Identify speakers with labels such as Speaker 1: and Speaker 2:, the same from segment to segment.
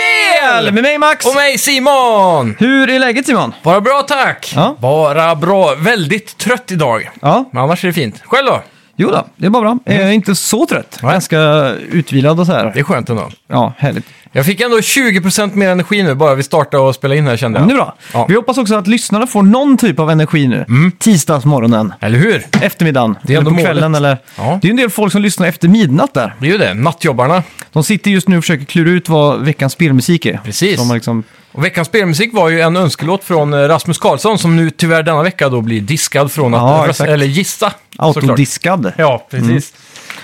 Speaker 1: Hell med mig Max!
Speaker 2: Och mig Simon!
Speaker 1: Hur är läget Simon?
Speaker 2: Bara bra tack!
Speaker 1: Ja.
Speaker 2: Bara bra. Väldigt trött idag.
Speaker 1: Ja,
Speaker 2: Men annars är det fint. Själv då?
Speaker 1: jo då, det är bara bra. Jag är inte så trött.
Speaker 2: Mm. Nej.
Speaker 1: Ganska utvilad och så här.
Speaker 2: Det är skönt ändå.
Speaker 1: Ja, härligt.
Speaker 2: Jag fick ändå 20% mer energi nu bara vi startade och spelade in här kände
Speaker 1: Men
Speaker 2: jag.
Speaker 1: det är bra.
Speaker 2: Ja.
Speaker 1: Vi hoppas också att lyssnarna får någon typ av energi nu. Tisdagsmorgonen,
Speaker 2: Eller hur?
Speaker 1: eftermiddagen,
Speaker 2: Det är
Speaker 1: eller på
Speaker 2: ändå
Speaker 1: kvällen.
Speaker 2: målet.
Speaker 1: Eller...
Speaker 2: Ja.
Speaker 1: Det är ju en del folk som lyssnar efter midnatt där.
Speaker 2: Det är ju det. Nattjobbarna.
Speaker 1: De sitter just nu och försöker klura ut vad veckans spelmusik är.
Speaker 2: Precis.
Speaker 1: De har liksom...
Speaker 2: Och veckans spelmusik var ju en önskelåt från eh, Rasmus Karlsson som nu tyvärr denna vecka då blir diskad från att
Speaker 1: Ja,
Speaker 2: rösta-
Speaker 1: exakt. Mm.
Speaker 2: eller gissa. såklart.
Speaker 1: Autodiskad.
Speaker 2: Ja, precis.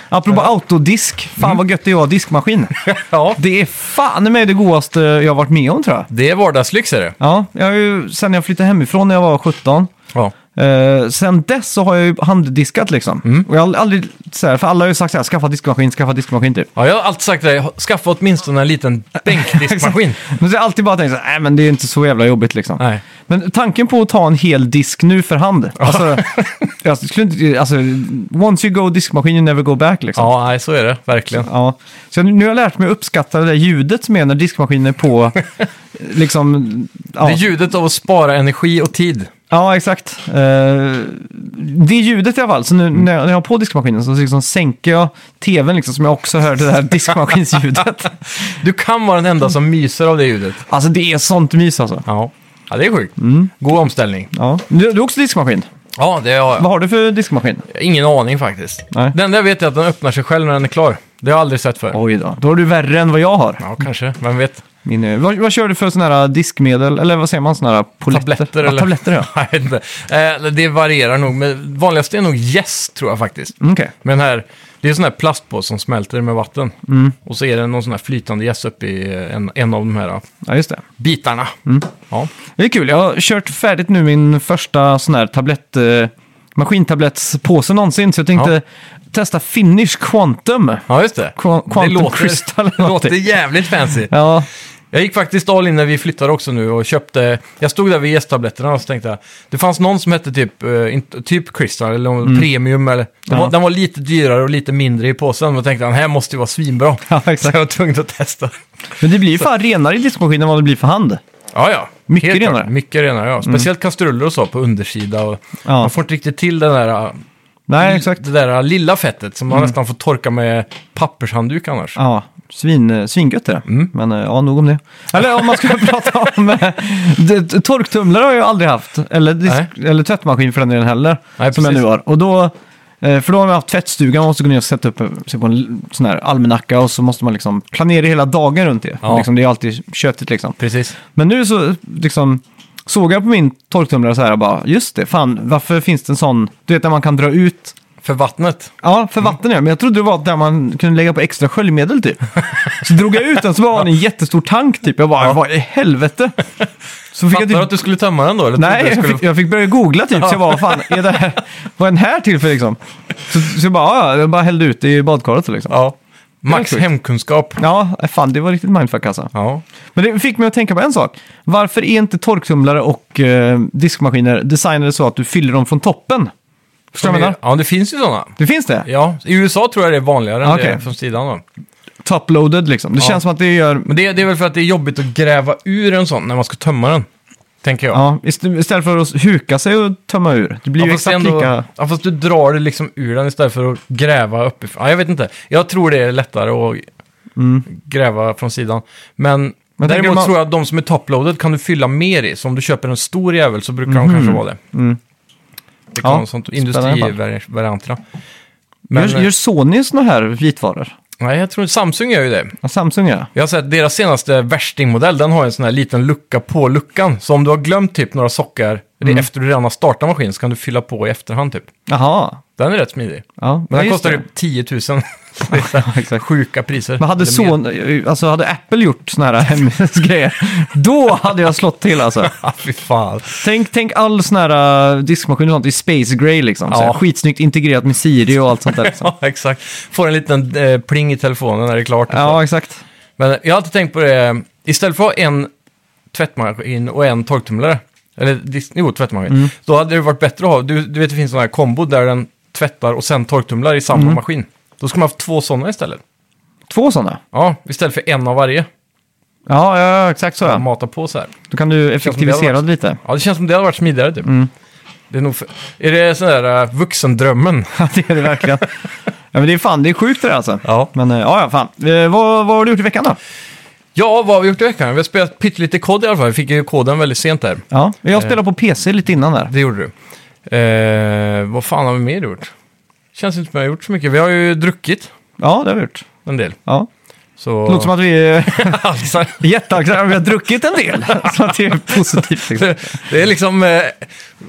Speaker 1: Apropå autodisk, fan vad gött det är att ha diskmaskin.
Speaker 2: Mm. Ja.
Speaker 1: Det är fan med det godaste jag har varit med om tror jag.
Speaker 2: Det är vardagslyx är det.
Speaker 1: Ja, jag har ju, sen jag flyttade hemifrån när jag var 17.
Speaker 2: Ja.
Speaker 1: Eh, sen dess så har jag ju handdiskat liksom.
Speaker 2: Mm.
Speaker 1: Och jag har aldrig, så här, för alla har ju sagt så här, skaffa diskmaskin, skaffa diskmaskin typ.
Speaker 2: ja, jag har alltid sagt till dig, skaffa åtminstone en liten bänkdiskmaskin.
Speaker 1: Men så har jag alltid bara tänkt så här, nej men det är inte så jävla jobbigt liksom.
Speaker 2: Nej.
Speaker 1: Men tanken på att ta en hel disk nu för hand, alltså, jag skulle inte, alltså, once you go diskmaskin you never go back liksom.
Speaker 2: Ja, nej, så är det. Verkligen.
Speaker 1: Ja. Så nu har jag lärt mig att uppskatta det där ljudet som är när diskmaskinen är på. liksom, ja.
Speaker 2: Det är ljudet av att spara energi och tid.
Speaker 1: ja, exakt. Eh, det är ljudet i alla fall. Så nu när jag, när jag har på diskmaskinen så liksom sänker jag tvn liksom, som jag också hör det där diskmaskinsljudet.
Speaker 2: Du kan vara den enda som myser av det ljudet.
Speaker 1: alltså det är sånt mys alltså.
Speaker 2: Ja, ja det är sjukt. God omställning.
Speaker 1: Ja. Du, du har också diskmaskin.
Speaker 2: Ja, det har jag.
Speaker 1: Vad har du för diskmaskin?
Speaker 2: Ingen aning faktiskt.
Speaker 1: Nej.
Speaker 2: Den där vet jag att den öppnar sig själv när den är klar. Det har jag aldrig sett förr.
Speaker 1: Oj då, då har du värre än vad jag har.
Speaker 2: Ja, kanske. Vem vet?
Speaker 1: Min, eh, vad, vad kör du för sådana här diskmedel, eller vad säger man, sådana här poletter?
Speaker 2: Tabletter
Speaker 1: ja,
Speaker 2: eller?
Speaker 1: tabletter ja.
Speaker 2: Jag vet inte. Eh, det varierar nog. Men vanligast är nog gäss, tror jag faktiskt.
Speaker 1: Okej.
Speaker 2: Men här, det är en sån här plastpåse som smälter med vatten. Och så är det någon sån här flytande gäss uppe i eh, en, en av de här eh,
Speaker 1: Ja, just det.
Speaker 2: bitarna. Ja.
Speaker 1: Det är kul. Jag har kört färdigt nu min första sån här tablett, eh, maskintablettspåse någonsin. Så jag tänkte testa Finish Quantum.
Speaker 2: ja, just det.
Speaker 1: Qua- Quantum
Speaker 2: det låter,
Speaker 1: Crystal eller
Speaker 2: låter
Speaker 1: någonting.
Speaker 2: jävligt fancy.
Speaker 1: Ja,
Speaker 2: Jag gick faktiskt all in när vi flyttade också nu och köpte, jag stod där vid gästtabletterna och så tänkte jag, det fanns någon som hette typ, eh, inte- typ Crystal eller någon Premium eller, den,
Speaker 1: Mm. Ja.
Speaker 2: var, den var lite dyrare och lite mindre i påsen och tänkte den här måste ju vara svinbra.
Speaker 1: ja
Speaker 2: Så
Speaker 1: exakt.
Speaker 2: jag var tvungen att testa.
Speaker 1: Men det blir ju fan renare i diskmaskinen än vad det blir för hand.
Speaker 2: Ja, ja.
Speaker 1: Mycket
Speaker 2: Helt klart.
Speaker 1: renare. Mm.
Speaker 2: Mycket renare, ja. Speciellt kastruller och så på undersida och
Speaker 1: Ja.
Speaker 2: man får inte riktigt till den där,
Speaker 1: Nej, exakt.
Speaker 2: det där lilla fettet som man nästan får torka med pappershandduk annars.
Speaker 1: Mm. Ja, svin, eh, svingött är det.
Speaker 2: Mm.
Speaker 1: Men eh, ja, nog om det. Eller om man ska prata om... eh, det- Torktumlare har jag aldrig haft. Eller, disk, eller tvättmaskin för den delen heller.
Speaker 2: Nej,
Speaker 1: som jag nu
Speaker 2: precis.
Speaker 1: har. Och då, eh, för då har man haft tvättstugan och måste gå ner och sätta upp eh, sig på en l- sån här almanacka. Och så måste man liksom planera hela dagen runt det.
Speaker 2: Ja.
Speaker 1: Liksom, det är alltid köttigt liksom.
Speaker 2: Precis.
Speaker 1: Men nu så liksom... Såg jag på min torktumlare så här och bara, just det, fan, varför finns det en sån, du vet där man kan dra ut
Speaker 2: För vattnet.
Speaker 1: Ja, för
Speaker 2: Mm.
Speaker 1: vatten ja. Men jag trodde det var där man kunde lägga på extra sköljmedel typ. Så drog jag ut den så var den en jättestor tank typ. Jag bara, vad i helvete? Så fick
Speaker 2: Fattar du
Speaker 1: jag
Speaker 2: att
Speaker 1: typ...
Speaker 2: du skulle tömma den då? Eller trodde du
Speaker 1: Nej, jag
Speaker 2: skulle...
Speaker 1: fick, jag fick börja googla typ. Så jag bara, vad fan är det här? Vad är den här till för liksom? Så, så jag bara, ja, ja, jag bara hällde ut det i badkaret liksom.
Speaker 2: Ja. Max
Speaker 1: sjukt.
Speaker 2: hemkunskap.
Speaker 1: Ja, fan det var riktigt mindfuck alltså.
Speaker 2: Ja.
Speaker 1: Men det fick mig att tänka på en sak. Varför är inte torktumlare och eh, diskmaskiner designade så att du fyller dem från toppen? Förstår du vad jag menar?
Speaker 2: Ja, det finns ju sådana.
Speaker 1: Det finns det?
Speaker 2: Ja, i USA tror jag det är vanligare än
Speaker 1: Okej.
Speaker 2: det är från sidan då.
Speaker 1: Toploaded liksom. Det
Speaker 2: Ja.
Speaker 1: känns som att det gör
Speaker 2: Men det, det är väl för att det är jobbigt att gräva ur en sån när man ska tömma den. Tänker jag.
Speaker 1: Ja, ist- istället för att huka sig och tömma ur. Det blir ju
Speaker 2: fast,
Speaker 1: exakt
Speaker 2: ändå-
Speaker 1: lika...
Speaker 2: ja, fast du drar det liksom ur den istället för att gräva uppifrån. Ja, jag vet inte. Jag tror det är lättare att gräva från sidan. Men,
Speaker 1: Mm. Men tänker
Speaker 2: däremot
Speaker 1: man-
Speaker 2: tror jag att de som är toploaded kan du fylla mer i. Så om du köper en stor jävel så brukar de kanske vara det. Det kan
Speaker 1: Mhm. Mm. Ja,
Speaker 2: vara något sånt.
Speaker 1: spännande i alla fall.
Speaker 2: Industrivarianterna. Men,
Speaker 1: Gör, gör Sony såna här vitvaror?
Speaker 2: nej, jag tror Samsung gör ju det.
Speaker 1: Ja, Samsung ja.
Speaker 2: Jag har sett deras senaste värstingmodell, den har en sån här liten lucka på luckan. Så om du har glömt typ några sockar det är
Speaker 1: Mm.
Speaker 2: efter du redan har startat maskinen så kan du fylla på i efterhand typ.
Speaker 1: Jaha.
Speaker 2: Den är rätt smidig.
Speaker 1: Ja,
Speaker 2: Men
Speaker 1: ja,
Speaker 2: den
Speaker 1: just
Speaker 2: kostar
Speaker 1: det.
Speaker 2: typ 10 000. Det är så här
Speaker 1: Exakt.
Speaker 2: Sjuka priser.
Speaker 1: Men hade,
Speaker 2: Eller mer.
Speaker 1: Sony, alltså, hade Apple gjort såna här hemgrejer, då hade jag slått till alltså.
Speaker 2: Ja, fy fan.
Speaker 1: Tänk, tänk all sån här äh, diskmaskin och sånt i Space Grey liksom. Så
Speaker 2: Ja.
Speaker 1: här Skitsnyggt integrerat med Siri och allt sånt där. Liksom.
Speaker 2: Ja, exakt. Får en liten eh, pling i telefonen när det är klart. och så.
Speaker 1: Ja, exakt.
Speaker 2: Men jag har alltid tänkt på det, istället för att ha en tvättmaskin och en torktumlare, eller dis- jo, tvättmaskin,
Speaker 1: Mm.
Speaker 2: då hade det varit bättre att ha, du, du vet det finns sådana här kombo där den tvättar och sen torktumlar i samma
Speaker 1: Mm.
Speaker 2: maskin. Då skulle man ha haft två sådana istället.
Speaker 1: Två sådana.
Speaker 2: Ja, istället för en av varje.
Speaker 1: Ja, ja, exakt så ja.
Speaker 2: Mata på så här.
Speaker 1: Då kan du
Speaker 2: som det hade
Speaker 1: effektivisera det lite.
Speaker 2: Ja, det känns som det hade varit smidigare typ.
Speaker 1: Mm.
Speaker 2: Det är, nog för... är det sån där eh, vuxendrömmen?
Speaker 1: Ja, det är det verkligen. ja, men det är fan, det är sjukt det där alltså.
Speaker 2: Ja.
Speaker 1: Men eh, ja, ja, fan. Eh, vad, vad har du gjort i veckan då?
Speaker 2: Ja, vad har vi gjort i veckan? Vi har spelat pyttelite kod i alla fall. Vi fick ju koden väldigt sent där.
Speaker 1: Ja, eh. jag spelade på PC lite innan där.
Speaker 2: Det gjorde du. Eh, vad fan har vi mer gjort? Känns inte som jag har gjort så mycket. Vi har ju druckit
Speaker 1: Ja, det har vi gjort.
Speaker 2: en del.
Speaker 1: Ja.
Speaker 2: Så...
Speaker 1: Det låter som att vi är
Speaker 2: Alltså,
Speaker 1: jätteaktsamma. Vi har druckit en del. Så att det är positivt. Liksom.
Speaker 2: det är liksom eh,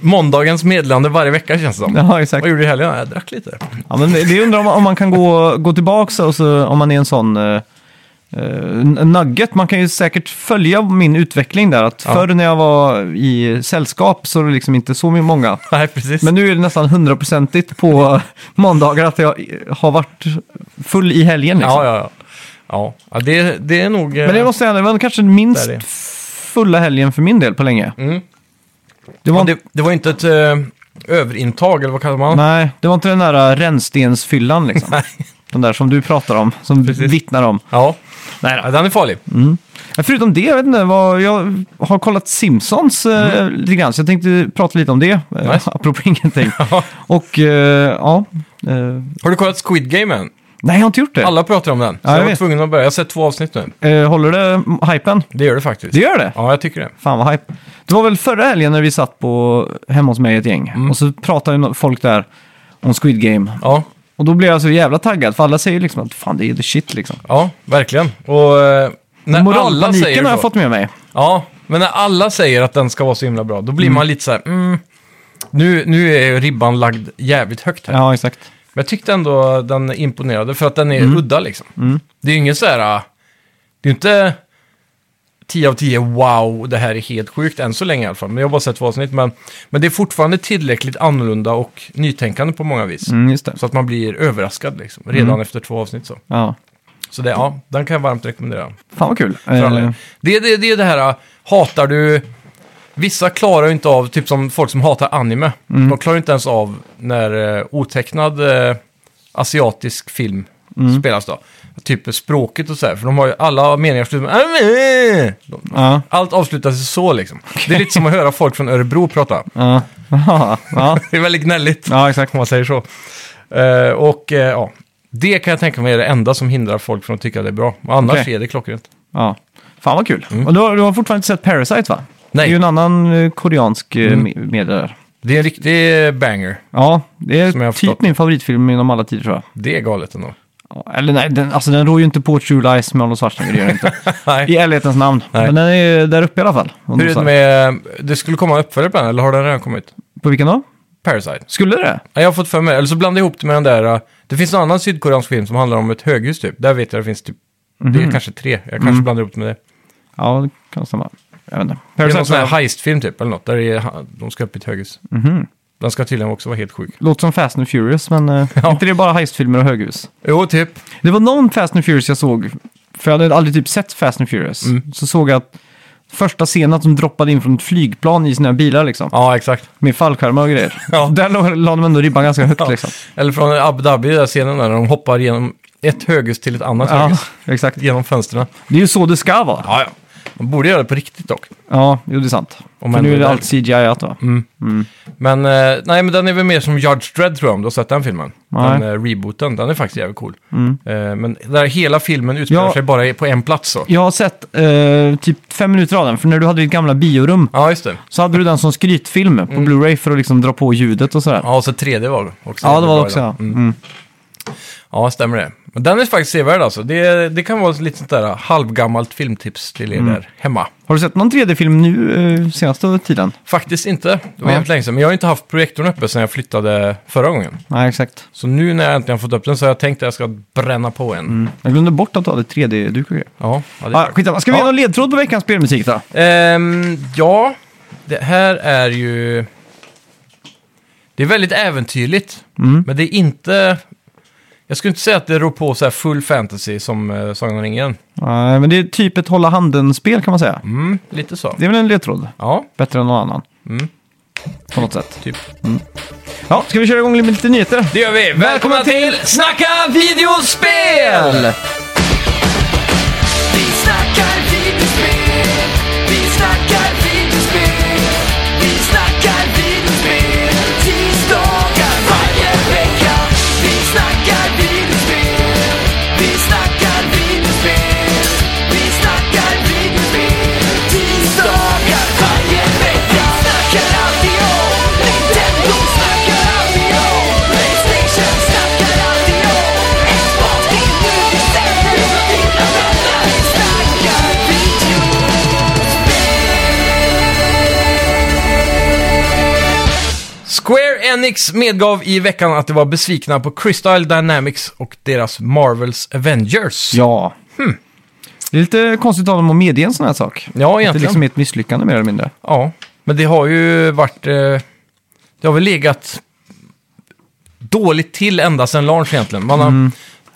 Speaker 2: måndagens meddelande varje vecka känns det som.
Speaker 1: Ja, exakt.
Speaker 2: Vad gjorde du i helgen? Jag drack lite.
Speaker 1: Ja, men det det undrar om, om man kan gå, gå tillbaka och så, om man är en sån eh, eh, nugget. Man kan ju säkert följa min utveckling där. Att
Speaker 2: Ja.
Speaker 1: Förr när jag var i sällskap så var det liksom inte så många.
Speaker 2: Nej, precis.
Speaker 1: Men nu är det nästan hundraprocentigt på måndagar att jag har varit full i helgen. Liksom.
Speaker 2: ja, ja, ja. ja. ja det, det är nog... eh,
Speaker 1: Men det måste säga, det var kanske den minst
Speaker 2: Där är det.
Speaker 1: fulla helgen för min del på länge.
Speaker 2: Mm.
Speaker 1: Det var,
Speaker 2: Ja, det, det var inte ett eh, överintag, eller vad kallar man
Speaker 1: Nej, det var inte den där äh, rännstensfyllan liksom. Den där som du pratar om, som du vittnar om.
Speaker 2: Ja,
Speaker 1: Nej då. Mm.
Speaker 2: ja, den är farlig.
Speaker 1: Men Förutom det, jag vet inte, vad, jag har kollat Simpsons eh, lite grann, så jag tänkte prata lite om det, eh,
Speaker 2: Mm. Nice.
Speaker 1: apropå ingenting. Och eh, ja, eh,
Speaker 2: Har du kollat Squid Game än?
Speaker 1: nej jag har inte gjort det.
Speaker 2: Alla pratar om den. Så
Speaker 1: Ja, jag
Speaker 2: jag, var
Speaker 1: vet.
Speaker 2: tvungen att börja. Jag har sett två avsnitt nu.
Speaker 1: Eh, håller det m- hypen?
Speaker 2: Det gör det faktiskt.
Speaker 1: Det gör det?
Speaker 2: Ja, jag tycker det.
Speaker 1: Fan vad hype. Det var väl förra helgen när vi satt på, hemma hos mig ett gäng,
Speaker 2: Mm.
Speaker 1: och så pratade ju no- folk där om Squid Game.
Speaker 2: Ja,
Speaker 1: Och då blev jag så jävla taggad, för alla säger liksom att fan det är the shit liksom.
Speaker 2: ja verkligen. Och eh, när alla säger
Speaker 1: Moralpaniken har
Speaker 2: så-
Speaker 1: jag fått med mig.
Speaker 2: Ja, men när alla säger att den ska vara så himla bra, då blir man lite så här, mm, nu, nu är ribban lagd jävligt högt här.
Speaker 1: Ja, exakt.
Speaker 2: Men jag tyckte ändå den imponerade, för att den är
Speaker 1: Mm.
Speaker 2: udda liksom. Det är ju ingen så här, äh, det är ju inte 10 av 10, wow, det här är helt sjukt, än så länge i alla fall. Men jag har bara sett två avsnitt, men, men det är fortfarande tillräckligt annorlunda och nytänkande på många vis.
Speaker 1: Mm, just det.
Speaker 2: Så att man blir överraskad liksom, redan efter två avsnitt så.
Speaker 1: Ja.
Speaker 2: Så det, ja, den kan jag varmt rekommendera.
Speaker 1: Fan vad kul.
Speaker 2: För
Speaker 1: Eh,
Speaker 2: alla. Det, det, det är det här, äh, hatar du... Vissa klarar ju inte av, typ som folk som hatar anime,
Speaker 1: Mm.
Speaker 2: de klarar inte ens av när eh, otecknad eh, asiatisk film
Speaker 1: Mm.
Speaker 2: spelas då. Typ språket och så här, för de har ju alla meningar slutar med "Anime!" De-
Speaker 1: ja.
Speaker 2: äh. Allt avslutas ju så liksom. Det är lite som att höra folk från Örebro prata.
Speaker 1: Ja, ja, ja,
Speaker 2: Det är väldigt gnälligt,
Speaker 1: ja exakt.
Speaker 2: om man säger så. Eh, och eh, ja, det kan jag tänka mig är det enda som hindrar folk från att tycka det är bra. Annars
Speaker 1: Okej.
Speaker 2: är det klockrent.
Speaker 1: Ja. Fan vad kul. Och du har, du har fortfarande inte sett Parasite va?
Speaker 2: Mm. Nej. Mm.
Speaker 1: Det är ju en annan eh, koreansk eh, me- media där.
Speaker 2: Det är en riktig banger.
Speaker 1: Ja, det
Speaker 2: Som jag
Speaker 1: är
Speaker 2: har
Speaker 1: typ
Speaker 2: förstått.
Speaker 1: min favoritfilm inom alla tider tror jag.
Speaker 2: Det är galet ändå.
Speaker 1: Ja, Eller nej, den, alltså, den rår ju inte på True Lies med Arnold Schwarzenegger, det gör den inte.
Speaker 2: Nej.
Speaker 1: I ärlighetens namn.
Speaker 2: Nej.
Speaker 1: Men den är där uppe i alla fall. Om
Speaker 2: Hur
Speaker 1: du
Speaker 2: är
Speaker 1: sa-
Speaker 2: det med, det skulle komma en uppföljare på den, eller har den redan kommit?
Speaker 1: På vilken då?
Speaker 2: Parasite.
Speaker 1: Skulle det?
Speaker 2: Ja, Jag har fått för mig, eller så blandar jag ihop det med den där, uh, det finns en annan sydkoreansk film som handlar om ett höghus typ. Där vet jag det finns typ,
Speaker 1: Mhm.
Speaker 2: det är kanske tre. Jag kanske
Speaker 1: Mm.
Speaker 2: blandar ihop det med det.
Speaker 1: Ja, det kan stämma. Jag vet inte.
Speaker 2: Det är någon
Speaker 1: Parasite
Speaker 2: sån här
Speaker 1: tror jag-
Speaker 2: heistfilm typ, eller något. Där är, ha- de ska upp i ett höghus.
Speaker 1: Mhm.
Speaker 2: Den ska tydligen också vara helt sjuk.
Speaker 1: låter som Fast and Furious, men eh, inte det är bara heistfilmer och höghus.
Speaker 2: Jo, typ.
Speaker 1: Det var någon Fast and Furious jag såg, för jag hade aldrig typ sett Fast and Furious.
Speaker 2: Mm.
Speaker 1: Så såg jag att första scenen att de droppade in från ett flygplan i sina bilar liksom.
Speaker 2: Ja, exakt.
Speaker 1: Med fallskärmar och grejer.
Speaker 2: Ja.
Speaker 1: Där la, la de ändå ribban ganska högt
Speaker 2: Ja.
Speaker 1: liksom.
Speaker 2: Eller från Abu Dhabi, den där scenen där de hoppar genom ett höghus till ett annat
Speaker 1: Ja,
Speaker 2: höghus.
Speaker 1: exakt.
Speaker 2: Genom fönstren.
Speaker 1: Det är ju så det ska vara.
Speaker 2: Ja, ja. De borde göra det på riktigt dock.
Speaker 1: Ja, jo det är sant.
Speaker 2: Om
Speaker 1: För
Speaker 2: ändå
Speaker 1: nu är det
Speaker 2: där.
Speaker 1: allt CGI då.
Speaker 2: Men, eh, nej, men den är väl mer som Judge Dredd tror jag, om du har sett den filmen.
Speaker 1: Nej. Mm.
Speaker 2: Den eh, rebooten, den är faktiskt jävligt cool. Eh, men där hela filmen utspelar
Speaker 1: Ja.
Speaker 2: sig bara i- på en plats så.
Speaker 1: Jag har sett eh, typ fem minuter av den, för när du hade ditt gamla biorum
Speaker 2: Ja, just det.
Speaker 1: så hade du den som skrytfilm på Blu-ray för att liksom dra på ljudet och sådär. Ja,
Speaker 2: Mm. Ja, och så 3D var det också.
Speaker 1: det var
Speaker 2: bra
Speaker 1: det också.
Speaker 2: idag.
Speaker 1: Ja.
Speaker 2: Mm.
Speaker 1: Mm.
Speaker 2: Ja, stämmer det. Men den är faktiskt sevärd alltså. Det, det kan vara lite sånt där eh, halvgammalt filmtips till er
Speaker 1: Mm.
Speaker 2: där hemma.
Speaker 1: Har du sett någon 3D-film nu eh, senaste tiden?
Speaker 2: Faktiskt inte. Det var
Speaker 1: Ja.
Speaker 2: jävligt länge sedan. Men jag har inte haft projektorn uppe sedan jag flyttade förra gången.
Speaker 1: Nej, exakt.
Speaker 2: Så nu när jag äntligen fått upp den så har jag tänkt att jag ska bränna på en.
Speaker 1: Mm. Jag glömde bort att du hade 3D-duk och grejer.
Speaker 2: Ja, ja, det är
Speaker 1: Ah, skitsamma. Ska vi ge
Speaker 2: Ja.
Speaker 1: någon ledtråd på veckans spelmusik då?
Speaker 2: Ehm, ja, det här är ju... Det är väldigt äventyrligt,
Speaker 1: Mm.
Speaker 2: men det är inte... Jag skulle inte säga att det rår på så här full fantasy som uh, Sagan om ringen.
Speaker 1: Nej, men det är typ ett hålla handen-spel kan man säga.
Speaker 2: Mm, lite så.
Speaker 1: Det är väl en ledtråd.
Speaker 2: Ja,
Speaker 1: Bättre än någon annan.
Speaker 2: Mm.
Speaker 1: På något sätt. Mm.
Speaker 2: typ.
Speaker 1: Ja, ska vi köra igång med lite nyheter?
Speaker 2: Det gör vi! Välkomna till Snacka videospel!
Speaker 3: Vi snackar videospel,
Speaker 2: Enix medgav i veckan att de var besvikna på Crystal Dynamics och deras Marvels Avengers.
Speaker 1: Ja. Hmm. Det är lite konstigt av dem att medge en sån här sak. Att
Speaker 2: ja
Speaker 1: det
Speaker 2: egentligen.
Speaker 1: liksom är ett misslyckande mer eller mindre.
Speaker 2: Ja, men det har ju varit... eh, Det har väl legat dåligt till ända sedan launch egentligen. Man har
Speaker 1: Mm.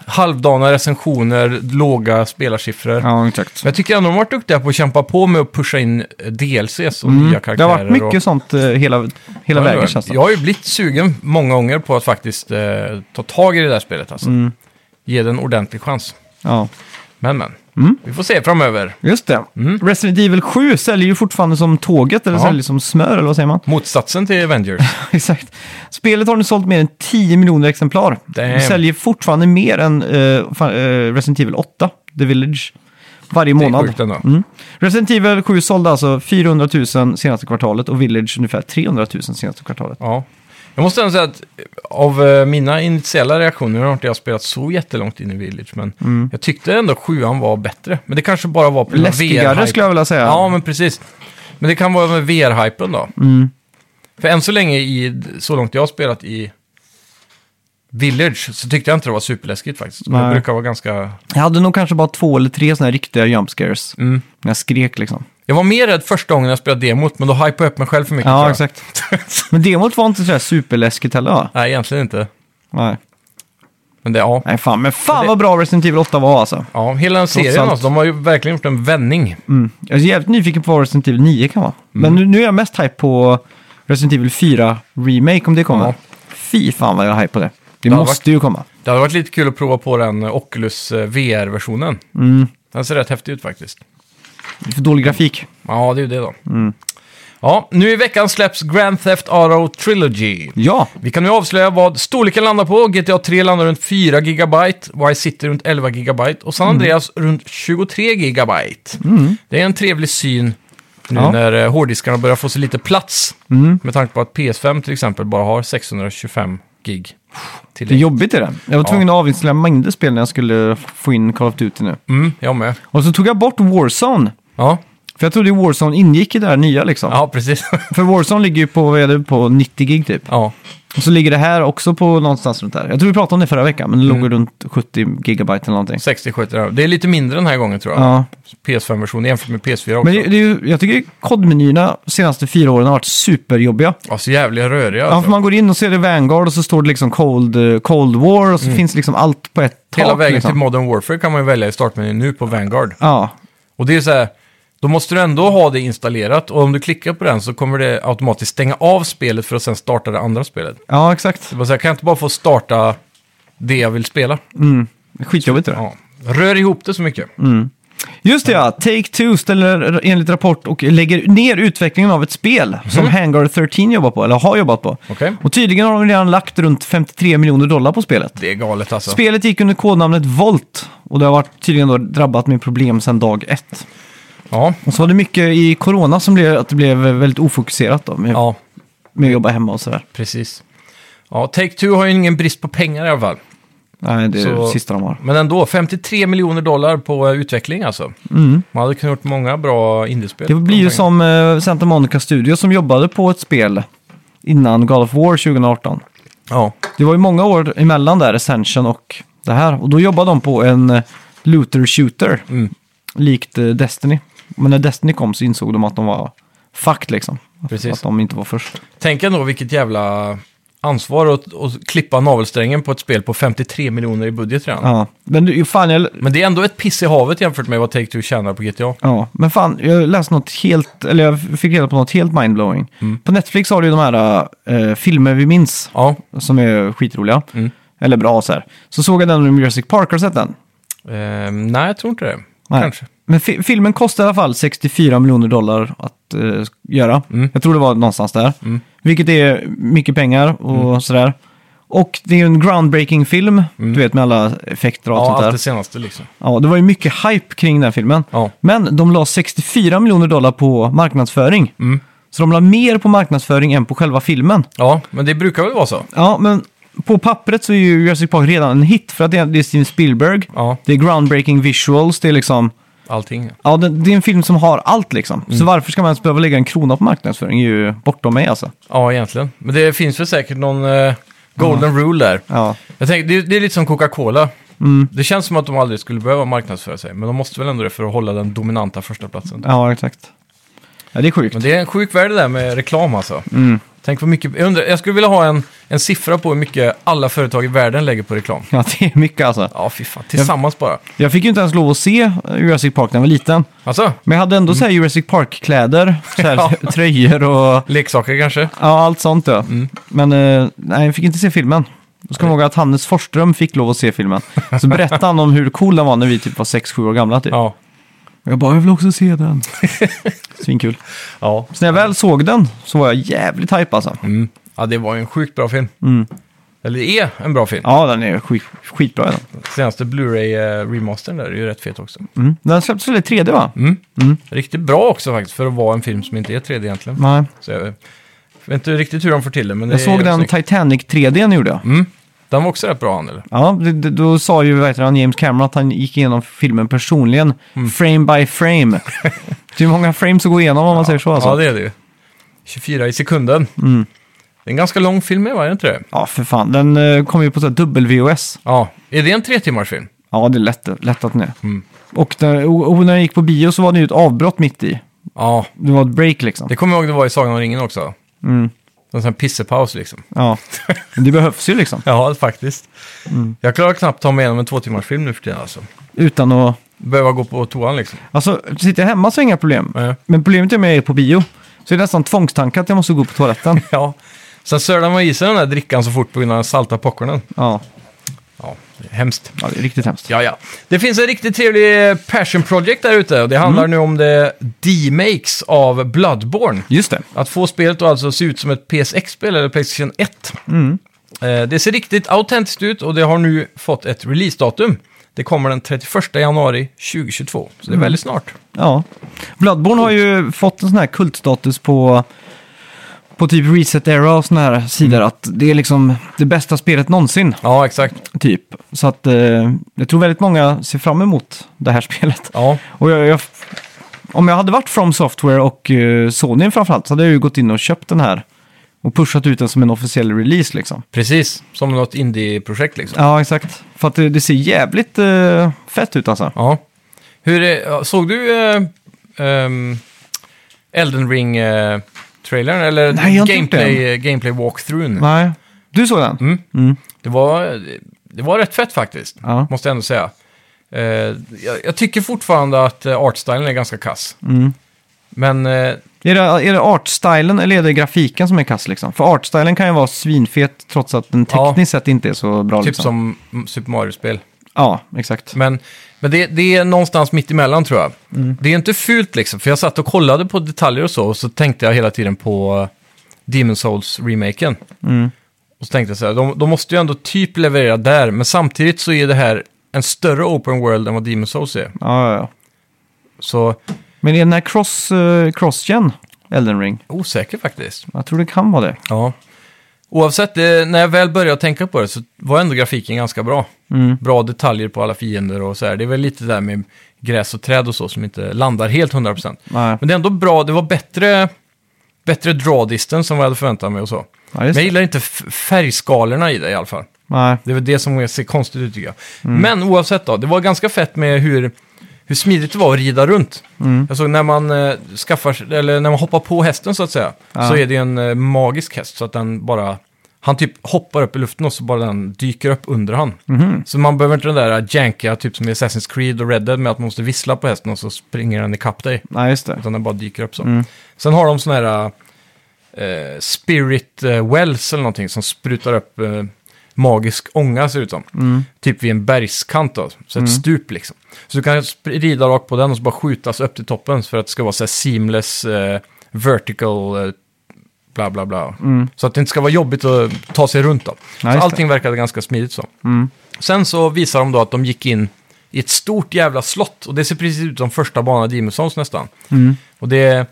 Speaker 2: halvdana recensioner, låga spelarsiffror. Men
Speaker 1: Ja, exakt.
Speaker 2: jag tycker ändå de har varit duktiga på att kämpa på med att pusha in eh, DLCs och nya
Speaker 1: Mm. Det
Speaker 2: karaktärer.
Speaker 1: har varit mycket
Speaker 2: och...
Speaker 1: sånt eh, hela, hela vägen
Speaker 2: jag,
Speaker 1: känns det.
Speaker 2: jag har ju blivit sugen många gånger på att faktiskt eh, ta tag i det där spelet. Alltså.
Speaker 1: Mm.
Speaker 2: Ge det en ordentlig chans.
Speaker 1: Ja.
Speaker 2: Men men,
Speaker 1: Mm.
Speaker 2: vi får se framöver.
Speaker 1: Just det.
Speaker 2: Mm.
Speaker 1: Resident Evil 7 säljer ju fortfarande som tåget, eller
Speaker 2: Ja.
Speaker 1: säljer som smör, eller vad säger man?
Speaker 2: Motsatsen till Avengers.
Speaker 1: Exakt. Spelet har nu sålt mer än 10 miljoner exemplar.
Speaker 2: Damn.
Speaker 1: Det säljer fortfarande mer än eh, fan, eh, Resident Evil 8, The Village, varje
Speaker 2: det är
Speaker 1: månad.
Speaker 2: sjukt ändå.
Speaker 1: Mm. Resident Evil 7 sålde alltså 400 000 senaste kvartalet och Village ungefär 300 000 senaste kvartalet.
Speaker 2: Ja. Jag måste ändå säga att av eh, mina initiala reaktioner har inte jag spelat så jättelångt in i Village, men
Speaker 1: Mm.
Speaker 2: jag tyckte ändå sjuan var bättre. Men det kanske bara var på grund av
Speaker 1: Läskigare
Speaker 2: VR-hype.
Speaker 1: skulle jag vilja säga.
Speaker 2: Ja, men precis. Men det kan vara med VR-hypen då.
Speaker 1: Mm.
Speaker 2: För än så länge, i, så långt jag har spelat i Village, så tyckte jag inte det var superläskigt faktiskt. Det
Speaker 1: Nej.
Speaker 2: brukar vara ganska...
Speaker 1: Jag hade nog kanske bara två eller tre såna här riktiga jump scares.
Speaker 2: Mm.
Speaker 1: När jag skrek liksom.
Speaker 2: Jag var mer rädd första gången jag spelade demot, men då hypade jag upp mig själv för mycket. tror
Speaker 1: Ja,
Speaker 2: jag.
Speaker 1: exakt. Men demot var inte sådär superläskigt heller va?
Speaker 2: Nej, egentligen inte.
Speaker 1: Nej.
Speaker 2: Men det, ja.
Speaker 1: Nej, fan. Men fan vad bra Resident Evil 8 var alltså.
Speaker 2: ja. Hela den serien,
Speaker 1: allt.
Speaker 2: alltså, de har ju verkligen gjort en vändning.
Speaker 1: Mm. Jag är jävligt nyfiken på vad Resident Evil 9 kan vara. Men nu, nu är jag mest hype på Resident Evil 4 Remake om det kommer.
Speaker 2: Ja.
Speaker 1: Fy fan vad jag är hype på det. Det,
Speaker 2: Det har
Speaker 1: måste ju komma.
Speaker 2: Det hade varit lite kul att prova på den eh, Oculus eh, VR-versionen.
Speaker 1: Mm.
Speaker 2: Den ser rätt häftig ut faktiskt.
Speaker 1: Det är för dålig grafik.
Speaker 2: Ja, det är ju det då.
Speaker 1: Mm.
Speaker 2: Ja, nu i veckan släpps Grand Theft Auto Trilogy.
Speaker 1: Ja,
Speaker 2: Vi kan nu avslöja vad storleken landar på. GTA 3 landar runt 4 GB, Vice City runt 11 GB och San
Speaker 1: Mm.
Speaker 2: Andreas runt 23 GB. Det är en trevlig syn nu
Speaker 1: Ja. Mm.
Speaker 2: när eh, hårddiskarna börjar få sig lite plats. Med tanke på att PS5 till exempel bara har 625 gig.
Speaker 1: det är
Speaker 2: Till
Speaker 1: jobbigt är det. Jag var
Speaker 2: Ja.
Speaker 1: tvungen att avinstallera mängder spel när jag skulle få in Call of Duty nu.
Speaker 2: mm, jag med.
Speaker 1: Och så tog jag bort Warzone.
Speaker 2: Ja,
Speaker 1: För jag trodde ju Warzone ingick i det här nya liksom.
Speaker 2: ja precis.
Speaker 1: För Warzone ligger ju på, vad är det, på 90 gig typ.
Speaker 2: ja.
Speaker 1: Och så ligger det här också på någonstans runt där. Jag tror vi pratade om det förra veckan, men det
Speaker 2: Mm.
Speaker 1: låg runt 70 gigabyte eller någonting.
Speaker 2: 60-70 där. Det är lite mindre den här gången tror jag.
Speaker 1: Ja.
Speaker 2: PS5-versionen jämfört med PS4 också.
Speaker 1: Men det, det är ju, jag tycker kodmenyerna de senaste fyra åren har varit superjobbiga.
Speaker 2: Ja, så jävliga röriga
Speaker 1: Ja, för
Speaker 2: alltså.
Speaker 1: man går in och ser det Vanguard och så står det liksom Cold, eh, Cold War och så finns liksom allt på ett tak.
Speaker 2: Mm. Hela vägen
Speaker 1: liksom.
Speaker 2: till Modern Warfare kan man ju välja i startmenyn nu på Vanguard.
Speaker 1: Ja,
Speaker 2: Och det är så här, då måste du ändå ha det installerat och om du klickar på den så kommer det automatiskt stänga av spelet för att sen starta det andra spelet.
Speaker 1: ja exakt.
Speaker 2: Det var så här, kan jag inte bara få starta det jag vill spela?
Speaker 1: Skitjobbigt det där.
Speaker 2: Ja. Rör ihop det så mycket.
Speaker 1: Mm. Just det ja, Take-Two ställer enligt rapport och lägger ner utvecklingen av ett spel som Hangar 13 jobbar på, eller har jobbat på.
Speaker 2: Mm. Okej.
Speaker 1: Och tydligen har de redan lagt runt 53 miljoner dollar på spelet.
Speaker 2: Det är galet alltså.
Speaker 1: Spelet gick under kodnamnet Volt och det har varit tydligen då drabbat med problem sedan dag ett.
Speaker 2: ja.
Speaker 1: Och så var det mycket i corona som blev att det blev väldigt ofokuserat då med,
Speaker 2: ja,
Speaker 1: med att jobba hemma och sådär.
Speaker 2: precis. Ja, Take-Two har ju ingen brist på pengar i alla fall.
Speaker 1: Nej, det är
Speaker 2: Så-
Speaker 1: det sista de har.
Speaker 2: Men ändå, 53 miljoner dollar på eh, utveckling alltså. Man hade kunnat gjort många bra indiespel.
Speaker 1: Mm. Det
Speaker 2: för
Speaker 1: blir
Speaker 2: de
Speaker 1: ju
Speaker 2: pengarna.
Speaker 1: som eh, Santa Monica Studio som jobbade på ett spel innan God of War 2018.
Speaker 2: Ja,
Speaker 1: Det var ju många år emellan där, Ascension och det här. Och då jobbade de på en eh, looter shooter,
Speaker 2: Mm.
Speaker 1: likt eh, Destiny. Men när Destiny kom så insåg de att de var fucked liksom.
Speaker 2: Precis.
Speaker 1: Att de inte var först.
Speaker 2: tänk ändå vilket jävla ansvar att, att klippa navelsträngen på ett spel på 53 miljoner i budget redan.
Speaker 1: Ja. Men du, fan, jag,
Speaker 2: Men det är ändå ett piss i havet jämfört med vad Take-Two tjänar på GTA.
Speaker 1: Ja, men fan, jag läste något helt, eller jag fick reda på något helt mindblowing.
Speaker 2: Mm.
Speaker 1: På Netflix har du ju de här eh, filmer vi minns,
Speaker 2: Ja,
Speaker 1: som är skitroliga.
Speaker 2: Mm.
Speaker 1: Eller bra så här. Så såg jag den om Jurassic Park, har du sett den?
Speaker 2: ehm, nej jag tror inte det.
Speaker 1: Nej.
Speaker 2: Kanske.
Speaker 1: Men fi- filmen kostar i alla fall 64 miljoner dollar att eh, göra.
Speaker 2: Mm.
Speaker 1: Jag tror det var någonstans där. Vilket är mycket pengar och
Speaker 2: Mm.
Speaker 1: sådär. Och det är ju en groundbreaking film, du vet med alla effekter och allt
Speaker 2: Ja,
Speaker 1: sånt där.
Speaker 2: allt det senaste liksom.
Speaker 1: Ja, det var ju mycket hype kring den filmen.
Speaker 2: Ja.
Speaker 1: Men de la 64 miljoner dollar på marknadsföring. Så de la mer på marknadsföring än på själva filmen.
Speaker 2: Ja, men det brukar väl vara så.
Speaker 1: Ja, men på pappret så är ju Jurassic Park redan en hit för att det är det är Steven Spielberg.
Speaker 2: Ja,
Speaker 1: Det är groundbreaking visuals, det är liksom...
Speaker 2: allting.
Speaker 1: Ja, det, det är en film som har allt liksom. Så varför ska man ens behöva lägga en krona på marknadsföring? Det är ju bortom mig alltså.
Speaker 2: Ja, egentligen. Men det finns väl säkert någon eh, golden rule där.
Speaker 1: Ja,
Speaker 2: Jag tänker, det, är- det är lite som Coca-Cola.
Speaker 1: Mm.
Speaker 2: Det känns som att de aldrig skulle behöva marknadsföra sig, men de måste väl ändå det för att hålla den dominanta första platsen.
Speaker 1: ja exakt. Ja, det är sjukt.
Speaker 2: Men det är en sjuk värld det där med reklam alltså.
Speaker 1: Mm.
Speaker 2: Tänk vad mycket, jag, undrar, jag skulle vilja ha en, en siffra på hur mycket alla företag i världen lägger på reklam.
Speaker 1: Ja, det är mycket alltså.
Speaker 2: Ja, fy fan. Tillsammans bara.
Speaker 1: Jag fick ju inte ens lov att se eh, Jurassic Park när jag var liten.
Speaker 2: Alltså,
Speaker 1: Men jag hade ändå så här Jurassic Park-kläder, så här
Speaker 2: Ja.
Speaker 1: tröjor och
Speaker 2: leksaker kanske.
Speaker 1: ja, allt sånt. Ja.
Speaker 2: Mm.
Speaker 1: Men eh, nej, jag fick inte se filmen. Då ska man ihåg att Hannes Forsström fick lov att se filmen. Så berättade han om hur cool den var när vi typ var 6-7 år gamla. Typ.
Speaker 2: Ja.
Speaker 1: Jag bara, jag vill också se den. Svinkul.
Speaker 2: Ja.
Speaker 1: Så när jag väl såg den så var jag jävligt hype alltså.
Speaker 2: Mm. ja, det var ju en sjukt bra film. Eller är en bra film.
Speaker 1: Mm. Ja, den är skit, skitbra.
Speaker 2: Mm.
Speaker 1: är Den.
Speaker 2: Senaste Blu-ray-remastern där är ju rätt fet också.
Speaker 1: Mm. Den släpptes väl i 3D va?
Speaker 2: Mm. Riktigt bra också faktiskt, för att vara en film som inte är 3D egentligen.
Speaker 1: Nej.
Speaker 2: Så jag, jag vet inte riktigt hur de får till det, men det
Speaker 1: Jag
Speaker 2: är
Speaker 1: såg
Speaker 2: jävligt
Speaker 1: den
Speaker 2: snyggt.
Speaker 1: Titanic 3D gjorde jag.
Speaker 2: Mm. Den var också rätt bra han, eller?
Speaker 1: Ja, det, det, då sa ju vet han, James Cameron att han gick igenom filmen personligen,
Speaker 2: Mm.
Speaker 1: frame by frame. det är många frames att gå igenom om man säger så alltså.
Speaker 2: Ja, det är det ju. 24 i sekunden.
Speaker 1: Mm.
Speaker 2: Det är en ganska lång film, va? Är det inte det?
Speaker 1: Ja, för fan. Den eh, kom ju på så här dubbel-VOS.
Speaker 2: Ja. Är det en tre timmars film?
Speaker 1: Ja, det är lätt, lätt att den är.
Speaker 2: Mm.
Speaker 1: Och, där, och, och när jag gick på bio så var det ju ett avbrott mitt i.
Speaker 2: Ja.
Speaker 1: Det var ett break liksom.
Speaker 2: Det kommer jag ihåg det var i Sagan om ringen också.
Speaker 1: Mm.
Speaker 2: En sån här pissepaus liksom.
Speaker 1: Ja. Men det behövs ju liksom.
Speaker 2: Ja, faktiskt. Mm. Jag klarar knappt ta mig igenom en två timmars film nu för tiden alltså.
Speaker 1: Utan att...
Speaker 2: Behöva gå på toan liksom.
Speaker 1: Alltså, sitter jag hemma så är det inga problem.
Speaker 2: Nej.
Speaker 1: Men problemet är om jag är på bio. Så är det nästan tvångstanke att jag måste gå på toaletten.
Speaker 2: Ja. Sen sölar man i sig den där drickan så fort på grund av den salta popcornen.
Speaker 1: ja.
Speaker 2: Ja, det är hemskt.
Speaker 1: ja, det är riktigt hemskt.
Speaker 2: Ja, ja. Det finns en riktigt trevlig eh, passion project där ute. och Det handlar nu om det D-makes av Bloodborne.
Speaker 1: Just det.
Speaker 2: Att få spelet att alltså se ut som ett PSX-spel eller Playstation 1. Eh, Det ser riktigt autentiskt ut och det har nu fått ett releasedatum. Det kommer den 31 januari 2022, så det är väldigt snart.
Speaker 1: Ja. Bloodborne har ju fått en sån här kultstatus på, på typ Reset Era och såna här sidor.
Speaker 2: Mm.
Speaker 1: Att det är liksom det bästa spelet någonsin,
Speaker 2: Ja, exakt.
Speaker 1: typ. Så att eh, jag tror väldigt många ser fram emot det här spelet.
Speaker 2: Ja,
Speaker 1: Och jag, jag, om jag hade varit From Software och eh, Sony framförallt så hade jag ju gått in och köpt den här. Och pushat ut den som en officiell release liksom.
Speaker 2: precis. Som något indie-projekt liksom.
Speaker 1: Ja, exakt. För att det, det ser jävligt eh, fett ut alltså.
Speaker 2: Ja. Hur är, ja, såg du eh, ehm, Elden Ring-trailern? eller
Speaker 1: Nej, jag har inte gjort
Speaker 2: gameplay, gameplay walkthroughen?
Speaker 1: Nej. Du såg den?
Speaker 2: Mm.
Speaker 1: Mm.
Speaker 2: Det var, det var rätt fett faktiskt,
Speaker 1: Ja.
Speaker 2: måste jag ändå säga. Eh, jag, jag tycker fortfarande att eh, artstylen är ganska kass.
Speaker 1: Mm.
Speaker 2: Men eh,
Speaker 1: Är det, är det artstylen eller är det grafiken som är kass liksom? För artstylen kan ju vara svinfet trots att den
Speaker 2: Ja.
Speaker 1: tekniskt sett inte är så bra.
Speaker 2: typ
Speaker 1: liksom.
Speaker 2: som mm, Super Mario-spel.
Speaker 1: Ja, exakt.
Speaker 2: Men, men det, det är någonstans mitt emellan tror jag. Det är inte fult liksom, för jag satt och kollade på detaljer och så, och så tänkte jag hela tiden på eh, Demon Souls-remaken.
Speaker 1: Mm.
Speaker 2: Och så tänkte jag så här, de, de måste ju ändå typ leverera där, men samtidigt så är det här en större open world än vad Demon Souls är.
Speaker 1: Ja, ja, ja.
Speaker 2: Så
Speaker 1: Men är den här cross, eh, cross-gen, Elden Ring?
Speaker 2: osäker faktiskt.
Speaker 1: Jag tror det kan vara det.
Speaker 2: Ja. Oavsett, eh, när jag väl började tänka på det så var ändå grafiken ganska bra.
Speaker 1: Mm.
Speaker 2: Bra detaljer på alla fiender och så här. Det är väl lite där med gräs och träd och så som inte landar helt 100%.
Speaker 1: Nej.
Speaker 2: Men det är ändå bra, det var bättre, bättre draw distance än vad jag hade förväntat mig och så.
Speaker 1: Ja,
Speaker 2: Men
Speaker 1: just
Speaker 2: jag
Speaker 1: det.
Speaker 2: gillar inte f- färgskalorna i det i alla fall.
Speaker 1: Nej.
Speaker 2: Det är väl det som ser konstigt ut tycker jag.
Speaker 1: Mm.
Speaker 2: Men oavsett då, det var ganska fett med hur, hur smidigt det var att rida runt.
Speaker 1: Mm.
Speaker 2: Jag såg när man, eh, skaffar, eller när man hoppar på hästen så att säga,
Speaker 1: Ja.
Speaker 2: så är det ju en eh, magisk häst så att den bara, han typ hoppar upp i luften och så bara den dyker upp under han.
Speaker 1: Mhm.
Speaker 2: Så man behöver inte den där janka typ som i Assassin's Creed och Red Dead med att man måste vissla på hästen och så springer den ikapp dig.
Speaker 1: Nej, just det.
Speaker 2: Utan den bara dyker upp så.
Speaker 1: Mm.
Speaker 2: Sen har de såna här eh, spirit eh, wells eller någonting som sprutar upp eh, magisk ånga ser det ut som.
Speaker 1: Mm.
Speaker 2: Typ vid en bergskant då, så ett stup liksom. Så du kan sp- rida rakt på den och så bara skjutas upp till toppen för att det ska vara så här seamless eh, vertical eh, bla bla bla.
Speaker 1: Mm.
Speaker 2: Så att det inte ska vara jobbigt att ta sig runt då.
Speaker 1: Ja,
Speaker 2: så
Speaker 1: just
Speaker 2: allting verkade ganska smidigt så.
Speaker 1: Mm.
Speaker 2: Sen så visar de då att de gick in i ett stort jävla slott och det ser precis ut som första banan i Demon's Souls nästan.
Speaker 1: Mm.
Speaker 2: Och det...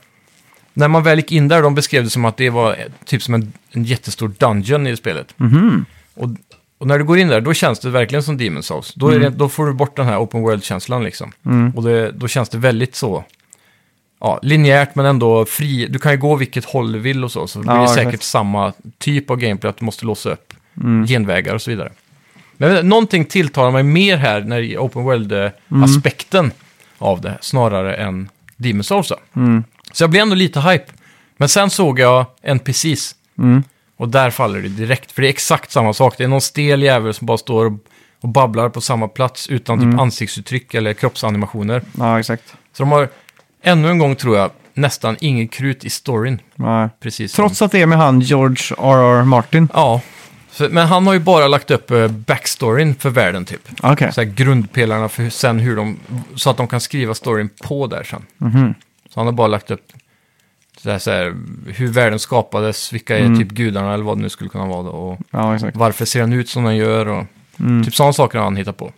Speaker 2: När man väl gick in där, de beskrev det som att det var eh, typ som en, en jättestor dungeon i spelet.
Speaker 1: Mhm.
Speaker 2: Och Och när du går in där, då känns det verkligen som Demon's Souls. Då,
Speaker 1: Mm.
Speaker 2: är det, då får du bort den här open world-känslan liksom. Och det, då känns det väldigt så, ja, linjärt men ändå fri. Du kan ju gå vilket håll du vill och så, så det
Speaker 1: Ja,
Speaker 2: blir det
Speaker 1: exakt.
Speaker 2: säkert samma typ av gameplay, att du måste låsa upp
Speaker 1: Mm.
Speaker 2: genvägar och så vidare. Men jag vet inte, någonting tilltalar mig mer här, när i open world-aspekten av det, snarare än Demon's Souls. då.
Speaker 1: Mm.
Speaker 2: Så jag blev ändå lite hype. Men sen såg jag NPCs.
Speaker 1: Mm.
Speaker 2: Och där faller det direkt, för det är exakt samma sak. Det är någon stel jävel som bara står och- och babblar på samma plats utan
Speaker 1: Mm.
Speaker 2: typ ansiktsuttryck eller kroppsanimationer.
Speaker 1: Ja, exakt.
Speaker 2: Så de har, ännu en gång tror jag, nästan inget krut i storyn.
Speaker 1: Nej.
Speaker 2: Precis som-
Speaker 1: Trots att det är med han George R.R. Martin.
Speaker 2: Ja. Så, men han har ju bara lagt upp eh, backstoryn för världen typ.
Speaker 1: Okej. Okay.
Speaker 2: Så här grundpelarna för hur, sen hur de, så att de kan skriva storyn på där sen.
Speaker 1: Mhm.
Speaker 2: Så han har bara lagt upp så här, så här, hur världen skapades, vilka är
Speaker 1: Mm.
Speaker 2: typ gudarna eller vad det nu skulle kunna vara då. Och,
Speaker 1: Ja, exakt.
Speaker 2: Varför ser han ut som han gör? Och
Speaker 1: Mm.
Speaker 2: Typ sådana saker har han hittat på.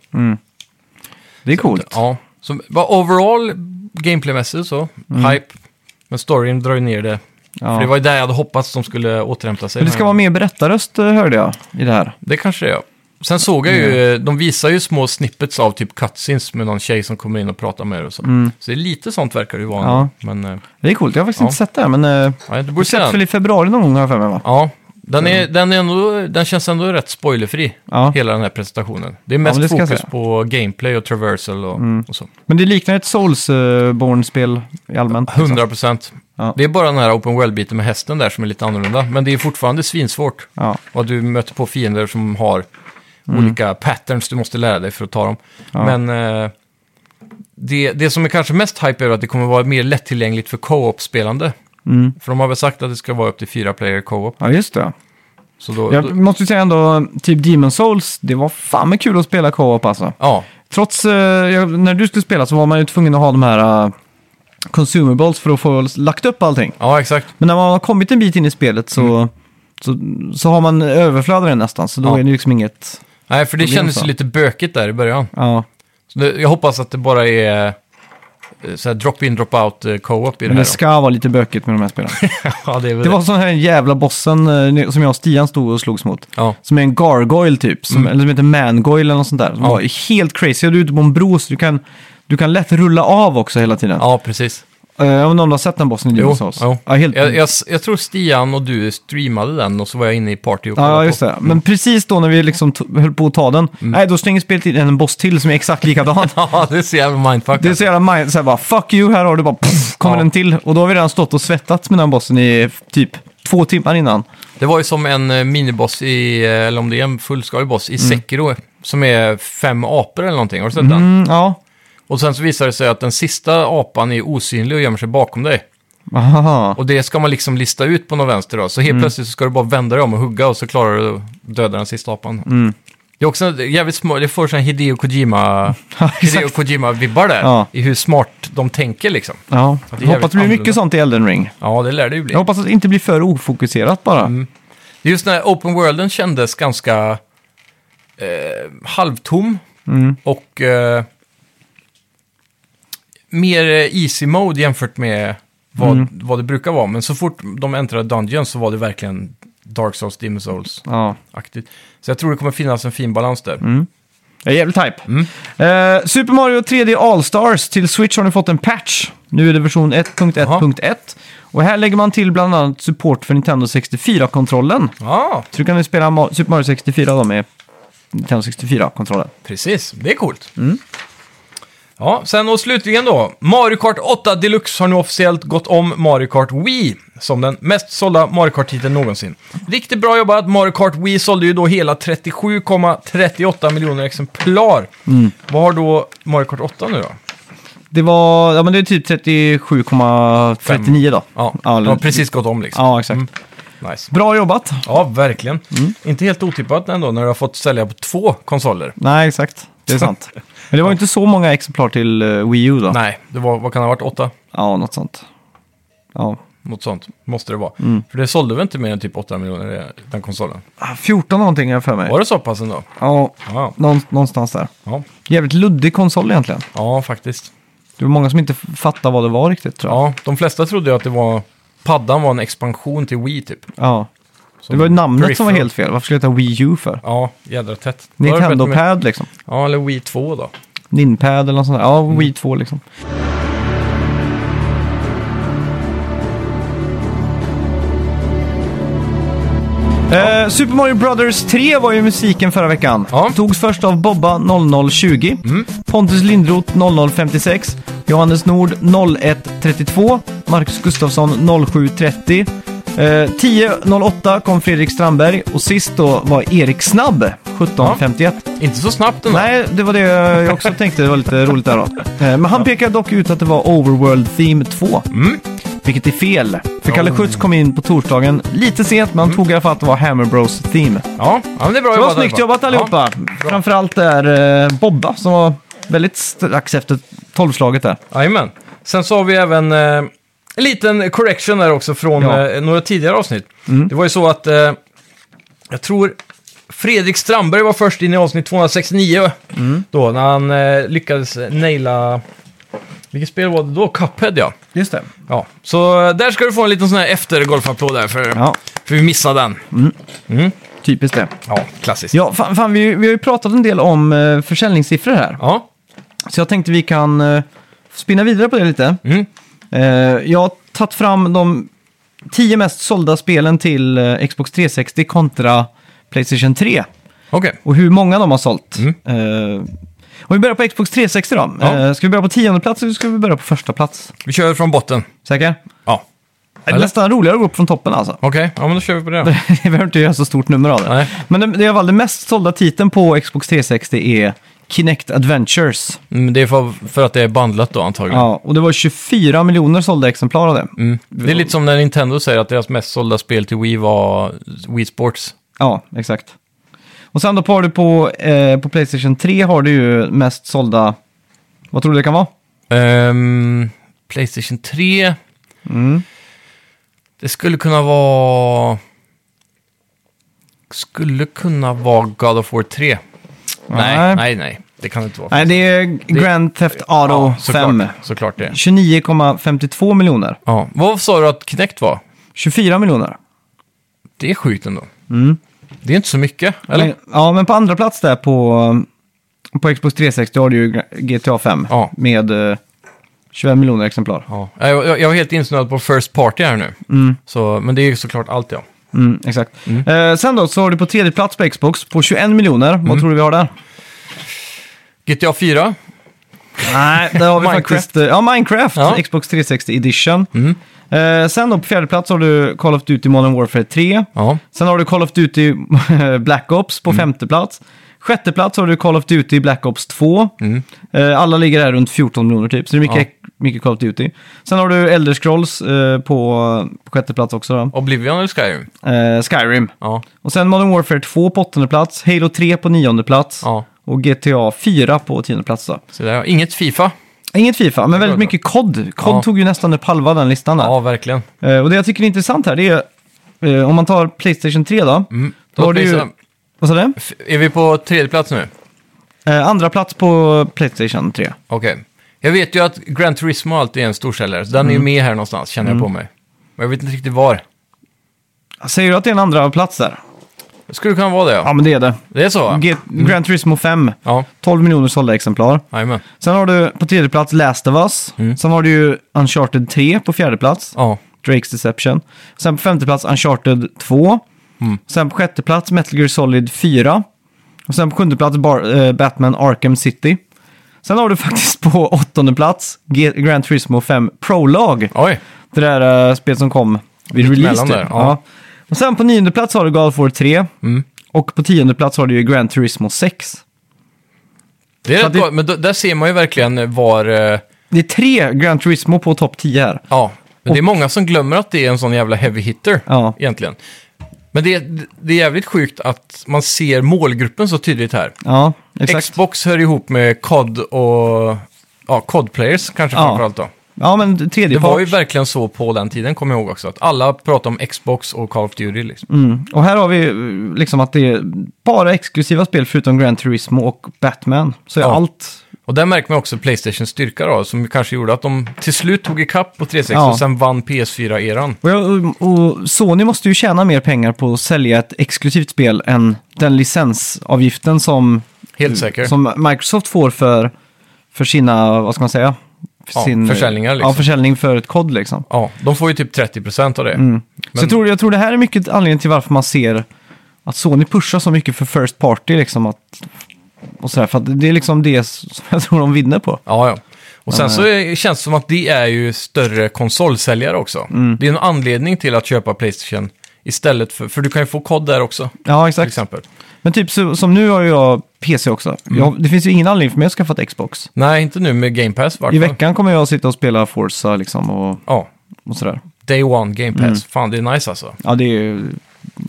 Speaker 1: Det är coolt.
Speaker 2: Ja. Så bara overall gameplaymässigt så, hype. Men storyn drar ju ner det. För det
Speaker 1: Mm. Ja.
Speaker 2: var ju där jag hade hoppats de skulle återhämta sig.
Speaker 1: Men det ska vara mer berättarröst eh, hörde jag i det här.
Speaker 2: Det kanske det är. Sen såg jag ju,
Speaker 1: Mm.
Speaker 2: de visar ju små snippets av typ cutscenes med någon tjej som kommer in och pratar med er och så. Så det är lite sånt verkar det ju vara.
Speaker 1: Mm. Ja.
Speaker 2: nu. Men eh,
Speaker 1: Det är coolt, jag har faktiskt
Speaker 2: Ja.
Speaker 1: inte sett det här men... eh,
Speaker 2: ja, du
Speaker 1: Du
Speaker 2: borde se
Speaker 1: sett väl
Speaker 2: den.
Speaker 1: i februari någon gång har jag för mig va?
Speaker 2: Ja, den, är, den, är ändå, den känns ändå rätt spoilerfri,
Speaker 1: Ja.
Speaker 2: hela den här presentationen. Det är
Speaker 1: men
Speaker 2: mest
Speaker 1: det ska jag
Speaker 2: fokus
Speaker 1: säga. Mm.
Speaker 2: på gameplay och traversal och, och så.
Speaker 1: Men det liknar ett Souls-born-spel i allmänt. liksom.
Speaker 2: 100 procent.
Speaker 1: Ja.
Speaker 2: Det är bara den här open world-biten med hästen där som är lite annorlunda. Men det är fortfarande svinsvårt.
Speaker 1: Ja,
Speaker 2: Och att du möter på fiender som har olika patterns du måste lära dig för att ta dem.
Speaker 1: Mm. Ja.
Speaker 2: Men eh, det, det som är kanske mest hype är att det kommer vara mer lättillgängligt för co-op-spelande.
Speaker 1: Mm.
Speaker 2: För de har väl sagt att det ska vara upp till fyra player co-op.
Speaker 1: ja just det.
Speaker 2: Så då,
Speaker 1: Jag
Speaker 2: då,
Speaker 1: måste ju säga ändå, typ Demon Souls, det var fan med kul att spela co-op alltså.
Speaker 2: ja,
Speaker 1: Trots, eh, jag- när du skulle spela så var man ju tvungen att ha de här eh, consumables för att få lagt upp allting.
Speaker 2: ja, exakt.
Speaker 1: Men när man har kommit en bit in i spelet så, så, så har man överflöd av det nästan, så då
Speaker 2: Mm. Ja.
Speaker 1: är det liksom inget...
Speaker 2: Nej, för det
Speaker 1: Problem
Speaker 2: kändes
Speaker 1: så.
Speaker 2: ju lite bökigt där i början.
Speaker 1: Ja,
Speaker 2: Så det, jag hoppas att det bara är eh, så här drop-in, drop-out eh, co-op i det
Speaker 1: men det
Speaker 2: här.
Speaker 1: ska vara lite bökigt med de här spelen.
Speaker 2: då. ja, det är väl
Speaker 1: det var sån här jävla bossen eh, som jag och Stian stod och slogs mot.
Speaker 2: Ja.
Speaker 1: Som är en gargoyle typ, som, eller som heter mangoyle eller något sånt där. Som
Speaker 2: Mm. Ja.
Speaker 1: var helt crazy. Och du är ute på en bro så du kan, du kan lätt rulla av också hela tiden.
Speaker 2: ja, precis.
Speaker 1: Eh, om någon har sett den bossen i Demon's Souls.
Speaker 2: jo.
Speaker 1: Ja, helt...
Speaker 2: Jag, jag, jag tror Stian och du streamade den och så var jag inne i party och
Speaker 1: Ja,
Speaker 2: kollade
Speaker 1: just
Speaker 2: på. Mm.
Speaker 1: det. Men precis då när vi liksom to- höll på att ta den, nej, då stänger spelet in en boss till som är exakt likadan.
Speaker 2: Ja, det är så jävla mindfuck.
Speaker 1: Det är så jävla mind, så här bara fuck you, här har du bara pff, kommer
Speaker 2: Ja.
Speaker 1: den till. Och då har vi redan stått och svettats med den bossen i f- typ två timmar innan.
Speaker 2: Det var ju som en eh, miniboss i, eh, eller om det är en fullskalig boss, i
Speaker 1: Mm.
Speaker 2: Sekiro. Som är fem apor eller någonting, har du sett den?
Speaker 1: Mm, ja,
Speaker 2: Och sen så visar det sig att den sista apan är osynlig och gömmer sig bakom dig.
Speaker 1: Aha.
Speaker 2: Och det ska man liksom lista ut på någon vänster då. Så helt plötsligt så ska du bara vända dig om och hugga och så klarar du att döda den sista apan. Det är också det är jävligt små, det får sån här Hideo Kojima, Hideo Kojima-vibbar där.
Speaker 1: Ja.
Speaker 2: I hur smart de tänker liksom.
Speaker 1: Ja.
Speaker 2: är
Speaker 1: Jag hoppas
Speaker 2: jävligt
Speaker 1: det blir
Speaker 2: annorlunda.
Speaker 1: mycket sånt i Elden Ring.
Speaker 2: Ja, Mm. det lär det ju bli.
Speaker 1: Jag hoppas att det inte blir för ofokuserat bara.
Speaker 2: Det är Just när open worlden kändes ganska eh, halvtom och eh, mer eh, easy mode jämfört med vad, vad det brukar vara. Men så fort de äntrade Dungeons så var det verkligen Dark Souls, Demon's Souls-aktigt.
Speaker 1: Ja.
Speaker 2: Så jag tror det kommer finnas en fin balans där.
Speaker 1: Jag är jävligt hype.
Speaker 2: Mm.
Speaker 1: Eh, Super Mario 3D All-Stars till Switch har nu fått en patch. Nu är det version 1.1.1. Och här lägger man till bland annat support för Nintendo 64-kontrollen.
Speaker 2: Ja,
Speaker 1: Så du kan ju spela Ma- Super Mario 64 då med Nintendo 64-kontrollen.
Speaker 2: precis. Det är coolt. Ja, sen och slutligen då. Mario Kart 8 Deluxe har nu officiellt gått om Mario Kart Wii som den mest sålda Mario Kart-titeln någonsin. Riktigt bra jobbat. Mario Kart Wii sålde ju då hela 37,38 miljoner exemplar. Vad har då Mario Kart 8 nu då?
Speaker 1: Det var, ja men det är typ 37,39 då.
Speaker 2: Ja,
Speaker 1: Ja,
Speaker 2: de
Speaker 1: eller-
Speaker 2: har precis gått om liksom.
Speaker 1: Ja, exakt.
Speaker 2: Nice.
Speaker 1: Bra jobbat.
Speaker 2: Ja, verkligen. Inte helt otippat ändå när du har fått sälja på två konsoler.
Speaker 1: Nej, exakt. Det är sant. Men det var ju inte så många exemplar till eh, Wii U då.
Speaker 2: Nej, det var, vad kan det ha varit? Åtta?
Speaker 1: Ja, något sånt. Ja.
Speaker 2: Något sånt måste det vara.
Speaker 1: Mm.
Speaker 2: För det sålde väl inte mer än typ 8 miljoner, eh, den konsolen?
Speaker 1: Ah, 14 någonting har jag för mig.
Speaker 2: Var det så pass ändå?
Speaker 1: Ja,
Speaker 2: Ja,
Speaker 1: någon, någonstans där.
Speaker 2: ja,
Speaker 1: Jävligt luddig konsol egentligen.
Speaker 2: ja faktiskt.
Speaker 1: Det var många som inte f- fattade vad det var riktigt tror jag.
Speaker 2: Ja, de flesta trodde ju att det var... Paddan var en expansion till Wii typ.
Speaker 1: Ja. Det var ju namnet som var
Speaker 2: Peripheral.
Speaker 1: helt fel. Varför skulle det heta Wii U för?
Speaker 2: Ja, jädra tätt. Då är det bättre
Speaker 1: Nintendo
Speaker 2: med-
Speaker 1: Pad liksom.
Speaker 2: Ja, eller Wii 2 då.
Speaker 1: Ninpad eller något sånt där. Ja, Wii 2 liksom. Eh, Super Mario Brothers 3 var ju musiken förra veckan.
Speaker 2: Ja.
Speaker 1: Togs först av Bobba 0020, Pontus Lindroth 0056, Johannes Nord 0132, Marcus Gustafsson 0730. Eh, 10.08 kom Fredrik Strandberg och sist då var Erik Snabb 1751.
Speaker 2: Inte så snabbt ändå.
Speaker 1: Nej, det var det jag också tänkte. Det var lite roligt där då. Eh, Men han pekade dock ut att det var Overworld Theme 2.
Speaker 2: Mm.
Speaker 1: Vilket är fel. För Kalle Schütz kom in på torsdagen lite sent, men han tog i alla fall att det var Hammer Bros Theme.
Speaker 2: Ja, ja men det är bra
Speaker 1: Det Mm. var
Speaker 2: jobbat.
Speaker 1: snyggt
Speaker 2: allihopa.
Speaker 1: jobbat allihopa. Framförallt där eh, Bobba som var väldigt strax efter tolvslaget där.
Speaker 2: Ja, Jajamän. Sen så har vi även eh, en liten correction där också från
Speaker 1: Ja. Mm.
Speaker 2: eh, några tidigare avsnitt. Det var ju så att eh, jag tror Fredrik Strandberg var först in i avsnitt 269
Speaker 1: Mm.
Speaker 2: då när han eh, lyckades naila... Vilket spel var det då? Cuphead ja.
Speaker 1: Just det.
Speaker 2: ja. Så eh, där ska du få en liten sån här efter-golfapplåd där för,
Speaker 1: Ja,
Speaker 2: för vi missade den.
Speaker 1: typiskt det.
Speaker 2: Ja, klassiskt.
Speaker 1: Ja, fan, fan vi, vi har ju pratat en del om eh, försäljningssiffror här.
Speaker 2: Ja.
Speaker 1: Så jag tänkte vi kan eh, spinna vidare på det lite.
Speaker 2: Mm.
Speaker 1: Eh, jag har tagit fram de tio mest sålda spelen till eh, Xbox 360 kontra Playstation 3.
Speaker 2: Okej.
Speaker 1: Och hur många de har sålt. Eh, om vi börjar på Xbox 360 då.
Speaker 2: Mm. Ja.
Speaker 1: Eh, ska vi börja på tionde plats eller ska vi börja på första plats?
Speaker 2: Vi kör från botten.
Speaker 1: Säker?
Speaker 2: Ja.
Speaker 1: Det är
Speaker 2: Eller?
Speaker 1: nästan roligare att gå upp från toppen alltså.
Speaker 2: Okej, ja men då kör vi på det. då.
Speaker 1: Vi behöver inte göra så stort nummer av det.
Speaker 2: Nej.
Speaker 1: Men det, det, är i alla fall den mest sålda titeln på Xbox 360 är Kinect Adventures.
Speaker 2: Mm, Det är för, för att det är bandlat då antagligen.
Speaker 1: Ja, och det var 24 miljoner sålda exemplar av det.
Speaker 2: Mm. Det är lite som när Nintendo säger att deras mest sålda spel till Wii var Wii Sports.
Speaker 1: Ja, exakt. Och sen då har du på, eh, på Playstation 3 har du ju mest sålda, vad tror du det kan vara?
Speaker 2: Ehm, Playstation 3. Det skulle kunna vara... Skulle kunna vara God of War 3. Nej,
Speaker 1: Nej.
Speaker 2: nej, nej. Det kan det inte vara.
Speaker 1: Nej, det är Grand Theft Auto
Speaker 2: Ja, såklart,
Speaker 1: 5.
Speaker 2: Såklart det.
Speaker 1: 29,52 miljoner.
Speaker 2: Ja. Vad sa du att Kinect var?
Speaker 1: 24 miljoner.
Speaker 2: Det är sjukt ändå. Det är inte så mycket, eller?
Speaker 1: Men- Ja, men på andra plats där på, på Xbox 360 har du ju GTA 5
Speaker 2: Ja.
Speaker 1: med eh, 25 miljoner exemplar.
Speaker 2: Ja. Jag, jag, jag är helt insnöad på First Party här nu. Så, men det är ju såklart allt, ja.
Speaker 1: Mm, exakt. Eh, sen då så har du på tredje plats på Xbox på 21 miljoner.
Speaker 2: Mm.
Speaker 1: Vad tror du vi har där?
Speaker 2: GTA 4.
Speaker 1: Nej, där har vi
Speaker 2: Minecraft.
Speaker 1: faktiskt... eh, Ja, Minecraft.
Speaker 2: Ja. Mm.
Speaker 1: Xbox 360 Edition. Eh, sen då på fjärde plats har du Call of Duty Modern Warfare 3.
Speaker 2: Ja.
Speaker 1: Sen har du Call of Duty Black Ops
Speaker 2: Mm.
Speaker 1: på femte plats. Sjätte plats har du Call of Duty Black Ops 2.
Speaker 2: Mm.
Speaker 1: Eh, alla ligger där runt 14 miljoner typ, så det är mycket, mycket Call of Duty. Sen har du Elder Scrolls eh, på, på sjätte plats också. Då.
Speaker 2: Oblivion eller Skyrim?
Speaker 1: Eh, Skyrim.
Speaker 2: Ja.
Speaker 1: Och sen Modern Warfare 2 på åttonde plats, Halo 3 på nionde plats
Speaker 2: ja.
Speaker 1: och GTA 4 på tionde plats. Då.
Speaker 2: Så där, ja. Inget Fifa.
Speaker 1: Inget Fifa, men väldigt
Speaker 2: går
Speaker 1: mycket COD. COD
Speaker 2: Ja.
Speaker 1: tog ju nästan upp halva den listan där.
Speaker 2: Ja, verkligen.
Speaker 1: Eh, och det jag tycker är intressant här, det är eh, om man tar Playstation 3 då. Då
Speaker 2: Låt
Speaker 1: har du
Speaker 2: mig
Speaker 1: ju,
Speaker 2: gissa.
Speaker 1: vad sa du?
Speaker 2: F- Är vi på tredje plats nu?
Speaker 1: Eh, andra plats på Playstation 3.
Speaker 2: Okej. Jag vet ju att Gran Turismo alltid är en storsäljare, så den är ju med här någonstans, känner jag på mig. Men jag vet inte riktigt var.
Speaker 1: Säger du att det är en andra plats där?
Speaker 2: Skulle kunna vara det, ja.
Speaker 1: Ja, men det är det.
Speaker 2: Det är så, va? Mm.
Speaker 1: G- Gran Turismo 5,
Speaker 2: Ja,
Speaker 1: 12 miljoner sålda exemplar.
Speaker 2: jajamän.
Speaker 1: Sen har du på tredje plats Last of Us.
Speaker 2: Mm.
Speaker 1: Sen har du ju Uncharted 3 på fjärde plats.
Speaker 2: Ja.
Speaker 1: Drakes Deception. Sen på femte plats Uncharted 2.
Speaker 2: Mm.
Speaker 1: Sen på sjätte plats Metal Gear Solid 4. Och sen på sjunde plats Bar- eh, Batman Arkham City. Sen har du faktiskt på åttonde plats G- Gran Turismo 5 Prologue.
Speaker 2: Oj.
Speaker 1: Det där eh, spelet som kom vid release.
Speaker 2: mellan
Speaker 1: Typ.
Speaker 2: där, ja. Mm.
Speaker 1: Och sen på nionde plats har du God of War 3. Och på tionde plats har du ju Gran Turismo 6.
Speaker 2: Det är
Speaker 1: Så
Speaker 2: rätt
Speaker 1: det-
Speaker 2: bra, men då, där ser man ju verkligen var... eh,
Speaker 1: Det är tre Gran Turismo på topp 10 här.
Speaker 2: Ja, men det är många som glömmer att det är en sån jävla heavy hitter
Speaker 1: Ja.
Speaker 2: egentligen. Men det, det är jävligt sjukt att man ser målgruppen så tydligt här.
Speaker 1: Ja, exakt.
Speaker 2: Xbox hör ihop med COD och... Ja, COD-players kanske
Speaker 1: Ja.
Speaker 2: framförallt då.
Speaker 1: ja, men
Speaker 2: Det
Speaker 1: tredje
Speaker 2: var ju
Speaker 1: part.
Speaker 2: verkligen så på den tiden, kommer jag ihåg också. Att alla pratade om Xbox och Call of Duty. Liksom.
Speaker 1: Mm. Och här har vi eh, liksom att det är bara exklusiva spel förutom Gran Turismo och Batman. Så är
Speaker 2: Ja.
Speaker 1: allt
Speaker 2: Och där märker man också Playstations styrka då, som kanske gjorde att de till slut tog ikapp på 360
Speaker 1: Ja.
Speaker 2: och sen vann PS4-eran.
Speaker 1: Och, jag, och- och Sony måste ju tjäna mer pengar på att sälja ett exklusivt spel än den licensavgiften som,
Speaker 2: Helt säkert.
Speaker 1: som Microsoft får för, för sina, vad ska man säga? För
Speaker 2: Ja, försäljningar liksom.
Speaker 1: Ja, försäljning för ett kod liksom.
Speaker 2: Ja, de får ju typ 30% av det.
Speaker 1: Mm. Så jag tror, jag tror det här är mycket anledningen till varför man ser att Sony pushar så mycket för first party liksom. Att, och sådär, för att det är liksom det som jag tror de vinner på.
Speaker 2: Ja, ja. Och sen så är- känns det som att det är ju större konsolsäljare också.
Speaker 1: Mm.
Speaker 2: Det är en anledning till att köpa Playstation istället för... För du kan ju få kod där också,
Speaker 1: Ja,
Speaker 2: till
Speaker 1: exakt.
Speaker 2: exempel.
Speaker 1: Men typ så, som nu har ju jag PC också.
Speaker 2: Mm.
Speaker 1: Jag, det finns ju ingen anledning för mig att skaffa ett Xbox.
Speaker 2: Nej, inte nu med Game Pass i vart
Speaker 1: I
Speaker 2: fall.
Speaker 1: veckan kommer jag att sitta och spela Forza liksom och,
Speaker 2: Ja,
Speaker 1: och sådär.
Speaker 2: Day One Game
Speaker 1: Mm.
Speaker 2: Pass. Fan, det är nice alltså.
Speaker 1: Ja, det är ju...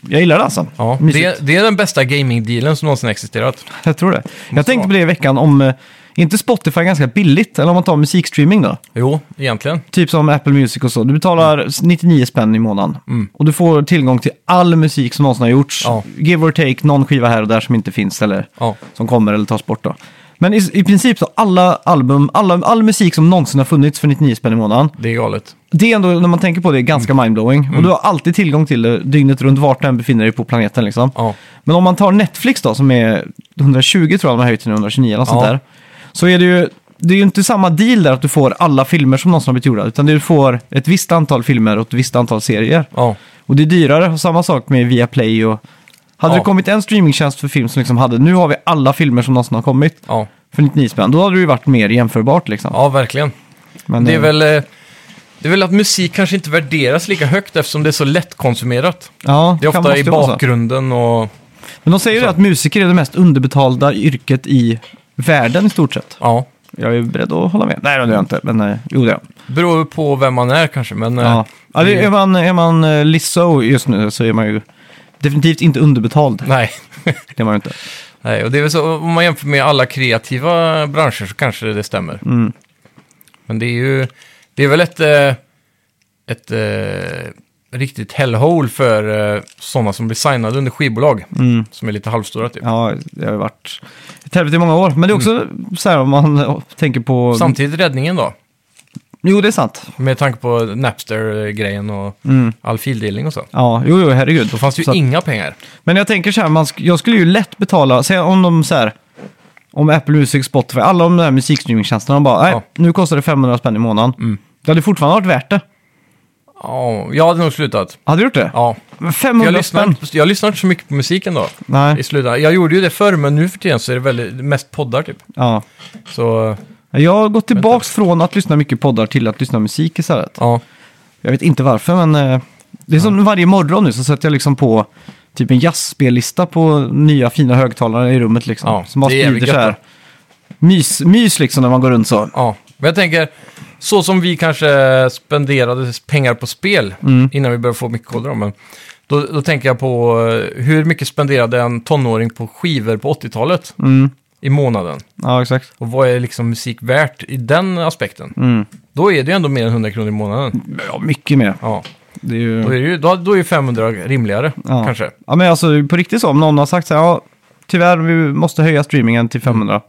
Speaker 1: Jag gillar det alltså.
Speaker 2: Ja,
Speaker 1: Mysigt.
Speaker 2: det, det är den bästa gaming-dealen som någonsin existerat.
Speaker 1: Jag tror det. Jag tänkte
Speaker 2: vara.
Speaker 1: på det i veckan om... eh, Inte Spotify är ganska billigt, eller om man tar musikstreaming då.
Speaker 2: Jo, egentligen.
Speaker 1: Typ som Apple Music och så. Du betalar
Speaker 2: Mm.
Speaker 1: 99 spänn i månaden. Och du får tillgång till all musik som någonsin har gjorts.
Speaker 2: Ja.
Speaker 1: Give or take, någon skiva här och där som inte finns eller
Speaker 2: Ja.
Speaker 1: som kommer eller tas bort då. Men i, i princip så alla album, alla, all musik som någonsin har funnits för 99 spänn i månaden.
Speaker 2: Det är galet.
Speaker 1: Det är ändå, när man tänker på det, ganska
Speaker 2: Mm.
Speaker 1: mindblowing. Och du har alltid tillgång till det dygnet runt vart du än befinner dig på planeten liksom.
Speaker 2: Ja.
Speaker 1: Men om man tar Netflix då, som är 120 tror jag de har höjt till nu, 129 eller något sånt
Speaker 2: Ja.
Speaker 1: där. Så är det ju, det är ju inte samma deal där att du får alla filmer som någonsin har blivit gjorda, utan du får ett visst antal filmer och ett visst antal serier.
Speaker 2: Ja,
Speaker 1: Och det är dyrare, och samma sak med Viaplay och... Hade
Speaker 2: Ja.
Speaker 1: det kommit en streamingtjänst för film som liksom hade, nu har vi alla filmer som någonsin har kommit
Speaker 2: ja.
Speaker 1: för 99 spänn, då hade det ju varit mer jämförbart liksom.
Speaker 2: ja verkligen.
Speaker 1: Men,
Speaker 2: Det är,
Speaker 1: eh,
Speaker 2: väl, eh, det är väl att musik kanske inte värderas lika högt eftersom det är så lättkonsumerat.
Speaker 1: ja,
Speaker 2: Det är
Speaker 1: kan-
Speaker 2: ofta i
Speaker 1: måste vara så.
Speaker 2: bakgrunden och...
Speaker 1: Men de säger ju det att musiker är det mest underbetalda yrket i världen i stort sett.
Speaker 2: Ja,
Speaker 1: Jag är beredd att hålla med. Nej, det är jag inte. Men eh, jo, det är jag.
Speaker 2: beror på vem man är kanske, men... eh,
Speaker 1: Ja. Ja, det, är man, är man eh, Lizzo just nu så är man ju definitivt inte underbetald.
Speaker 2: Nej.
Speaker 1: Det är man ju inte.
Speaker 2: Nej, och det är väl så, om man jämför med alla kreativa branscher så kanske det stämmer.
Speaker 1: Mm.
Speaker 2: Men det är ju, det är väl ett, eh, ett eh, riktigt hellhole för eh, sådana som blir signade under skivbolag.
Speaker 1: Mm.
Speaker 2: Som är lite halvstora typ.
Speaker 1: Ja, det har ju varit ett helvete i många år. Men det är också så här om man eh, tänker på...
Speaker 2: Samtidigt räddningen då,
Speaker 1: Jo, det är sant.
Speaker 2: med tanke på Napster-grejen och all fildelning och så.
Speaker 1: Ja, jo, jo, herregud.
Speaker 2: Då fanns det ju
Speaker 1: Mm. Så att-
Speaker 2: inga pengar.
Speaker 1: Men jag tänker så här, man sk- jag skulle ju lätt betala, säg om de så här, om Apple Music, Spotify, alla de där musikstreamingtjänsterna, de bara, nej,
Speaker 2: Ja. Mm. nu
Speaker 1: nu kostar det 500 spänn i månaden. Det hade fortfarande varit värt det.
Speaker 2: Ja, jag hade nog slutat.
Speaker 1: Hade du gjort det?
Speaker 2: Ja.
Speaker 1: Men
Speaker 2: För Jag
Speaker 1: 500
Speaker 2: lyssnar,
Speaker 1: spänn?
Speaker 2: inte, på- jag lyssnar inte så mycket på musiken då. I
Speaker 1: Nej.
Speaker 2: slutändan. Jag gjorde ju det förr, men nu för tiden så är det väldigt, mest poddar typ.
Speaker 1: Ja.
Speaker 2: Så,
Speaker 1: Jag har gått tillbaka från att lyssna mycket poddar till att lyssna musik istället.
Speaker 2: ja.
Speaker 1: Jag vet inte varför, men eh, det är som varje morgon nu så sätter jag liksom på typ en jazzspellista på nya fina högtalare i rummet liksom.
Speaker 2: Ja,
Speaker 1: som bara
Speaker 2: det är jävligt
Speaker 1: sprider så här.
Speaker 2: gött
Speaker 1: Mys, mys liksom när man går runt så.
Speaker 2: Ja, men jag tänker, så som vi kanske spenderade pengar på spel
Speaker 1: Mm.
Speaker 2: innan vi började få mycket koll om men då, då tänker jag på eh, hur mycket spenderade en tonåring på skivor på 80-talet
Speaker 1: Mm.
Speaker 2: i månaden?
Speaker 1: Ja, exakt.
Speaker 2: Och vad är liksom musik värt i den aspekten?
Speaker 1: Mm.
Speaker 2: Då är det ju ändå mer än 100 kronor i månaden.
Speaker 1: Ja, mycket mer.
Speaker 2: Ja,
Speaker 1: Det är
Speaker 2: då är,
Speaker 1: ju...
Speaker 2: det ju, då, då är ju 500 rimligare
Speaker 1: Ja.
Speaker 2: kanske.
Speaker 1: Ja, men alltså på riktigt så, om någon har sagt så här, ja, tyvärr, vi måste höja streamingen till
Speaker 2: Mm.
Speaker 1: 500.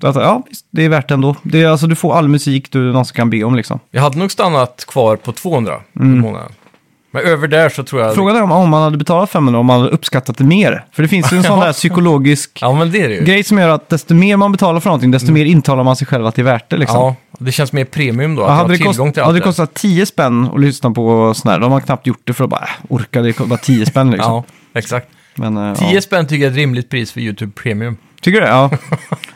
Speaker 1: Då har jag sagt, ja, visst, det är värt det ändå. Det är, alltså, du får all musik du någonsin kan be om liksom.
Speaker 2: Jag hade nog stannat kvar på 200
Speaker 1: Mm.
Speaker 2: i månaden. Men över där så tror jag...
Speaker 1: Frågan är om, om man hade betalat 500, om man hade uppskattat det mer. För det finns ju en sån där psykologisk
Speaker 2: Ja, men det är det ju.
Speaker 1: grej som gör att desto mer man betalar för någonting, desto mer intalar man sig själv att det är värt det liksom.
Speaker 2: Mm. Ja, det känns mer premium då,
Speaker 1: Ja,
Speaker 2: att ha
Speaker 1: hade, det
Speaker 2: tillgång
Speaker 1: kost,
Speaker 2: till allt
Speaker 1: hade det
Speaker 2: här.
Speaker 1: kostat 10 spänn att lyssna på sån här, då hade man knappt gjort det för att bara äh, orka, det är bara 10 spänn liksom.
Speaker 2: Ja, exakt.
Speaker 1: Men, eh,
Speaker 2: 10
Speaker 1: ja.
Speaker 2: spänn tycker jag är ett rimligt pris för YouTube Premium.
Speaker 1: Tycker du det? Ja.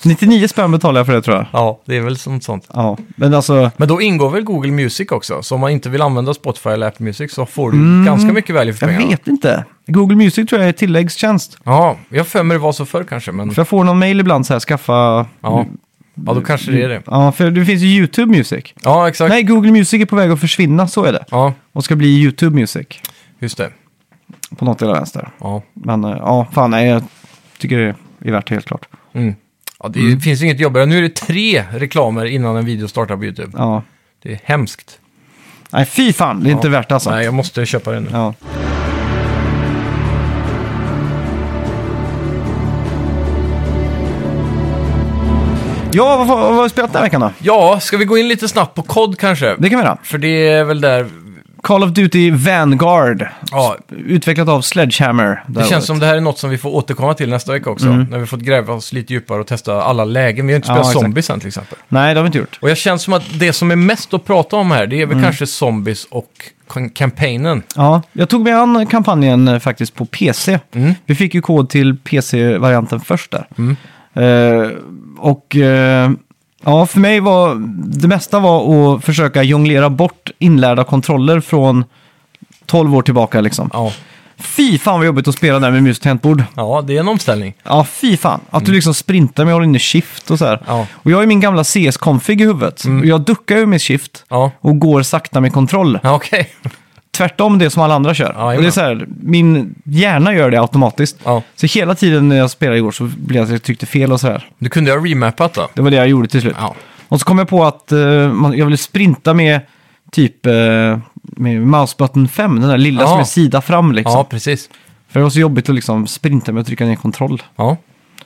Speaker 1: 99 spänn betalar jag för det tror jag.
Speaker 2: Ja, det är väl sånt sånt.
Speaker 1: Ja, men alltså,
Speaker 2: Men då ingår väl Google Music också? Så om man inte vill använda Spotify eller Apple Music så får du ganska mycket value för
Speaker 1: Mm, jag
Speaker 2: pengarna.
Speaker 1: vet inte. Google Music tror jag är tilläggstjänst.
Speaker 2: Ja, jag har för mig det var så förr kanske, men
Speaker 1: För jag får någon mail ibland så här, skaffa...
Speaker 2: ja. ja, då kanske det är det.
Speaker 1: Ja, för det finns ju YouTube Music.
Speaker 2: Ja, exakt.
Speaker 1: Mm. Nej, Google Music är på väg att försvinna, så är det.
Speaker 2: Ja,
Speaker 1: Och ska bli YouTube Music
Speaker 2: just det.
Speaker 1: på något eller vänster.
Speaker 2: Ja,
Speaker 1: Men eh, ja, fan nej, jag tycker det är värt det helt klart.
Speaker 2: mm. ja det finns inget jobbigare. Nu är det tre reklamer innan en video startar på YouTube.
Speaker 1: Ja.
Speaker 2: Det är hemskt.
Speaker 1: Nej, fy fan, det är inte värt det alltså.
Speaker 2: Nej, jag måste köpa det nu.
Speaker 1: Ja. Ja, vad, vad vad har vi spelat den här veckan då?
Speaker 2: Ja, ska vi gå in lite snabbt på COD kanske?
Speaker 1: Det kan vi göra.
Speaker 2: För det är väl där...
Speaker 1: Call of Duty Vanguard.
Speaker 2: Ja,
Speaker 1: Utvecklat av Sledgehammer.
Speaker 2: det känns som det här är något som vi får återkomma till nästa vecka också. När vi fått gräva oss lite djupare och testa alla lägen. Vi har inte
Speaker 1: Mm. Ja,
Speaker 2: spelat
Speaker 1: exakt.
Speaker 2: zombies än till exempel.
Speaker 1: Nej, det har vi inte gjort.
Speaker 2: Och jag känns som att det som är mest att prata om här, det
Speaker 1: Mm.
Speaker 2: är väl kanske zombies och kam- kampanjen.
Speaker 1: Ja, jag tog mig an kampanjen eh, faktiskt på PC.
Speaker 2: Mm.
Speaker 1: Vi fick ju kod till PC-varianten först där. Eh, och eh, ja, för mig var det mesta var att försöka jonglera bort inlärda kontroller från 12 år tillbaka liksom.
Speaker 2: Ja.
Speaker 1: Fy fan vad jobbigt att spela där med mus och tangentbord.
Speaker 2: ja, det är en omställning.
Speaker 1: Ja, fy fan. Att du liksom sprintar med och håller inne shift och så här.
Speaker 2: Mm. Ja. Mm.
Speaker 1: Och jag har ju min gamla CS-config i huvudet. Och jag duckar ju med shift
Speaker 2: Ja,
Speaker 1: och går sakta med kontroll.
Speaker 2: ja okej.
Speaker 1: Tvärtom det som alla andra kör.
Speaker 2: Ja,
Speaker 1: och det är så här, min hjärna gör det automatiskt.
Speaker 2: Ja.
Speaker 1: Så hela tiden när jag spelade igår så blev jag att jag tryckte fel och så här.
Speaker 2: Du kunde ju ha remappat då.
Speaker 1: Det var det jag gjorde till slut.
Speaker 2: Ja.
Speaker 1: Och så kom jag på att eh, man, jag ville sprinta med typ eh, med mouse button 5, den där lilla
Speaker 2: Ja.
Speaker 1: som är sida fram liksom.
Speaker 2: ja, precis.
Speaker 1: För det var så jobbigt att liksom sprinta med att trycka ner kontroll.
Speaker 2: Ja.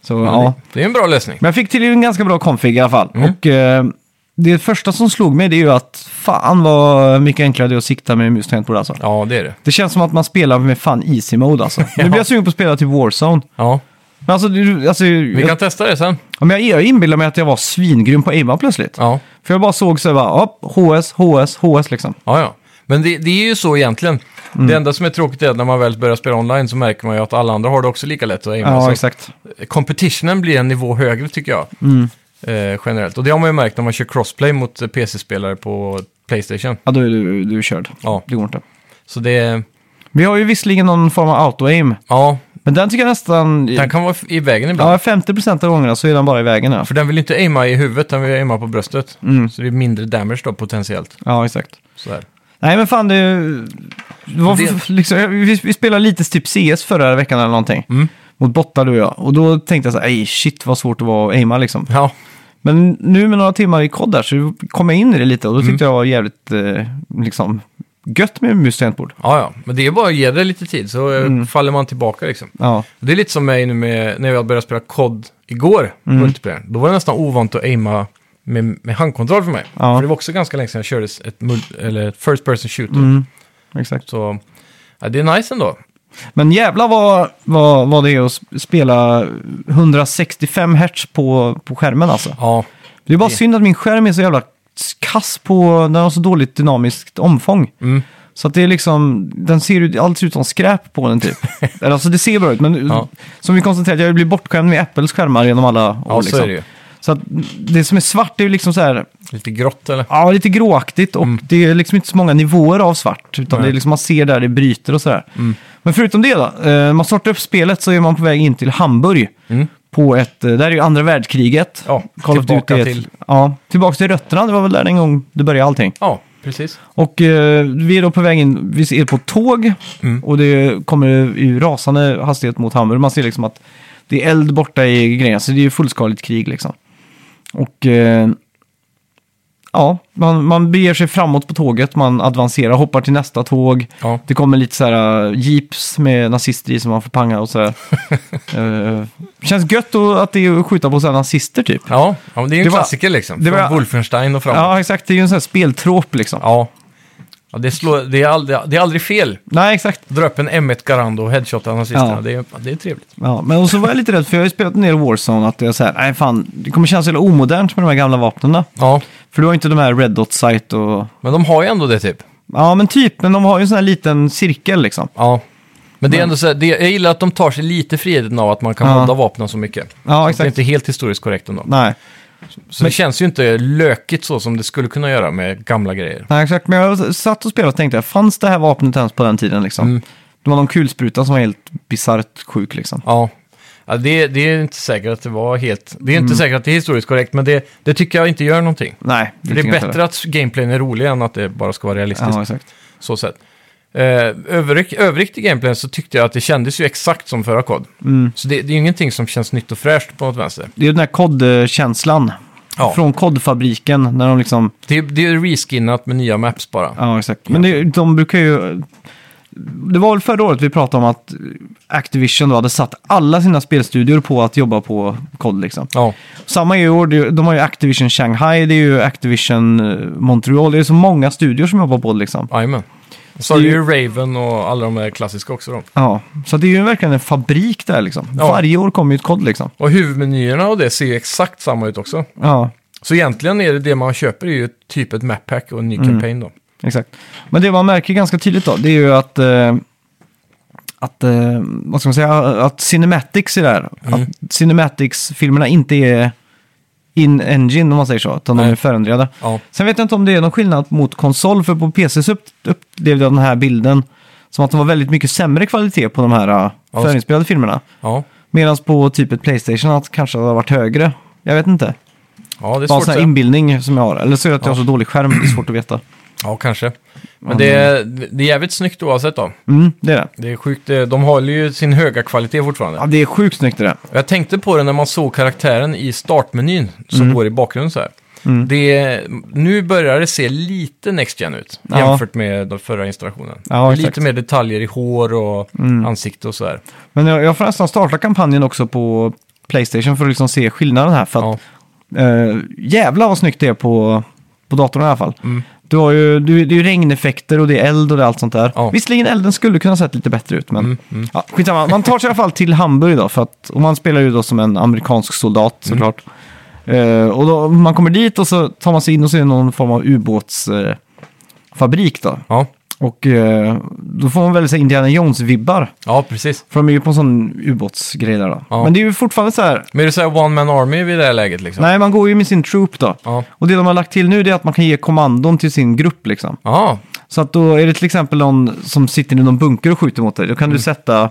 Speaker 1: Så, ja.
Speaker 2: Det Mm. är en bra lösning.
Speaker 1: Men jag fick till en ganska bra config i alla fall. Och eh, det första som slog mig det är ju att fan vad mycket enklare det är att sikta med mus och tangentbord alltså.
Speaker 2: Ja, det är det.
Speaker 1: Det känns som att man spelar med fan easy mode alltså. Nu blir jag sugen på att spela typ Warzone.
Speaker 2: Ja.
Speaker 1: Men alltså, du- alltså
Speaker 2: Vi
Speaker 1: jag,
Speaker 2: kan testa det sen.
Speaker 1: ja, men jag, jag inbillar mig att jag var svingrym på aimar plötsligt.
Speaker 2: Ja,
Speaker 1: För jag bara såg så här bara, hopp, HS, HS, HS liksom.
Speaker 2: ja. ja. Men det, det är ju så egentligen.
Speaker 1: Mm.
Speaker 2: Det enda som är tråkigt är att när man väl börjar spela online så märker man ju att alla andra har det också lika lätt att aima.
Speaker 1: Ja,
Speaker 2: Så
Speaker 1: exakt.
Speaker 2: Competitionen blir en nivå högre tycker jag. Eh, generellt. Och det har man ju märkt när man kör crossplay mot eh, PC-spelare på Playstation.
Speaker 1: Ja, då är du, du är körd.
Speaker 2: Ja.
Speaker 1: Det går inte.
Speaker 2: Så det,
Speaker 1: Vi har ju visserligen någon form av auto-aim,
Speaker 2: ja,
Speaker 1: men den tycker jag nästan...
Speaker 2: den kan vara f- i vägen ibland.
Speaker 1: Ja, 50% av gångerna så är den bara i vägen. Ja,
Speaker 2: För den vill ju inte aima i huvudet, den vill aima på bröstet. Så det är mindre damage då potentiellt.
Speaker 1: ja exakt.
Speaker 2: Sådär.
Speaker 1: Nej, men fan det... det var
Speaker 2: Det-
Speaker 1: Liksom, vi, vi spelade lite typ CS förra veckan eller någonting.
Speaker 2: Mm.
Speaker 1: Mot bottar du och jag. Och då tänkte jag så här, "Ej, shit vad svårt det var att aima liksom.
Speaker 2: Ja,
Speaker 1: Men nu med några timmar i kod där så kom jag in i det lite och då tyckte jag det var jävligt eh, liksom, gött med mus och tangentbord.
Speaker 2: ja, ja. Men det är bara att ge det lite tid så eh, faller man tillbaka liksom.
Speaker 1: Ja.
Speaker 2: Det är lite som mig nu med, när jag började spela COD igår,
Speaker 1: Mm.
Speaker 2: multiplayer. Då var det nästan ovant att aima med, med handkontroll för mig.
Speaker 1: Ja.
Speaker 2: För det var också ganska länge sedan jag körde ett, mul- eller ett first person shooter.
Speaker 1: Mm. Exakt.
Speaker 2: Så ja, det är nice ändå.
Speaker 1: Men jävla vad, vad, vad det är att sp- spela 165 hertz på, på skärmen alltså.
Speaker 2: Ja,
Speaker 1: Det är bara synd att min skärm är så jävla kass på, den har så dåligt dynamiskt omfång.
Speaker 2: Mm.
Speaker 1: Så att det är liksom, den ser ut, allt ser ut som skräp på den typ. Eller alltså det ser bra ut, men
Speaker 2: Ja.
Speaker 1: som vi konstaterade, jag blir bortskämd med Apples skärmar genom alla år.
Speaker 2: ja så
Speaker 1: liksom.
Speaker 2: är det ju.
Speaker 1: Så att det som är svart det är ju liksom så här,
Speaker 2: Lite grått eller? Mm.
Speaker 1: ja lite gråaktigt och det är liksom inte så många nivåer av svart. Utan
Speaker 2: Nej. Mm.
Speaker 1: det är liksom man ser där det bryter och sådär. Men förutom det då, eh, man startar upp spelet så är man på väg in till Hamburg.
Speaker 2: Mm.
Speaker 1: På ett, eh, där är ju andra världskriget.
Speaker 2: Ja,
Speaker 1: Call of
Speaker 2: tillbaka
Speaker 1: Duty är ett-
Speaker 2: till.
Speaker 1: Ja, tillbaka till rötterna, det var väl där en gång det började allting.
Speaker 2: Ja, precis.
Speaker 1: Och eh, vi är då på väg in, vi är på tåg
Speaker 2: Mm.
Speaker 1: och det kommer i rasande hastighet mot Hamburg. Man ser liksom att det är eld borta i grejerna, så det är ju fullskaligt krig liksom. Och eh, ja, man, man beger sig framåt på tåget, man avancerar, hoppar till nästa tåg.
Speaker 2: Ja,
Speaker 1: Det kommer lite så här eh, jeeps med nazister i som man får panga och sådär. eh, känns gött då att det är att skjuta på så här nazister typ.
Speaker 2: ja, ja men det är ju en
Speaker 1: Det var-
Speaker 2: klassiker liksom.
Speaker 1: det var-
Speaker 2: Från Wolfenstein och framåt.
Speaker 1: Ja, exakt. Det är ju en sån här speltråp liksom.
Speaker 2: Ja. ja det, slår, det, är aldrig, det är aldrig fel.
Speaker 1: Nej, exakt.
Speaker 2: Dra upp en M1 Garando och headshotta nazisterna.
Speaker 1: Ja.
Speaker 2: Det, är, det är trevligt.
Speaker 1: Ja, men och så var jag lite rädd för jag har ju spelat en del Warzone att jag säger, nej fan, det kommer kännas hela omodernt med de här gamla vapnena.
Speaker 2: Ja,
Speaker 1: För du har ju inte de här Red Dot Sight och...
Speaker 2: men de har ju ändå det typ.
Speaker 1: Ja, men typ, men de har ju en sån här liten cirkel liksom.
Speaker 2: Ja. Men det är ändå så här, det, jag gillar att de tar sig lite friheten av att man kan
Speaker 1: Ja.
Speaker 2: modda vapnen så mycket.
Speaker 1: Ja,
Speaker 2: Det är
Speaker 1: exakt.
Speaker 2: inte helt historiskt korrekt ändå.
Speaker 1: Nej.
Speaker 2: Så det känns ju inte lökigt så som det skulle kunna göra med gamla grejer.
Speaker 1: nej, exakt. Men jag satt och spelade och tänkte, fanns det här vapnet ens på den tiden liksom?
Speaker 2: Mm.
Speaker 1: Det var någon kulspruta som var helt bisarrt sjuk liksom.
Speaker 2: Ja, ja det, det är inte säkert att det var helt... Det är
Speaker 1: Mm.
Speaker 2: inte säkert att det är historiskt korrekt, men det, det tycker jag inte gör någonting.
Speaker 1: Nej,
Speaker 2: För det
Speaker 1: tycker
Speaker 2: är
Speaker 1: jag inte
Speaker 2: bättre att gameplayen är rolig än att det bara ska vara realistiskt.
Speaker 1: Ja, exakt.
Speaker 2: Så sett. Eh, övrigt, övrigt i gameplayen så tyckte jag att det kändes ju exakt som förra kod.
Speaker 1: Mm.
Speaker 2: Så det, det är ju ingenting som känns nytt och fräscht på något vänster.
Speaker 1: Det är ju den här kodkänslan.
Speaker 2: Ja.
Speaker 1: Från kodfabriken när de liksom...
Speaker 2: Det, det är reskinnat med nya maps bara.
Speaker 1: Ja, exakt. Men det, de brukar ju... Det var väl förra året vi pratade om att Activision då hade satt alla sina spelstudior på att jobba på kod liksom.
Speaker 2: Ja,
Speaker 1: Samma i år, det- de har ju Activision Shanghai, det är ju Activision eh, Montreal, det är så många studior som jobbar på det liksom.
Speaker 2: jajamän. Så har du ju Raven och alla de där klassiska också då.
Speaker 1: Ja, så det är ju verkligen en fabrik där liksom.
Speaker 2: Ja.
Speaker 1: Varje år kommer ju ett kod liksom.
Speaker 2: Och huvudmenyerna och det ser ju exakt samma ut också.
Speaker 1: Ja,
Speaker 2: Så egentligen är det det man köper är ju typ ett map pack och en ny campaign då.
Speaker 1: exakt. Men det man märker ganska tydligt då, det är ju att, eh, att eh, vad ska man säga, att Cinematics är där.
Speaker 2: Mm.
Speaker 1: Att Cinematics-filmerna inte är in-engine om man säger så, utan de
Speaker 2: Nej.
Speaker 1: är förändrade.
Speaker 2: Ja,
Speaker 1: Sen vet jag inte om det är någon skillnad mot konsol, för på PC så upp, upplevde jag den här bilden som att det var väldigt mycket sämre kvalitet på de här äh,
Speaker 2: Ja,
Speaker 1: förinspelade filmerna.
Speaker 2: ja.
Speaker 1: Medan på typ ett Playstation att kanske det har varit högre. Jag vet inte.
Speaker 2: ja det är
Speaker 1: Bara en
Speaker 2: svårt
Speaker 1: sån
Speaker 2: att
Speaker 1: här
Speaker 2: säga.
Speaker 1: inbildning som jag har. Eller så är det att jag har så dålig skärm, det är svårt att veta.
Speaker 2: Ja, kanske. Men det är, det är jävligt snyggt oavsett då.
Speaker 1: Mm, det är det.
Speaker 2: Det är sjukt, det- de håller ju sin höga kvalitet
Speaker 1: Ja,
Speaker 2: fortfarande.
Speaker 1: det är sjukt snyggt det där.
Speaker 2: Jag tänkte på det när man såg karaktären i startmenyn som
Speaker 1: Mm.
Speaker 2: går i bakgrunden så här. Det är, nu börjar det se lite Next Gen ut
Speaker 1: Ja.
Speaker 2: jämfört med den förra installationen.
Speaker 1: Ja, exakt. Mm.
Speaker 2: lite mer detaljer i hår och ansikte och så här.
Speaker 1: Men jag, jag får nästan starta kampanjen också på Playstation för att liksom se skillnaden här. För att
Speaker 2: Ja.
Speaker 1: Eh, jävlar vad snyggt det är på, på datorn i alla fall.
Speaker 2: Mm.
Speaker 1: Du har ju, du, det är ju regneffekter och det är eld och det är allt sånt där.
Speaker 2: Ja. Mm,
Speaker 1: Visserligen elden skulle kunna ha sett lite bättre ut, men Ja, skitsamma. Man tar sig i alla fall till Hamburg då, för att, och man spelar ju då som en amerikansk soldat
Speaker 2: Mm.
Speaker 1: såklart. Eh, och då, man kommer dit och så tar man sig in och ser någon form av ubåtsfabrik eh, fabrik då.
Speaker 2: Ja.
Speaker 1: Och eh, då får man väl säga Indiana Jones-vibbar.
Speaker 2: ja, precis.
Speaker 1: För de är ju på en sån ubåtsgrej där då.
Speaker 2: Ja.
Speaker 1: Men det är ju fortfarande så här,
Speaker 2: Men är det så här One Man Army vid det här läget liksom?
Speaker 1: nej man går ju med sin troop då.
Speaker 2: Ja.
Speaker 1: Och det de har lagt till nu det är att man kan ge kommandon till sin grupp liksom.
Speaker 2: Aha.
Speaker 1: Så att då är det till exempel någon som sitter i någon bunker och skjuter mot dig. Då kan
Speaker 2: Mm.
Speaker 1: du sätta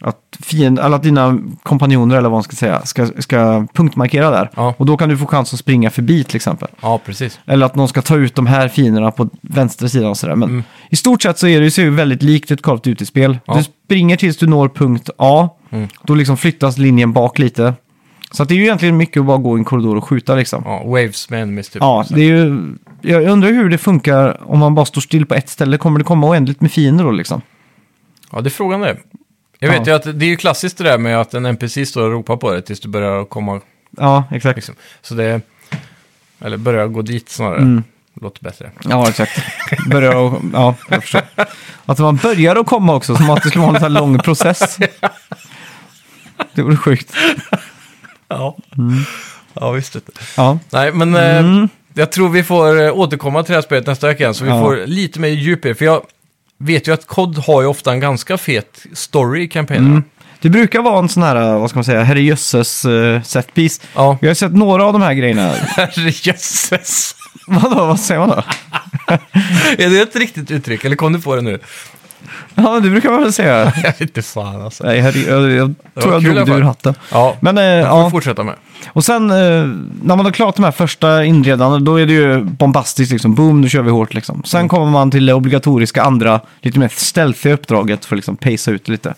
Speaker 1: att, fiend, eller att dina kompanjoner eller vad man ska säga ska, ska punktmarkera där.
Speaker 2: Ja.
Speaker 1: Och då kan du få chans att springa förbi till exempel.
Speaker 2: ja, precis.
Speaker 1: Eller att någon ska ta ut de här fienderna på vänster sidan och sådär. Men i stort sett så är det ju ser ju väldigt likt ett Call of Duty-spel.
Speaker 2: Ja.
Speaker 1: Du springer tills du når punkt A. Då liksom flyttas linjen bak lite. Så att det är ju egentligen mycket att bara gå i en korridor och skjuta liksom.
Speaker 2: Ja, waves med enemies typ.
Speaker 1: Ja, det är ju... Jag undrar hur det funkar om man bara står still på ett ställe. Kommer det komma oändligt med fiender då liksom?
Speaker 2: Ja, det är frågan det. Jag
Speaker 1: Ja.
Speaker 2: vet ju att det är ju klassiskt det där med att en NPC står och ropar på dig tills du börjar komma,
Speaker 1: Ja, exakt.
Speaker 2: liksom. Så det, eller börjar gå dit snarare.
Speaker 1: Mm.
Speaker 2: Låter bättre.
Speaker 1: Ja, exakt. Börjar och, ja, jag förstår. Att man börjar att komma också, som att det skulle vara en sån här lång process. Det vore sjukt.
Speaker 2: Ja,
Speaker 1: Mm.
Speaker 2: ja visst. vet du.
Speaker 1: Ja,
Speaker 2: Nej, men eh, jag tror vi får eh, återkomma till det här spelet nästa vecka igen, så vi
Speaker 1: Mm. Ja.
Speaker 2: får lite mer djup i det. För jag vet ju att COD har ju ofta en ganska fet story i kampanjerna.
Speaker 1: Mm. Det brukar vara en sån här, eh, vad ska man säga, herrejösses uh, setpiece.
Speaker 2: Ja,
Speaker 1: Jag har sett några av de här grejerna.
Speaker 2: herrejösses.
Speaker 1: Vadå, vad säger man då?
Speaker 2: är det ett riktigt uttryck, eller kom du på det nu?
Speaker 1: Ja, men det brukar man väl säga.
Speaker 2: jag vet inte fan alltså.
Speaker 1: Nej, herre, jag, jag
Speaker 2: var
Speaker 1: tror jag
Speaker 2: kul i alla
Speaker 1: drog det ur
Speaker 2: fall.
Speaker 1: hatten.
Speaker 2: Ja, men,
Speaker 1: Men eh,
Speaker 2: får vi
Speaker 1: ja,
Speaker 2: fortsätta med.
Speaker 1: och sen eh, när man har klarat de här första inredande, då är det ju bombastiskt liksom. Boom, nu kör vi hårt liksom. Sen
Speaker 2: Mm.
Speaker 1: kommer man till det obligatoriska andra, lite mer stealthiga uppdraget för att liksom pacea ut lite.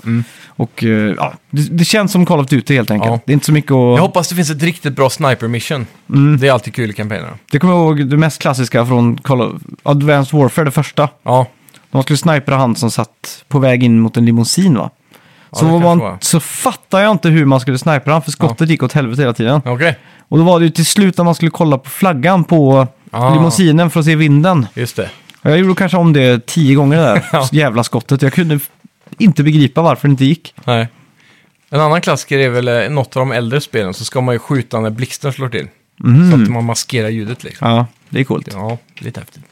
Speaker 1: Och eh, ja, det, det känns som Call of Duty helt enkelt.
Speaker 2: Mm. Ja.
Speaker 1: Det är inte så mycket
Speaker 2: Jag
Speaker 1: att...
Speaker 2: hoppas det finns ett riktigt bra sniper mission.
Speaker 1: Mm.
Speaker 2: Det är alltid kul i kampanjerna.
Speaker 1: Det kommer jag ihåg det mest klassiska från Call of Advanced Warfare, det första.
Speaker 2: Ja,
Speaker 1: De skulle snipera han som satt på väg in mot en limousin va? Så,
Speaker 2: det
Speaker 1: var man,
Speaker 2: kanske var.
Speaker 1: så fattar jag inte hur man skulle snipera han för skottet gick åt helvete hela tiden.
Speaker 2: okej.
Speaker 1: Och då var det ju till slut när man skulle kolla på flaggan på
Speaker 2: Ah.
Speaker 1: limousinen för att se vinden.
Speaker 2: Just det.
Speaker 1: Och Jag gjorde kanske om det tio gånger det där
Speaker 2: Ja.
Speaker 1: jävla skottet. Jag kunde f- inte begripa varför det inte gick.
Speaker 2: Nej. En annan klassiker är väl eh, något av de äldre spelen så ska man ju skjuta när blixten slår till. Så att man maskerar ljudet liksom.
Speaker 1: Ja, det är coolt.
Speaker 2: Ja, lite häftigt.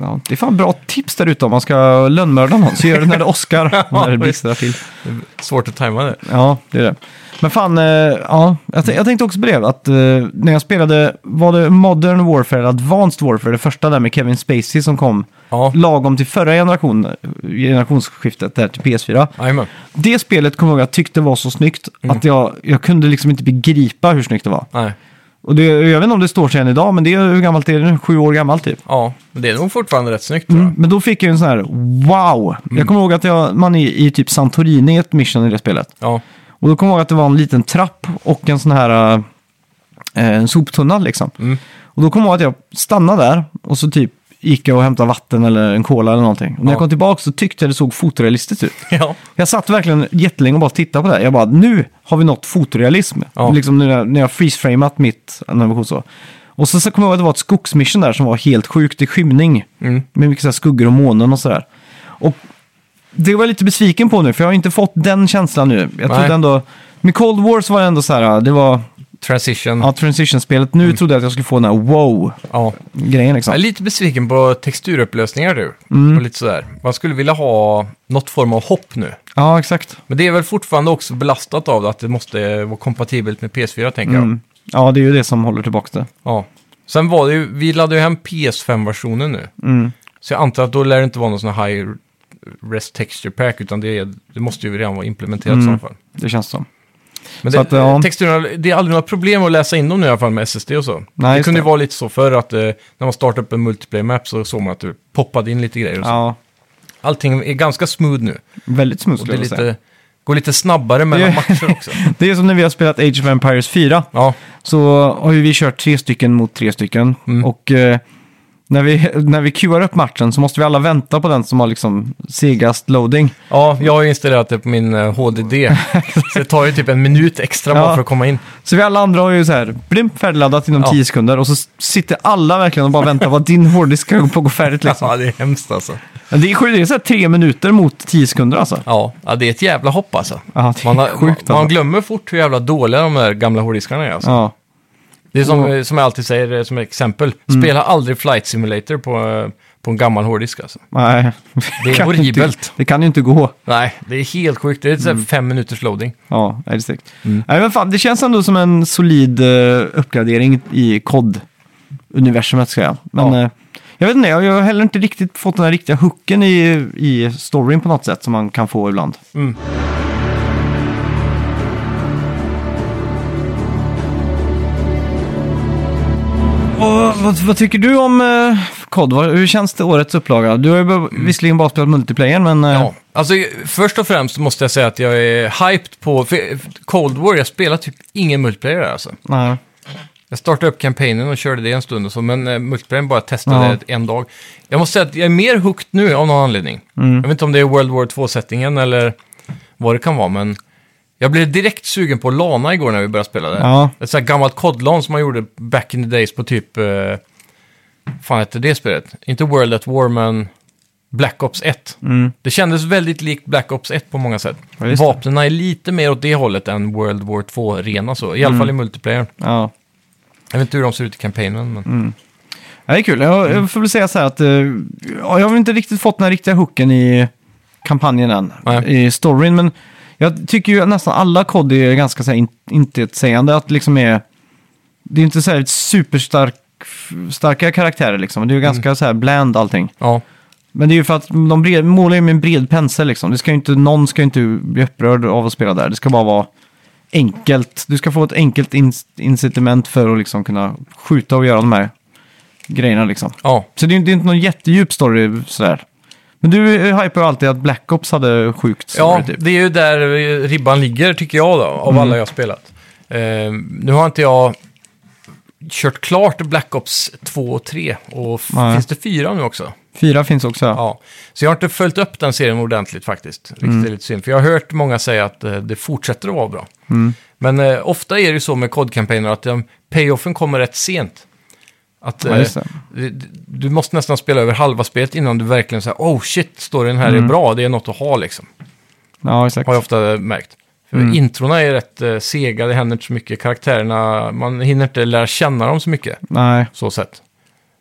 Speaker 1: Ja, det är fan bra tips där ute om man ska lönnmörda någon. Så gör det när det åskar,
Speaker 2: Ja,
Speaker 1: när det
Speaker 2: visst.
Speaker 1: blixtrar till.
Speaker 2: Det är svårt att tajma det.
Speaker 1: Ja, det är det. Men fan, eh, ja, jag, t- jag tänkte också på det. Att, eh, när jag spelade, var det Modern Warfare eller Advanced Warfare, det första där med Kevin Spacey som kom
Speaker 2: Ja,
Speaker 1: lagom till förra generation, eh, generationsskiftet där till PS4.
Speaker 2: jajamän.
Speaker 1: Det spelet kommer jag ihåg att jag tyckte var så snyggt att jag, jag kunde liksom inte begripa hur snyggt det var.
Speaker 2: Nej.
Speaker 1: Och det, jag vet inte om det står sig än idag, men det är, hur gammalt är det nu? Sju år gammalt typ.
Speaker 2: Ja, men det är nog fortfarande rätt snyggt tror jag.
Speaker 1: Men då fick jag ju en sån här wow! Jag kommer ihåg att jag, man är i typ Santorini i ett mission i det spelet.
Speaker 2: Ja,
Speaker 1: Och då kommer jag ihåg att det var en liten trapp och en sån här
Speaker 2: Mm.
Speaker 1: eh, en soptunna liksom. Och då kommer jag ihåg att jag stannade där och så typ Ica och hämtade vatten eller en cola eller någonting. Och när
Speaker 2: Ja.
Speaker 1: jag kom tillbaka så tyckte jag det såg fotorealistiskt ut.
Speaker 2: Ja.
Speaker 1: Jag satt verkligen jättelänge och bara tittade på det här. Jag bara, nu har vi nått fotorealism.
Speaker 2: Ja.
Speaker 1: Liksom när jag, när jag freeze-framat mitt animation så. Och så, så kommer jag ihåg att det var ett skogsmission där som var helt sjukt i skymning.
Speaker 2: Mm.
Speaker 1: Med mycket så här skuggor och månen och sådär. Och det var jag lite besviken på nu, för jag har inte fått den känslan nu. Jag
Speaker 2: Nej. Mm.
Speaker 1: trodde ändå... Med Cold War så var det ändå så här, det var
Speaker 2: Transition.
Speaker 1: ja, transition-spelet.
Speaker 2: Mm.
Speaker 1: Nu trodde jag att jag skulle få den här wow-grejen
Speaker 2: Ja.
Speaker 1: liksom.
Speaker 2: Jag är lite besviken på texturupplösningar du. Och lite sådär. Man skulle vilja ha något form av hopp nu.
Speaker 1: Ja, exakt.
Speaker 2: Men det är väl fortfarande också belastat av att det måste vara kompatibelt med PS4 tänker jag.
Speaker 1: Mm. Ja, det är ju det som håller tillbaka det.
Speaker 2: Ja. Sen var det ju, vi laddade ju hem PS5-versionen nu.
Speaker 1: Mm.
Speaker 2: Så jag antar att då lär det inte vara någon sån här high res texture pack, utan det, är, det måste ju redan vara implementerat i
Speaker 1: Mm.
Speaker 2: så fall.
Speaker 1: Det känns som.
Speaker 2: Men
Speaker 1: Så
Speaker 2: det,
Speaker 1: att, ja.
Speaker 2: texturerna, det är aldrig några problem att läsa in dem nu i alla fall med SSD och så.
Speaker 1: Nej,
Speaker 2: det
Speaker 1: just
Speaker 2: kunde ju
Speaker 1: det.
Speaker 2: vara lite så förr att eh, när man startade upp en multiplayer map så såg man att det poppade in lite grejer och så.
Speaker 1: Ja,
Speaker 2: Allting är ganska smooth nu.
Speaker 1: väldigt smooth
Speaker 2: Och det
Speaker 1: skulle
Speaker 2: är
Speaker 1: jag säga.
Speaker 2: lite, går lite snabbare mellan
Speaker 1: Det-
Speaker 2: matcher också.
Speaker 1: Det är som när vi har spelat Age of Empires 4.
Speaker 2: Ja,
Speaker 1: Så har ju vi kört tre stycken mot tre stycken.
Speaker 2: Mm.
Speaker 1: Och eh, när vi, när vi queuar upp matchen så måste vi alla vänta på den som har liksom segast loading.
Speaker 2: ja, jag har ju installerat det på min eh, HDD. så det tar ju typ en minut extra bara
Speaker 1: Ja.
Speaker 2: för att komma in.
Speaker 1: Så vi alla andra har ju så här, blimp, färdigladdat inom
Speaker 2: Ja.
Speaker 1: 10 sekunder. Och så s- sitter alla verkligen och bara väntar på att din hårddisk ska gå färdigt liksom.
Speaker 2: Ja, det är hemskt alltså.
Speaker 1: Men Det är, sjukt, det är så här tre minuter mot 10 sekunder alltså.
Speaker 2: Ja, ja, det är ett jävla hopp alltså.
Speaker 1: Ja, det är
Speaker 2: Man, har,
Speaker 1: sjukt
Speaker 2: man, man
Speaker 1: alltså.
Speaker 2: glömmer fort hur jävla dåliga de här gamla hårddiskarna är. Alltså.
Speaker 1: Ja.
Speaker 2: Det är som, som jag alltid säger eh, som exempel. Spela aldrig Flight Simulator på, eh, på en gammal hårddisk. Alltså.
Speaker 1: Nej.
Speaker 2: Det är
Speaker 1: Kan ju inte-
Speaker 2: horribelt.
Speaker 1: Det kan ju inte gå.
Speaker 2: Nej, det är helt sjukt. Det är mm. fem minuters loading.
Speaker 1: Ja, nej, det är säkert.
Speaker 2: Mm.
Speaker 1: Nej, men fan, det känns ändå som en solid eh, uppgradering i COD-universumet, ska jag. Men
Speaker 2: Ja.
Speaker 1: eh, jag vet inte, jag jag har heller inte riktigt fått den här riktiga hooken i, i storyn på något sätt som man kan få ibland.
Speaker 2: Mm.
Speaker 1: Och, vad, vad tycker du om eh, COD? Vad- Hur känns det årets upplaga? Du har ju be- visserligen bara spelat multiplayer, men... eh,
Speaker 2: Mm. Ja. Alltså, först och främst måste jag säga att jag är hyped på för Cold War. Jag spelar typ ingen multiplayer där, alltså.
Speaker 1: Nej.
Speaker 2: Jag startade upp kampanjen och körde det en stund och så, men eh, multiplayer bara testade en dag. Jag måste säga att jag är mer hooked nu av någon anledning.
Speaker 1: Mm.
Speaker 2: Jag vet inte om det är World War 2-sättningen eller vad det kan vara, men jag blev direkt sugen på Lana igår när vi började spela det.
Speaker 1: Ja.
Speaker 2: Ett sånt här gammalt kodlan som man gjorde back in the days på typ... Eh, fan hette det spelet? Inte World at War, men Black Ops 1.
Speaker 1: Mm.
Speaker 2: Det kändes väldigt likt Black Ops 1 på många sätt.
Speaker 1: Ja, just det.
Speaker 2: Vapnen är lite mer åt det hållet än World War 2-rena så. I alla
Speaker 1: Mm.
Speaker 2: fall i multiplayer.
Speaker 1: Ja.
Speaker 2: Jag vet inte hur de ser ut i kampanjen, men...
Speaker 1: Mm. Ja, det är kul. Jag, jag får väl säga så här att eh, ja, jag har väl inte riktigt fått den här riktiga hooken i kampanjen än,
Speaker 2: Nej.
Speaker 1: i storyn. Men jag tycker ju att nästan alla kod är ganska så här in, inte ett sägande att liksom är... Det är inte så här superstark starka karaktärer liksom. Det är ju ganska så här bland allting.
Speaker 2: Ja,
Speaker 1: Men det är ju för att de bred, målar ju med en bred pensel liksom. Det ska ju inte, någon ska ju inte bli upprörd av att spela där. Det ska bara vara enkelt. Du ska få ett enkelt inc- incitament för att liksom kunna skjuta och göra de här grejerna liksom.
Speaker 2: ja.
Speaker 1: Så det är, det är inte någon jättedjup story sådär. Men du eh, hypar ju alltid att Black Ops hade sjukt
Speaker 2: ja
Speaker 1: story typ. Mm.
Speaker 2: det är ju där eh, ribban ligger tycker jag då, av alla jag har spelat. Eh, nu har inte jag kört klart Black Ops 2 och 3 och f-
Speaker 1: Nej.
Speaker 2: finns det 4 nu också?
Speaker 1: Fyra finns också. Ja.
Speaker 2: Ja. Så jag har inte följt upp den serien ordentligt faktiskt, vilket
Speaker 1: Mm.
Speaker 2: är lite synd. För jag har hört många säga att eh, det fortsätter att vara bra.
Speaker 1: Mm.
Speaker 2: Men eh, ofta är det ju så med kodkampanjer att eh, payoffen kommer rätt sent. Att,
Speaker 1: Ja,
Speaker 2: eh,
Speaker 1: just det.
Speaker 2: du- du måste nästan spela över halva spelet innan du verkligen säger oh shit, storyn här
Speaker 1: Mm.
Speaker 2: är bra, det är något att ha liksom.
Speaker 1: ja, exakt.
Speaker 2: Har jag ofta märkt. För
Speaker 1: Mm.
Speaker 2: Introna är rätt eh, sega, det händer inte så mycket. Karaktärerna, man hinner inte lära känna dem så mycket.
Speaker 1: Nej.
Speaker 2: Så sett.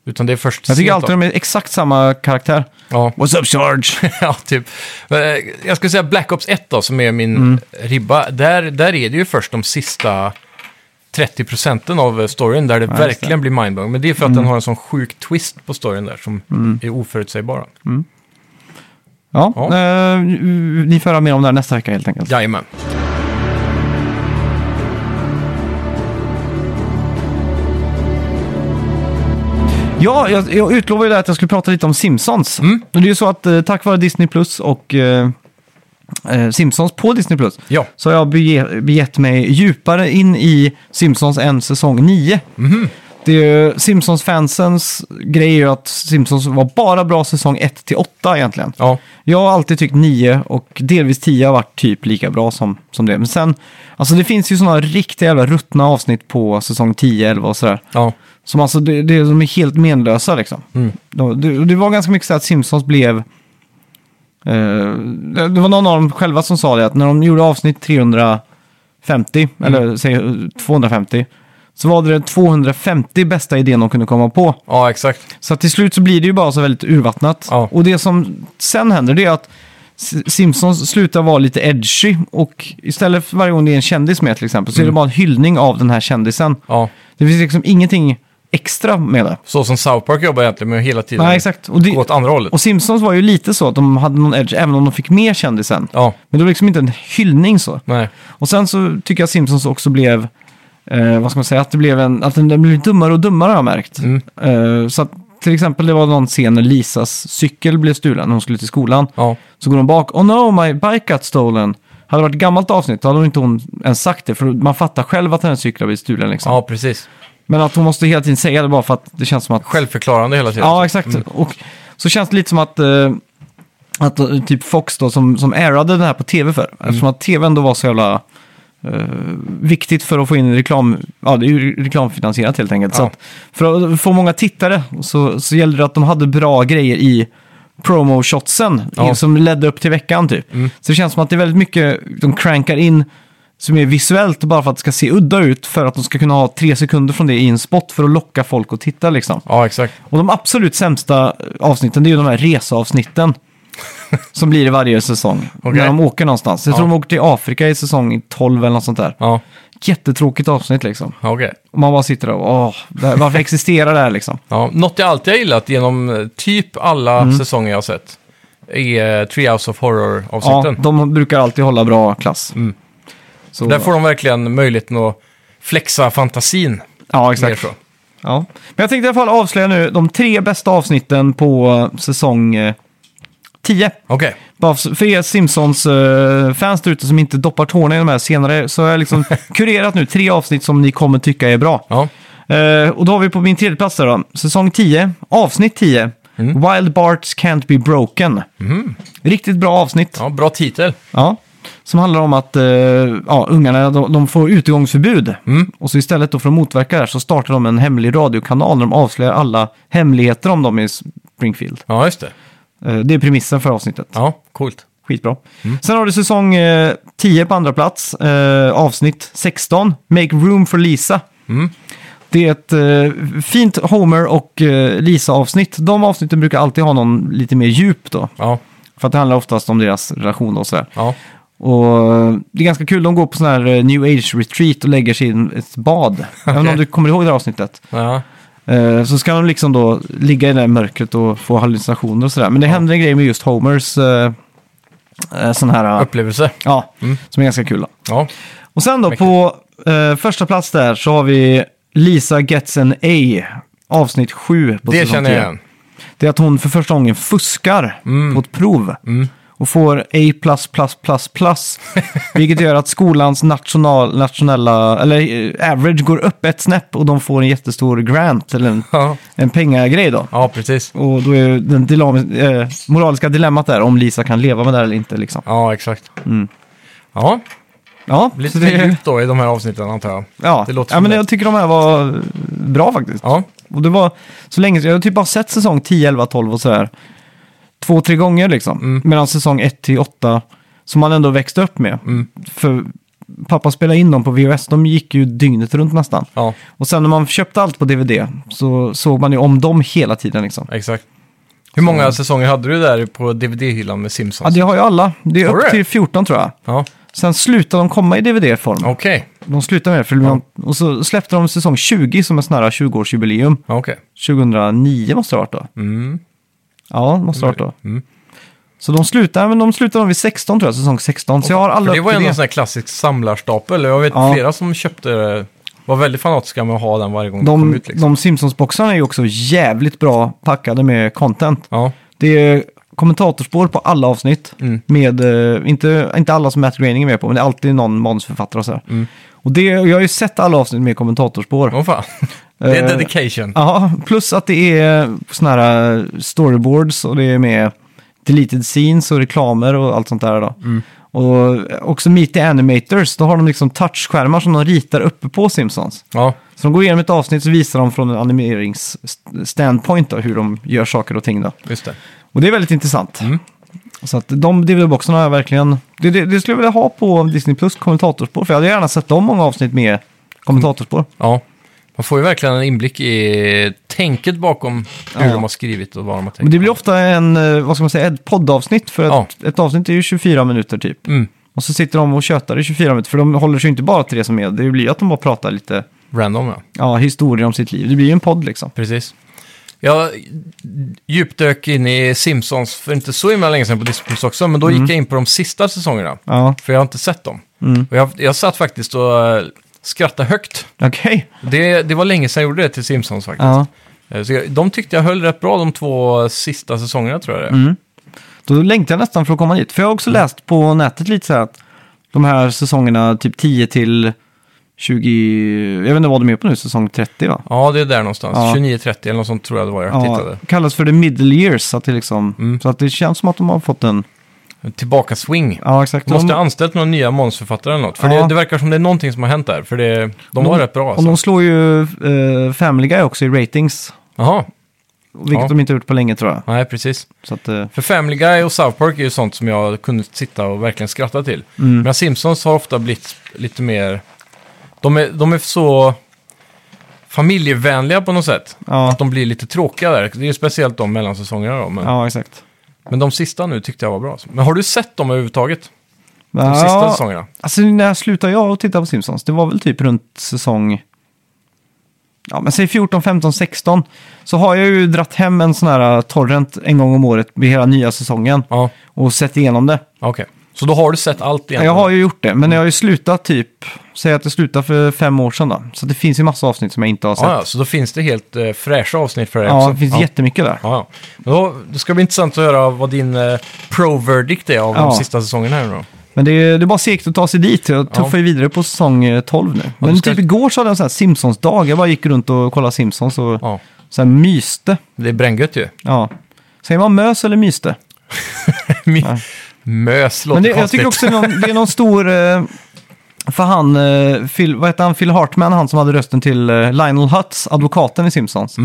Speaker 2: Utan det är först
Speaker 1: Jag tycker
Speaker 2: sent
Speaker 1: alltid
Speaker 2: då.
Speaker 1: de är exakt samma karaktär.
Speaker 2: Ja,
Speaker 1: What's up Charge?
Speaker 2: ja, typ. Eh, Jag skulle säga Black Ops 1 då, som är min
Speaker 1: Mm.
Speaker 2: ribba. Där, där är det ju först de sista 30 procenten av eh, storyn där det
Speaker 1: just det. Mm.
Speaker 2: verkligen blir mindblowing. Men det är för att den har en sån sjuk twist på storyn där som är oförutsägbara.
Speaker 1: Mm. ja,
Speaker 2: Ja.
Speaker 1: eh, ni får höra mer om det här nästa vecka helt enkelt.
Speaker 2: Jajamän.
Speaker 1: Ja, jag, jag utlovade ju där att jag skulle prata lite om Simpsons.
Speaker 2: Mm.
Speaker 1: Och Det är ju så att eh, tack vare Disney Plus och eh, eh, Simpsons på Disney Plus
Speaker 2: Ja.
Speaker 1: så har jag bege- begett mig djupare in i Simpsons än säsong 9. Det är ju Simpsons-fansens grej är ju att Simpsons var bara bra säsong 1 till 8 egentligen.
Speaker 2: Ja,
Speaker 1: Jag har alltid tyckt 9 och delvis 10 har varit typ lika bra som, som det. Men sen, alltså det finns ju sådana riktiga jävla ruttna avsnitt på säsong 10, 11 och sådär.
Speaker 2: ja,
Speaker 1: Som alltså, det, det, de är helt menlösa liksom.
Speaker 2: Mm.
Speaker 1: De, det, det var ganska mycket så att Simpsons blev... eh, det, det var någon av dem själva som sa det, att när de gjorde avsnitt 350,
Speaker 2: Mm.
Speaker 1: eller säg eh, 250, så var det den 250 bästa idén de kunde komma på.
Speaker 2: ja exakt.
Speaker 1: Så att till slut så blir det ju bara så väldigt urvattnat.
Speaker 2: Ja.
Speaker 1: Och det som sen händer det är att S- Simpsons slutar vara lite edgy och istället för varje gång det är en kändis med till exempel
Speaker 2: Mm.
Speaker 1: så är det bara en hyllning av den här kändisen.
Speaker 2: Ja.
Speaker 1: Det finns liksom ingenting extra med det.
Speaker 2: Så som South Park jobbar egentligen med att hela tiden
Speaker 1: Nej, exakt. Och, det,
Speaker 2: gå åt andra hållet.
Speaker 1: och Simpsons var ju lite så att de hade någon edge även om de fick med kändisen.
Speaker 2: Ja,
Speaker 1: Men det var liksom inte en hyllning så.
Speaker 2: nej,
Speaker 1: Och sen så tycker jag Simpsons också blev, eh, vad ska man säga, att, det blev en, att den, den blev dummare och dummare har jag märkt.
Speaker 2: Mm.
Speaker 1: Eh, så att till exempel det var någon scen när Lisas cykel blev stulen när hon skulle till skolan.
Speaker 2: ja,
Speaker 1: Så går hon bak, oh no my bike got stolen. Hade det varit ett gammalt avsnitt då hade hon inte hon ens sagt det, för man fattar själv att hennes cykel har blivit stulen liksom.
Speaker 2: ja, precis.
Speaker 1: Men att hon måste hela tiden säga det bara för att det känns som att
Speaker 2: Självförklarande hela tiden.
Speaker 1: Ja, exakt. Och så känns det lite som att, eh, att eh, typ Fox då, som, som airade den här på tv
Speaker 2: Mm.
Speaker 1: för. Eftersom att tv ändå var så jävla eh, viktigt för att få in reklam. Ja, det är ju re- reklamfinansierat helt enkelt. Så
Speaker 2: Ja.
Speaker 1: att för att få många tittare så, så gällde det att de hade bra grejer i promo-shotsen
Speaker 2: Ja. Mm.
Speaker 1: i- som ledde upp till veckan typ. Så det känns som att det är väldigt mycket de crankar in som är visuellt bara för att det ska se udda ut för att de ska kunna ha tre sekunder från det i en spot för att locka folk att titta liksom.
Speaker 2: Ja, exakt.
Speaker 1: Och de absolut sämsta avsnitten, det är ju de här reseavsnitten. som blir i varje säsong.
Speaker 2: Okej.
Speaker 1: När de åker någonstans. Jag tror
Speaker 2: Ja.
Speaker 1: de åker till Afrika i säsong 12 eller något sånt där.
Speaker 2: Ja,
Speaker 1: Jättetråkigt avsnitt liksom.
Speaker 2: ja, okej.
Speaker 1: Och man bara sitter där och åh, det här, varför existerar det här liksom?
Speaker 2: Ja, något jag alltid har gillat genom eh, typ alla
Speaker 1: Mm.
Speaker 2: säsonger jag har sett är eh, Treehouse of
Speaker 1: Ja,
Speaker 2: Horror-avsnitten.
Speaker 1: de brukar alltid hålla bra klass.
Speaker 2: Mm.
Speaker 1: Så,
Speaker 2: Där får de verkligen möjligheten att flexa fantasin.
Speaker 1: ja,
Speaker 2: Mer
Speaker 1: exakt.
Speaker 2: så.
Speaker 1: Ja. Men jag tänkte i alla fall avslöja nu de tre bästa avsnitten på eh, säsong eh, 10.
Speaker 2: Okej,
Speaker 1: Bara för för er Simpsons-fans där ute som inte doppar tårna i de här senare så har jag liksom kurerat nu tre avsnitt som ni kommer tycka är bra.
Speaker 2: ja.
Speaker 1: Eh, och då har vi på min tredje plats där då, säsong 10, avsnitt 10, Wild Barts Can't Be Broken. Riktigt bra avsnitt. Ja.
Speaker 2: ja, bra titel.
Speaker 1: Som handlar om att eh, ja, ungarna de, de får utegångsförbud. Och så istället då för att motverka det här så startar de en hemlig radiokanal där de avslöjar alla hemligheter om dem i Springfield.
Speaker 2: Ja, just det.
Speaker 1: Eh, det är premissen för avsnittet.
Speaker 2: Ja, coolt.
Speaker 1: Skitbra.
Speaker 2: Mm.
Speaker 1: Sen har du säsong eh, 10 på andra plats, eh, avsnitt 16, Make Room for Lisa.
Speaker 2: Mm.
Speaker 1: Det är ett eh, fint Homer och eh, Lisa-avsnitt. De avsnitten brukar alltid ha någon lite mer djup då.
Speaker 2: Ja,
Speaker 1: För att det handlar oftast om deras relation och sådär.
Speaker 2: ja,
Speaker 1: Och eh, det är ganska kul, de går på sån här eh, new age-retreat och lägger sig i en- ett bad. Även om
Speaker 2: Okej.
Speaker 1: du kommer ihåg det här avsnittet.
Speaker 2: ja.
Speaker 1: Eh, så ska de liksom då ligga i det här mörkret och få hallucinationer och sådär. Men det händer en grej med just Homers eh, eh, sån här... eh,
Speaker 2: Upplevelse.
Speaker 1: Ja,
Speaker 2: Mm.
Speaker 1: som är ganska kul. Då.
Speaker 2: Ja,
Speaker 1: Och sen då på eh, första plats där så har vi Lisa Gets an A, avsnitt 7 på
Speaker 2: det
Speaker 1: säsong
Speaker 2: känner
Speaker 1: 10.
Speaker 2: jag igen. Mm.
Speaker 1: Det är att hon för första gången fuskar på ett prov. Och får A++++, vilket gör att skolans national, nationella, eller eh, average går upp ett snäpp och de får en jättestor grant, eller en,
Speaker 2: Ja,
Speaker 1: en pengagrej då.
Speaker 2: ja precis.
Speaker 1: Och då är ju den dilam- eh, moraliska dilemmat där om Lisa kan leva med det här eller inte liksom.
Speaker 2: Ja, exakt. Ja,
Speaker 1: Ja,
Speaker 2: lite
Speaker 1: så det är-
Speaker 2: djupt då i de här avsnitten antar jag.
Speaker 1: Ja,
Speaker 2: Det låter
Speaker 1: ja
Speaker 2: som
Speaker 1: men
Speaker 2: det.
Speaker 1: jag tycker de här var eh, bra faktiskt.
Speaker 2: Ja,
Speaker 1: Och det var så länge, jag har typ bara sett säsong 10, 11, 12 och sådär. Två, tre gånger liksom.
Speaker 2: Mm.
Speaker 1: Medan säsong 1 till 8, som man ändå växte upp med.
Speaker 2: Mm.
Speaker 1: För pappa spelade in dem på VHS, de gick ju dygnet runt nästan.
Speaker 2: ja,
Speaker 1: Och sen när man köpte allt på DVD så såg man ju om dem hela tiden liksom.
Speaker 2: exakt. Hur många säsonger hade du där på DVD-hyllan med
Speaker 1: Ja,
Speaker 2: Simpsons?
Speaker 1: det har ju alla. Det är
Speaker 2: Har du
Speaker 1: upp
Speaker 2: det?
Speaker 1: till 14 tror jag.
Speaker 2: Ja,
Speaker 1: Sen slutade de komma i DVD-form.
Speaker 2: okej.
Speaker 1: De slutade med det, för de, och så släppte de säsong 20 som en sån här 20-årsjubileum.
Speaker 2: Ja, okej.
Speaker 1: 2009 måste det ha varit då.
Speaker 2: Mm.
Speaker 1: Ja, måste det ha varit då.
Speaker 2: Mm.
Speaker 1: Så de slutar, men de slutar vid 16 tror jag, säsong 16. Så jag har alla
Speaker 2: För det
Speaker 1: upp
Speaker 2: var
Speaker 1: till
Speaker 2: ju ändå en sån här klassisk samlarstapel. Jag vet
Speaker 1: Ja.
Speaker 2: flera som köpte, var väldigt fanatiska med att ha den varje gång den kom
Speaker 1: De,
Speaker 2: ut. Liksom.
Speaker 1: de Simpsons-boxarna är ju också jävligt bra packade med content.
Speaker 2: Ja,
Speaker 1: Det är kommentatorspår på alla avsnitt.
Speaker 2: Mm.
Speaker 1: Med, eh, inte, inte alla som Matt Groening är med på, men det är
Speaker 2: Mm.
Speaker 1: alltid någon manusförfattare och sådär. Och det, jag har ju sett alla avsnitt med kommentatorspår.
Speaker 2: åh fan. Det är
Speaker 1: Eh,
Speaker 2: dedication.
Speaker 1: Ja, plus att det är såna här eh, storyboards och det är med deleted scenes och reklamer och allt sånt där då. Och också Meet the Animators, då har de liksom touchskärmar som de ritar uppe på Simpsons.
Speaker 2: Ja,
Speaker 1: Så de går igenom ett avsnitt så visar de från en animeringsstandpoint då, hur de gör saker och ting då.
Speaker 2: just det.
Speaker 1: Och det är väldigt intressant.
Speaker 2: Mm.
Speaker 1: Så att de DVD-boxarna har jag verkligen... Det, det, det skulle jag vilja ha på Disney Plus kommentatorspår, för jag hade gärna sett dem många avsnitt med kommentatorspår.
Speaker 2: Ja. Man får ju verkligen en inblick i tänket bakom hur
Speaker 1: Ja.
Speaker 2: de har skrivit och vad de har tänkt.
Speaker 1: Men det blir ofta en, eh, vad ska man säga, ett poddavsnitt. För
Speaker 2: Ja.
Speaker 1: ett, ett avsnitt är ju 24 minuter typ.
Speaker 2: Mm.
Speaker 1: Och så sitter de och tjötar i 24 minuter. För de håller sig ju inte bara till det som är. Det blir ju att de bara pratar lite
Speaker 2: Random, ja.
Speaker 1: ja, historier om sitt liv. Det blir ju en podd liksom.
Speaker 2: Precis. Jag djupdök in i Simpsons för inte så himla länge sedan på Disney Plus också, men då gick jag in på de sista säsongerna.
Speaker 1: Ja,
Speaker 2: För jag har inte sett dem.
Speaker 1: Mm.
Speaker 2: Och jag, jag satt faktiskt och eh, skrattade högt.
Speaker 1: okej.
Speaker 2: Det, det var länge sedan jag gjorde det till Simpsons faktiskt.
Speaker 1: Ja.
Speaker 2: Eh, Så jag, de tyckte jag höll rätt bra de två sista säsongerna tror jag det
Speaker 1: Mm.
Speaker 2: är.
Speaker 1: Då längtar jag nästan för att komma dit. För jag har också
Speaker 2: Mm.
Speaker 1: läst på nätet lite så här att de här säsongerna, typ 10 till 20, jag vet inte vad de är på nu, säsong 30 va?
Speaker 2: Ja, det är där någonstans.
Speaker 1: Ja.
Speaker 2: 29-30 eller något sånt tror jag det var jag
Speaker 1: Ja,
Speaker 2: tittade. Mm.
Speaker 1: kallas för the middle years. Så att, det liksom, så att det känns som att de har fått en...
Speaker 2: Tillbaka swing.
Speaker 1: Ja, exakt.
Speaker 2: Måste
Speaker 1: de,
Speaker 2: ha anställt några nya manusförfattare eller något? För
Speaker 1: Ja.
Speaker 2: det, det verkar som det är någonting som har hänt där. För det, de var
Speaker 1: De-
Speaker 2: rätt bra
Speaker 1: och
Speaker 2: alltså.
Speaker 1: de slår ju eh, Family Guy också i ratings.
Speaker 2: Jaha,
Speaker 1: Vilket
Speaker 2: Ja.
Speaker 1: de inte har gjort på länge tror jag.
Speaker 2: nej precis.
Speaker 1: Så att, eh,
Speaker 2: För Family Guy och South Park är ju sånt som jag kunde sitta och verkligen skratta till.
Speaker 1: Mm.
Speaker 2: Men Simpsons har ofta blivit lite mer... De är, de är så familjevänliga på något sätt.
Speaker 1: ja,
Speaker 2: Att de blir lite tråkiga där. Det är ju speciellt de mellansäsongerna då. Men,
Speaker 1: ja, exakt.
Speaker 2: men de sista nu tyckte jag var bra. alltså. Men har du sett dem överhuvudtaget? De
Speaker 1: ja,
Speaker 2: sista säsongerna?
Speaker 1: Alltså när slutade jag att titta på Simpsons? Det var väl typ runt säsong... Ja, men säg 14, 15, 16. Så har jag ju dratt hem en sån här eh, torrent en gång om året med hela nya säsongen.
Speaker 2: Ja,
Speaker 1: Och sett igenom det.
Speaker 2: okej. Så då har du sett allt egentligen?
Speaker 1: Jag har ju gjort det, men jag har ju slutat typ... Säg att det slutade för fem år sedan då. Så det finns ju massa avsnitt som jag inte har sett.
Speaker 2: Ja, ja, så då finns det helt eh, fräscha avsnitt för dig
Speaker 1: Ja,
Speaker 2: också.
Speaker 1: det finns
Speaker 2: ja.
Speaker 1: jättemycket där.
Speaker 2: Ja, ja. Men Då, det ska bli intressant att höra vad din eh, pro-verdict är av
Speaker 1: Ja.
Speaker 2: de sista säsongerna här nu då.
Speaker 1: Men det är, det är bara segt att ta sig dit. Jag tuffar ju vidare på säsong eh, 12 nu. Men
Speaker 2: du ska-
Speaker 1: typ igår så hade jag en sån här Simpsons-dag. Jag bara gick runt och kollade Simpsons och
Speaker 2: Ja.
Speaker 1: så här myste.
Speaker 2: Det är bränngött ju.
Speaker 1: Ja. Säger man mös eller myste?
Speaker 2: Mi- Mös låter
Speaker 1: Men det, jag
Speaker 2: konstigt.
Speaker 1: tycker också det är någon, det är någon stor... eh, För han, eh, Phil, vad heter han, Phil Hartman, han som hade rösten till eh, Lionel Hutz, advokaten i Simpsons.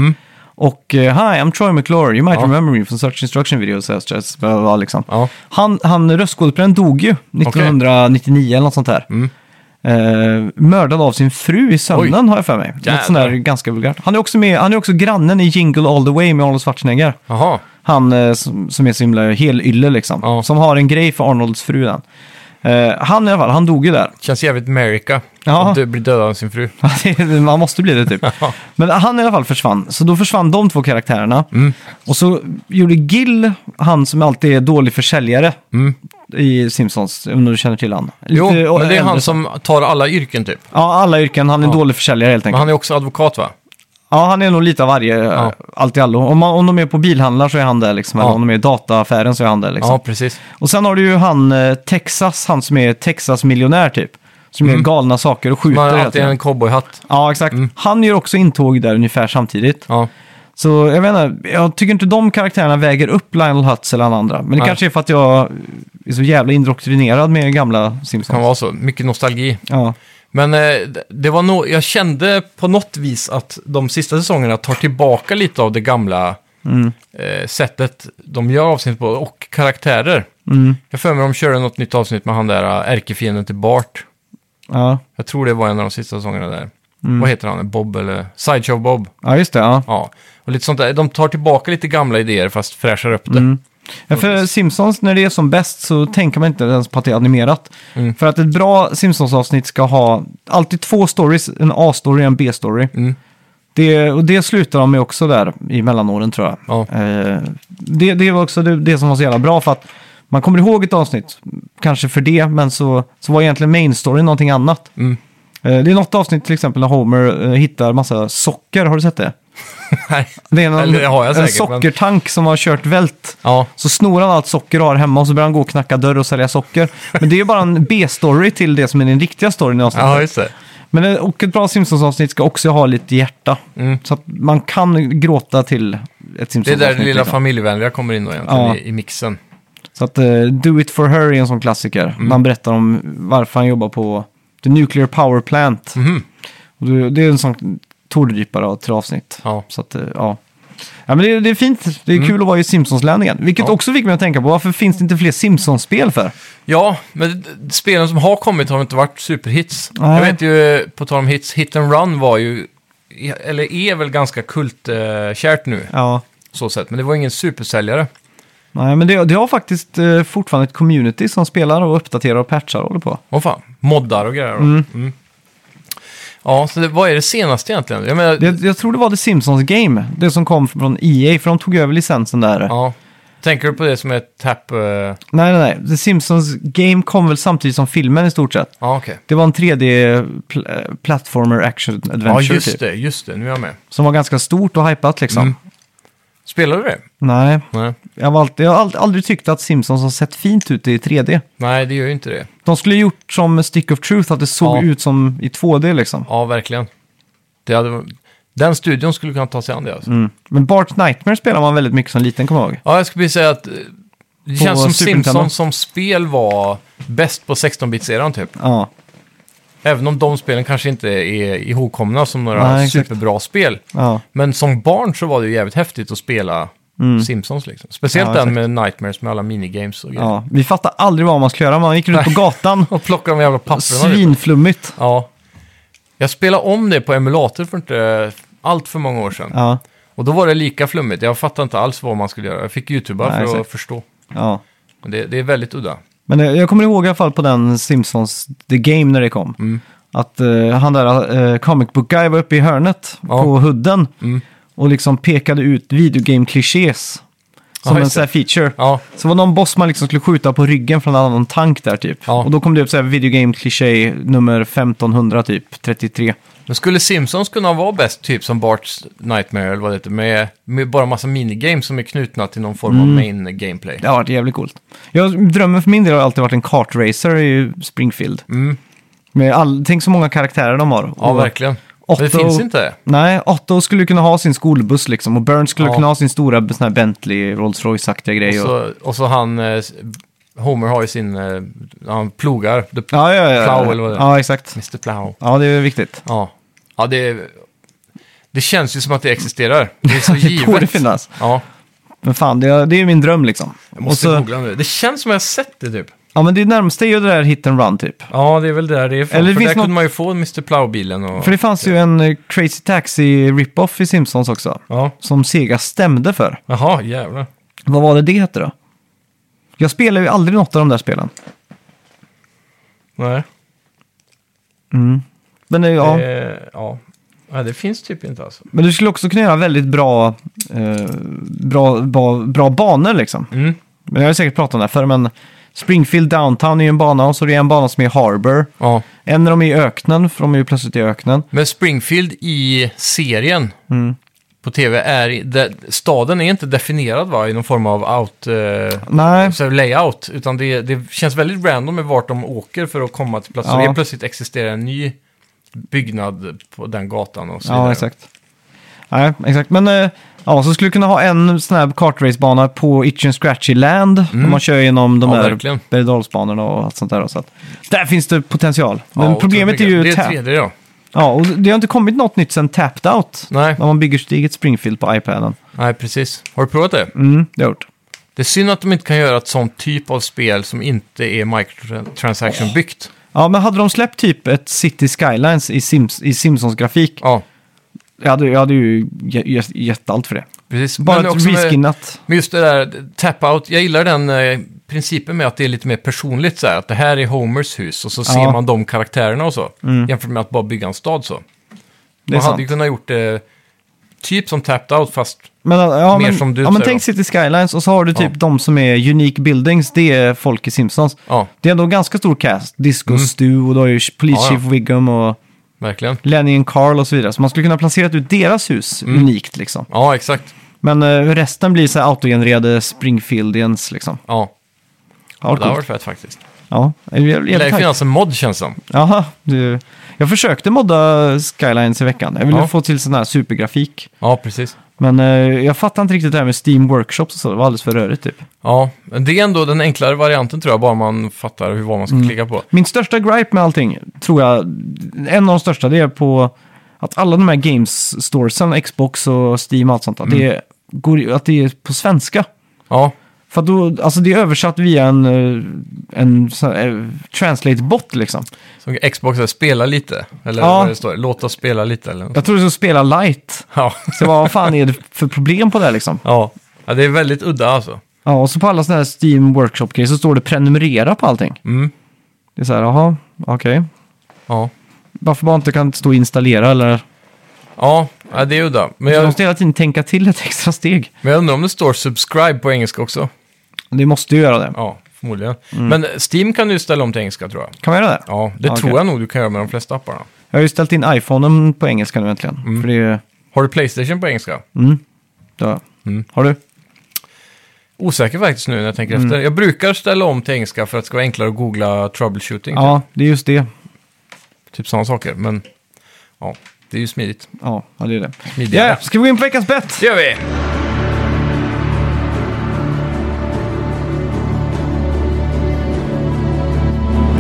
Speaker 1: Och eh, hi, I'm Troy McClure, you might
Speaker 2: Mm. Ja.
Speaker 1: remember me from search instruction videos. eh, just- blah, blah, blah, Liksom.
Speaker 2: Ja,
Speaker 1: Han, han röstskådespelaren dog ju 1999 eller något sånt här.
Speaker 2: Mm.
Speaker 1: Eh, mördad av sin fru i sömnen har jag för mig.
Speaker 2: Jävlar.
Speaker 1: Något sånt där ganska vulgärt. Han är också med, han är också grannen i Jingle All The Way med Arnold Schwarzenegger.
Speaker 2: jaha.
Speaker 1: Han eh, som, som är så himla helylle liksom.
Speaker 2: Ja.
Speaker 1: Som har en grej för Arnolds fru. den. Eh, han i alla fall, han dog ju där.
Speaker 2: Känns jävligt America.
Speaker 1: Ja.
Speaker 2: Att du blir dödad av sin fru.
Speaker 1: Det är- Man måste bli det typ. Men han i alla fall försvann. Så då försvann de två karaktärerna.
Speaker 2: Mm.
Speaker 1: Och så gjorde Gill, han som alltid är dålig försäljare i Simpsons, om du känner till han.
Speaker 2: Mm. Jo,
Speaker 1: Lite
Speaker 2: men det är
Speaker 1: äldre.
Speaker 2: han som tar alla yrken typ.
Speaker 1: Ja, alla yrken. Han är dålig försäljare helt
Speaker 2: Men
Speaker 1: enkelt.
Speaker 2: han är också advokat va?
Speaker 1: Ja, han är nog lite av varje, allt i allo. Om, man, om de är på bilhandlar så är han där liksom.
Speaker 2: Ja.
Speaker 1: Eller om de är i dataaffären så är han där liksom.
Speaker 2: Ja, precis.
Speaker 1: Och sen har du ju han eh, Texas, han som är Texas-miljonär typ. Som gör galna saker och
Speaker 2: Man
Speaker 1: skjuter
Speaker 2: Mm. har
Speaker 1: hela
Speaker 2: alltid en Mm.
Speaker 1: tiden.
Speaker 2: cowboyhatt.
Speaker 1: Ja, exakt. Han gör också intåg där ungefär samtidigt.
Speaker 2: Ja.
Speaker 1: Så jag menar, jag tycker inte de karaktärerna väger upp Lionel Hutz eller alla andra. Men det
Speaker 2: Nej.
Speaker 1: kanske är för att jag är så jävla indoktrinerad med gamla
Speaker 2: Kan
Speaker 1: Simpsons.
Speaker 2: vara så. Mycket nostalgi.
Speaker 1: Ja,
Speaker 2: Men eh, d- det var nog, jag kände på något vis att de sista säsongerna tar tillbaka lite av det gamla
Speaker 1: Mm.
Speaker 2: eh, sättet de gör avsnitt på och karaktärer.
Speaker 1: mm.
Speaker 2: Jag för mig de körde något nytt avsnitt med han där eh, ärkefienden till Bart.
Speaker 1: ja.
Speaker 2: Jag tror det var en av de sista säsongerna där.
Speaker 1: Mm.
Speaker 2: Vad heter han? Bob eller? Sideshow Bob.
Speaker 1: ja just det. Ja.
Speaker 2: Ja. Och lite sånt där. De tar tillbaka lite gamla idéer fast fräschar upp det.
Speaker 1: Mm. Ja, för Simpsons, när det är som bäst så tänker man inte ens på att det är animerat.
Speaker 2: Mm.
Speaker 1: För att ett bra Simpsons-avsnitt ska ha alltid två stories, en A-story och en B-story.
Speaker 2: Mm.
Speaker 1: Det, och det slutar de med också där i mellanåren tror jag.
Speaker 2: Ja.
Speaker 1: Eh, det, det var också det, det som var så jävla bra för att man kommer ihåg ett avsnitt, kanske för det, men så, så var egentligen main story någonting annat.
Speaker 2: Mm.
Speaker 1: Eh, det är något avsnitt till exempel när Homer eh, hittar massa socker, har du sett det?
Speaker 2: Nej.
Speaker 1: Det är någon,
Speaker 2: Eller det har jag
Speaker 1: en
Speaker 2: säkert, men-
Speaker 1: sockertank som har kört vält.
Speaker 2: Ja.
Speaker 1: Så snor han allt socker och har hemma och så börjar han gå och knacka dörr och sälja socker. Men det är ju bara en B-story till det som är den riktiga storyn i avsnittet.
Speaker 2: ja, just det.
Speaker 1: Men eh, och ett bra Simpsons-avsnitt ska också ha lite hjärta.
Speaker 2: Mm.
Speaker 1: Så att man kan gråta till ett
Speaker 2: Det är
Speaker 1: Simpsons-avsnitt.
Speaker 2: där det lilla
Speaker 1: liksom.
Speaker 2: familjevänliga kommer in då egentligen
Speaker 1: Ja.
Speaker 2: i, i mixen.
Speaker 1: Så att eh, Do It For Her är en sån klassiker.
Speaker 2: Mm.
Speaker 1: Man berättar om varför han jobbar på The Nuclear Power Plant.
Speaker 2: Mhm.
Speaker 1: Och det- det är en sån tordrypare till avsnitt.
Speaker 2: Ja. Mm.
Speaker 1: Så att, eh, ja. Ja, men det, är- det är fint. Det är kul att vara i Simpsons-land igen. Vilket
Speaker 2: Ja.
Speaker 1: också fick mig att tänka på, varför finns det inte fler Simpsons-spel för?
Speaker 2: ja, men d- d- spelen som har kommit har inte varit superhits.
Speaker 1: Nej.
Speaker 2: Jag vet ju, eh, på tal om hits, Hit and Run var ju, i- eller är väl ganska kultkärt nu,
Speaker 1: Ja.
Speaker 2: så sett. Men det var ingen supersäljare.
Speaker 1: Nej, men det, det har faktiskt eh, fortfarande ett community som spelar och uppdaterar och patchar och håller på.
Speaker 2: Åh fan, moddar och grejer. då.
Speaker 1: Mm.
Speaker 2: Mm. Ja, så det, vad är det senaste egentligen? Jag menar,
Speaker 1: Det, jag tror det var The Simpsons Game, det som kom från EA, för de tog över licensen där.
Speaker 2: ja. Tänker du på det som är Tap... eh, Ja,
Speaker 1: Nej, nej, nej. The Simpsons Game kom väl samtidigt som filmen i stort sett.
Speaker 2: okej.
Speaker 1: Det var en 3D-plattformer action
Speaker 2: Ja,
Speaker 1: adventure
Speaker 2: just
Speaker 1: typ,
Speaker 2: det, just det. Nu är jag med.
Speaker 1: som var ganska stort och hypat liksom.
Speaker 2: Mm. Spelar du det?
Speaker 1: Nej,
Speaker 2: Nej.
Speaker 1: jag har, alltid, jag har aldrig, aldrig tyckt att Simpsons har sett fint ut i 3D.
Speaker 2: Nej, det gör ju inte det.
Speaker 1: De skulle ju gjort som Stick of Truth, att det såg
Speaker 2: Ja.
Speaker 1: ut som i 2D liksom.
Speaker 2: Ja, verkligen. Det hade... Den studion skulle kunna ta sig an det. Alltså.
Speaker 1: Mm. Men Bart Nightmare spelar man väldigt mycket som liten, kommer jag ihåg.
Speaker 2: Ja, jag skulle vilja säga att eh, det
Speaker 1: På
Speaker 2: känns som
Speaker 1: Super Nintendo.
Speaker 2: Simpsons som spel var bäst på 16-bits-eran typ.
Speaker 1: Ja,
Speaker 2: Även om de spelen kanske inte är ihågkomna som några
Speaker 1: Nej, exakt.
Speaker 2: superbra spel.
Speaker 1: ja.
Speaker 2: Men som barn så var det ju jävligt häftigt att spela Simpsons liksom. Speciellt
Speaker 1: Mm. Ja,
Speaker 2: den
Speaker 1: exakt.
Speaker 2: med Nightmares med alla minigames och grejer.
Speaker 1: ja. Vi fattade aldrig vad man skulle göra. Man gick runt på gatan,
Speaker 2: Och plocka de jävla papperna. typ.
Speaker 1: svinflummigt.
Speaker 2: Ja. Jag spelade om det på emulator för inte allt för många år sedan.
Speaker 1: Ja,
Speaker 2: Och då var det lika flummigt. Jag fattade inte alls vad man skulle göra. Jag fick youtuba
Speaker 1: Nej,
Speaker 2: för att
Speaker 1: exakt.
Speaker 2: förstå.
Speaker 1: ja.
Speaker 2: Men det, det är väldigt udda.
Speaker 1: Men eh, jag kommer ihåg i alla fall på den Simpsons The Game när det kom.
Speaker 2: Mm.
Speaker 1: Att eh, han där eh, comic book guy var uppe i hörnet
Speaker 2: Ja.
Speaker 1: på hooden
Speaker 2: Mm.
Speaker 1: och liksom pekade ut videogame-klichés som
Speaker 2: Ja,
Speaker 1: en
Speaker 2: just
Speaker 1: sån här feature.
Speaker 2: Ja,
Speaker 1: Så var det någon boss man liksom skulle skjuta på ryggen från en annan tank där typ.
Speaker 2: Ja.
Speaker 1: Och då kom det upp så här videogame-kliché nummer 1500 typ, 33.
Speaker 2: men skulle Simpsons kunna vara bäst, typ som Bart's Nightmare eller vad det heter, med, med bara massa minigames som är knutna till någon form av
Speaker 1: Mm.
Speaker 2: main gameplay?
Speaker 1: Det har varit jävligt coolt. Jag, drömmen för min del har alltid varit en kartracer i Springfield.
Speaker 2: Mm.
Speaker 1: Med all, tänk så många karaktärer de har.
Speaker 2: Ja,
Speaker 1: Och-
Speaker 2: verkligen. Men det
Speaker 1: Otto-
Speaker 2: finns inte det.
Speaker 1: Nej, Otto skulle kunna ha sin skolbuss liksom. Och Burns skulle
Speaker 2: Ja.
Speaker 1: kunna ha sin stora sån här Bentley, Rolls Royce-aktiga
Speaker 2: Och
Speaker 1: grej. Och...
Speaker 2: så, och så han, eh, Homer har ju sin, eh, han plogar, The
Speaker 1: Ja, ja, ja.
Speaker 2: Plow eller vad det är.
Speaker 1: Ja, exakt.
Speaker 2: Mr. Plow.
Speaker 1: Ja, det är viktigt.
Speaker 2: Ja, ja det, det känns ju som att det existerar. Det är så
Speaker 1: Det borde
Speaker 2: givet.
Speaker 1: finnas.
Speaker 2: Ja,
Speaker 1: Men fan, det är, det är min dröm liksom.
Speaker 2: jag måste
Speaker 1: och så,
Speaker 2: googla nu. Det känns som jag har sett det typ.
Speaker 1: ja, men det närmaste är ju det där hit and run typ.
Speaker 2: Ja, det är väl där det är ifrån.
Speaker 1: Eller det
Speaker 2: För
Speaker 1: finns
Speaker 2: där
Speaker 1: något-
Speaker 2: kunde man ju få Mr. Plow-bilen och...
Speaker 1: För det fanns ju en eh, Crazy Taxi rip-off i Simpsons också.
Speaker 2: Ja.
Speaker 1: Som Sega stämde för.
Speaker 2: Jaha, jävlar.
Speaker 1: Vad var det det hette då? Jag spelar ju aldrig något av de där spelen.
Speaker 2: Nej.
Speaker 1: Men, det- ja.
Speaker 2: Det, ja. ja, det finns typ inte alltså.
Speaker 1: men du skulle också kunna göra väldigt bra, eh, bra, bra, bra banor liksom.
Speaker 2: Mm.
Speaker 1: Men jag har säkert pratat om det här förr, men Springfield Downtown är ju en bana och så är det en bana som är Harbor.
Speaker 2: Ja.
Speaker 1: En när de är i öknen, för de är ju plötsligt i öknen.
Speaker 2: Men Springfield i serien på tv är... i- De, staden är inte definierad va, i någon form av out, eh,
Speaker 1: Nej,
Speaker 2: så här layout. Utan det, det känns väldigt random med vart de åker för att komma till platsen.
Speaker 1: Ja.
Speaker 2: Helt plötsligt existerar en ny byggnad på den gatan och så vidare.
Speaker 1: ja exakt. Nej, exakt. Men eh, ja, så skulle du kunna ha en sån här kartracebana på Itch and Scratchy Land. När man kör genom de
Speaker 2: Mm. Ja,
Speaker 1: där
Speaker 2: verkligen.
Speaker 1: berg och allt sånt där. Så att, där finns det potential. Men
Speaker 2: Ja,
Speaker 1: problemet är
Speaker 2: otroligt
Speaker 1: ju...
Speaker 2: mycket.
Speaker 1: tap-
Speaker 2: Det är 3D då.
Speaker 1: ja, och det har inte kommit något nytt sen Tapped Out.
Speaker 2: Nej.
Speaker 1: När man bygger sitt eget Springfield på iPaden.
Speaker 2: Nej, precis. Har du provat det?
Speaker 1: Mm, det har jag gjort.
Speaker 2: Det är synd att de inte kan göra ett sånt typ av spel som inte är microtransaction byggt.
Speaker 1: Ja, men hade de släppt typ ett City Skylines i, Sims, i Simpsons-grafik,
Speaker 2: Ja,
Speaker 1: jag, hade, jag hade ju ge- ge- gett allt för det.
Speaker 2: precis.
Speaker 1: Bara
Speaker 2: Men
Speaker 1: ett
Speaker 2: också med-
Speaker 1: reskinnat.
Speaker 2: Men just det där, tap-out, jag gillar den eh, principen med att det är lite mer personligt så här, att det här är Homers hus och så ser
Speaker 1: Ja. Mm.
Speaker 2: man de karaktärerna och så, jämfört med att bara bygga en stad så.
Speaker 1: Det är
Speaker 2: man hade ju
Speaker 1: sant.
Speaker 2: kunnat gjort det typ som tapped-out fast,
Speaker 1: Men, ja,
Speaker 2: mer
Speaker 1: men,
Speaker 2: som du
Speaker 1: ja, men
Speaker 2: säger
Speaker 1: tänk
Speaker 2: då.
Speaker 1: City Skylines och så har du typ
Speaker 2: Ja.
Speaker 1: de som är Unique Buildings, det är folk i Simpsons.
Speaker 2: ja,
Speaker 1: Det är ändå en ganska stor cast. Disco Stu och då har ju
Speaker 2: Ja,
Speaker 1: Police
Speaker 2: ja.
Speaker 1: Chief Wiggum och
Speaker 2: verkligen.
Speaker 1: Lenny and Carl och så vidare. Så man skulle kunna placera ut deras hus
Speaker 2: Mm.
Speaker 1: unikt liksom.
Speaker 2: Ja, exakt.
Speaker 1: Men eh, resten blir så här autogenererade Springfieldians liksom.
Speaker 2: Ja,
Speaker 1: Ja,
Speaker 2: det har
Speaker 1: coolt.
Speaker 2: varit fett faktiskt.
Speaker 1: Ja, det är jävligt
Speaker 2: Det lär ju
Speaker 1: tajt.
Speaker 2: finnas en mod känns det som.
Speaker 1: Jaha, du. Jag försökte modda Skylines i veckan. Jag ville
Speaker 2: Ja.
Speaker 1: få till sån här supergrafik.
Speaker 2: Ja, precis.
Speaker 1: Men eh, jag fattar inte riktigt det här med Steam Workshops och så. Det var alldeles för rörigt typ.
Speaker 2: Ja, men det är ändå den enklare varianten tror jag, bara man fattar hur vad man
Speaker 1: Mm.
Speaker 2: ska klicka på.
Speaker 1: Min största gripe med allting, tror jag, en av de största, det är på att alla de här games storesen, Xbox och Steam och allt sånt, att,
Speaker 2: Mm.
Speaker 1: det, går, att det är på svenska.
Speaker 2: Ja,
Speaker 1: För att då, alltså det är översatt via en, eh, en sån här, eh, translate-bot liksom.
Speaker 2: som Xbox är spela lite, eller
Speaker 1: Ja.
Speaker 2: vad det står, låt oss spela lite eller något.
Speaker 1: Jag tror det är så spela light.
Speaker 2: Ja.
Speaker 1: Så vad fan är det för problem på det här liksom?
Speaker 2: ja. ja, det är väldigt udda alltså.
Speaker 1: Ja, och så på alla sådana här Steam Workshop-grejer så står det prenumerera på allting.
Speaker 2: Mm.
Speaker 1: Det är så här, jaha, okej.
Speaker 2: Ja.
Speaker 1: Varför bara inte kan stå installera eller?
Speaker 2: Ja, ja, det är udda. Men
Speaker 1: Så de
Speaker 2: jag,
Speaker 1: måste hela tiden tänka till ett extra steg.
Speaker 2: men jag undrar om det står subscribe på engelska också.
Speaker 1: Det måste ju göra det.
Speaker 2: Ja, förmodligen. Men Steam kan du ställa om till engelska tror jag.
Speaker 1: Kan man göra det?
Speaker 2: Ja, det
Speaker 1: Mm. Ja,
Speaker 2: tror
Speaker 1: okej.
Speaker 2: jag nog du kan göra med de flesta apparna.
Speaker 1: Jag har ju ställt in iPhonen på engelska nu äntligen.
Speaker 2: Mm.
Speaker 1: För det är
Speaker 2: Har du Playstation på engelska?
Speaker 1: Mm. då.
Speaker 2: Mm.
Speaker 1: Har du?
Speaker 2: Osäker faktiskt nu när jag tänker
Speaker 1: Mm.
Speaker 2: efter. Jag brukar ställa om till engelska för att det ska vara enklare att googla troubleshooting.
Speaker 1: Ja, det är just det.
Speaker 2: Typ sådana saker. Men ja, det är ju smidigt.
Speaker 1: Ja, ja, det är det.
Speaker 2: Smidigare.
Speaker 1: Ja, ska vi gå in på veckans bett?
Speaker 2: Det gör vi!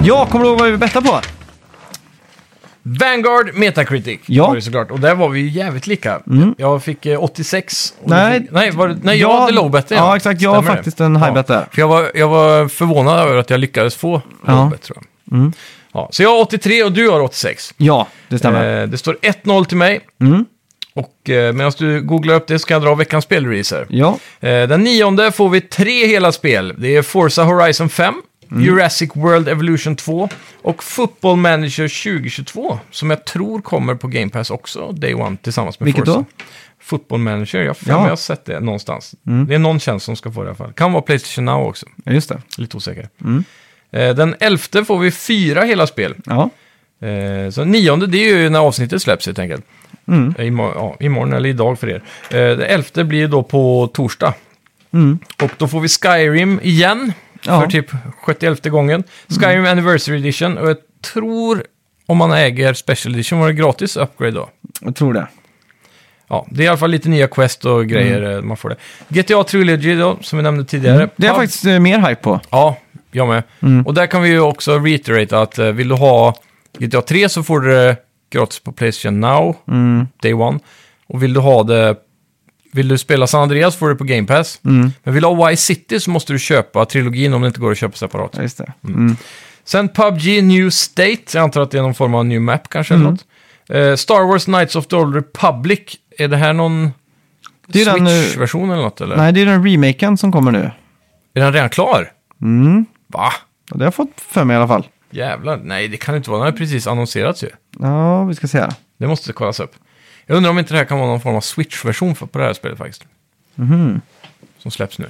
Speaker 1: Ja, kommer du ihåg vad vi bettade på?
Speaker 2: Vanguard Metacritic
Speaker 1: Ja. Mm.
Speaker 2: var det såklart. Och där var vi ju jävligt lika. Jag fick eh, 86. och du
Speaker 1: Nej.
Speaker 2: fick, nej, var det, nej jag hade lowbet igen.
Speaker 1: Ja, exakt. Jag har
Speaker 2: Stämmer det?
Speaker 1: faktiskt en highbet där.
Speaker 2: För jag, var, jag var förvånad över att jag lyckades få
Speaker 1: Ja. Mm.
Speaker 2: lowbet tror jag. Ja, så jag har 83 och du har 86.
Speaker 1: Ja, det stämmer.
Speaker 2: Eh, det står 1-0 till mig.
Speaker 1: Mm.
Speaker 2: Och eh, medan du googlar upp det så kan jag dra veckans spelreleaser.
Speaker 1: Ja,
Speaker 2: Eh, den nionde får vi tre hela spel. Det är Forza Horizon 5,
Speaker 1: Mm.
Speaker 2: Jurassic World Evolution 2 och Football Manager 2022. Som jag tror kommer på Game Pass också, Day One, tillsammans med
Speaker 1: Vilket
Speaker 2: Forza.
Speaker 1: då?
Speaker 2: Football Manager, jag har för mig
Speaker 1: Ja. Mm.
Speaker 2: jag har sett det någonstans. Det är någon tjänst som ska få det i alla fall. Kan vara Playstation Now också,
Speaker 1: ja, just det.
Speaker 2: lite osäker.
Speaker 1: Mm.
Speaker 2: Eh, den elfte får vi fyra hela spel.
Speaker 1: Ja,
Speaker 2: Eh, så nionde, det är ju när avsnittet släpps helt enkelt.
Speaker 1: Mm.
Speaker 2: Imorgon, ja, imorgon eller idag för er. Eh, det elfte blir ju då på torsdag. Och då får vi Skyrim igen.
Speaker 1: Mm. Ja. Mm.
Speaker 2: För typ 71 gången. Skyrim Anniversary Edition. Och jag tror, om man äger Special Edition, var det gratis upgrade då?
Speaker 1: jag tror det.
Speaker 2: Ja, det är i alla fall lite nya quest och grejer eh, man får det. GTA Trilogy då, som vi nämnde tidigare.
Speaker 1: Mm. Det är jag
Speaker 2: Ja,
Speaker 1: faktiskt eh, mer hype på.
Speaker 2: Ja, jag med.
Speaker 1: Mm.
Speaker 2: Och där kan vi ju också reiterate att eh, vill du ha GTA 3 så får du det gratis på Playstation Now,
Speaker 1: Mm.
Speaker 2: Day One. Och vill du ha det... Vill du spela San Andreas får du det på Game Pass.
Speaker 1: Mm.
Speaker 2: Men vill du ha Vice City så måste du köpa trilogin om det inte går att köpa separat.
Speaker 1: Ja, just det.
Speaker 2: Mm.
Speaker 1: Mm.
Speaker 2: Sen PubG New State, jag antar att det är någon form av New Map kanske eller
Speaker 1: Mm.
Speaker 2: något. Eh, Star Wars Knights of the Old Republic, är det här någon
Speaker 1: Det är den, eh,
Speaker 2: Switch-version eller något? Eller?
Speaker 1: Nej, det är den remaken som kommer nu.
Speaker 2: Är den redan klar?
Speaker 1: Mm.
Speaker 2: Va?
Speaker 1: Ja, Det har jag fått för mig i alla fall.
Speaker 2: Jävlar, nej det kan det inte vara. Den har precis annonserats ju.
Speaker 1: Ja, vi ska se här.
Speaker 2: Det måste kollas upp. Jag undrar om inte det här kan vara någon form av Switch-version för- på det här spelet faktiskt.
Speaker 1: Mhm.
Speaker 2: Som släpps nu.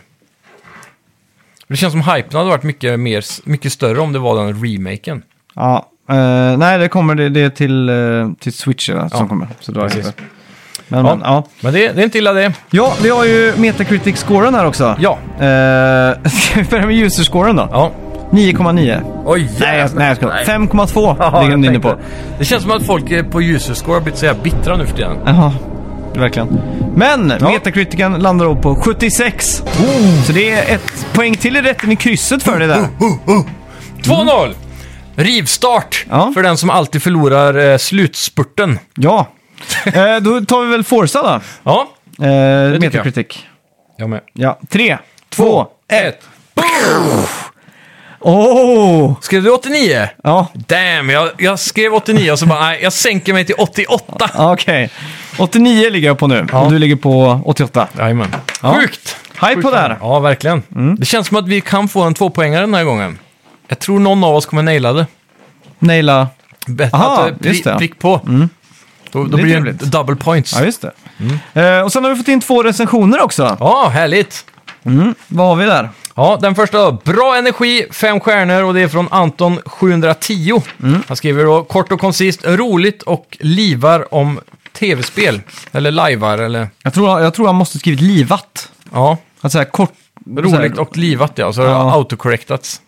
Speaker 2: Det känns som hypen hade varit mycket, mer, mycket större om det var den remaken.
Speaker 1: Ja, eh, nej, det kommer det, det är till, eh, till Switch ja, som kommer. Så då är det.
Speaker 2: precis.
Speaker 1: Men,
Speaker 2: Ja.
Speaker 1: men, ja.
Speaker 2: Men det, det är inte illa det.
Speaker 1: ja, vi har ju Metacritic-scoren här också.
Speaker 2: Ja.
Speaker 1: Eh, ska vi börja med user-scoren då?
Speaker 2: Ja.
Speaker 1: 9,9.
Speaker 2: Oj,
Speaker 1: Nej, jag, nej, jag skojar. 5,2
Speaker 2: Ja,
Speaker 1: ligger
Speaker 2: jag
Speaker 1: den inne på.
Speaker 2: tänkte- Det känns som att folk eh, på user score har blivit så här bittra nu för tiden.
Speaker 1: Jaha, verkligen. Men Metacritiken landar då på 76.
Speaker 2: Oh.
Speaker 1: Så det är ett poäng till i rätten i krysset för det där.
Speaker 2: 2-0! Rivstart
Speaker 1: Ja.
Speaker 2: för den som alltid förlorar eh, slutspurten.
Speaker 1: Ja. Eh, då tar vi väl Forza då.
Speaker 2: Ja,
Speaker 1: Eh,
Speaker 2: jag.
Speaker 1: Metacritic.
Speaker 2: jag med.
Speaker 1: Ja, tre, två, ett. Oh!
Speaker 2: Skrev du 89?
Speaker 1: Ja,
Speaker 2: Damn, jag, jag skrev 89 och så bara, nej, jag sänker mig till 88.
Speaker 1: okej. 89 ligger jag på nu
Speaker 2: Ja.
Speaker 1: och du ligger på 88.
Speaker 2: Jajamän.
Speaker 1: Ja.
Speaker 2: Sjukt!
Speaker 1: High på där.
Speaker 2: Ja, verkligen.
Speaker 1: Mm.
Speaker 2: Det känns som att vi kan få en tvåpoängare den här gången. Jag tror någon av oss kommer naila det.
Speaker 1: Naila.
Speaker 2: Bättre
Speaker 1: Aha,
Speaker 2: att det
Speaker 1: just det.
Speaker 2: prick på. Då, då
Speaker 1: Det är
Speaker 2: blir det
Speaker 1: trevligt.
Speaker 2: double points.
Speaker 1: Ja,
Speaker 2: Ja,
Speaker 1: just det. Eh, och sen har vi fått in två recensioner också.
Speaker 2: härligt!
Speaker 1: Vad har vi där?
Speaker 2: Ja, den första då. Bra energi, fem stjärnor och det är från Anton 710.
Speaker 1: Mm.
Speaker 2: Han skriver då kort och koncist, roligt och livar om tv-spel. Eller lajvar eller...
Speaker 1: Jag tror, jag tror han måste skrivit livat.
Speaker 2: Ja,
Speaker 1: Att säga kort... så här-
Speaker 2: Roligt och livat ja, så har
Speaker 1: Ja.
Speaker 2: det autocorrectats.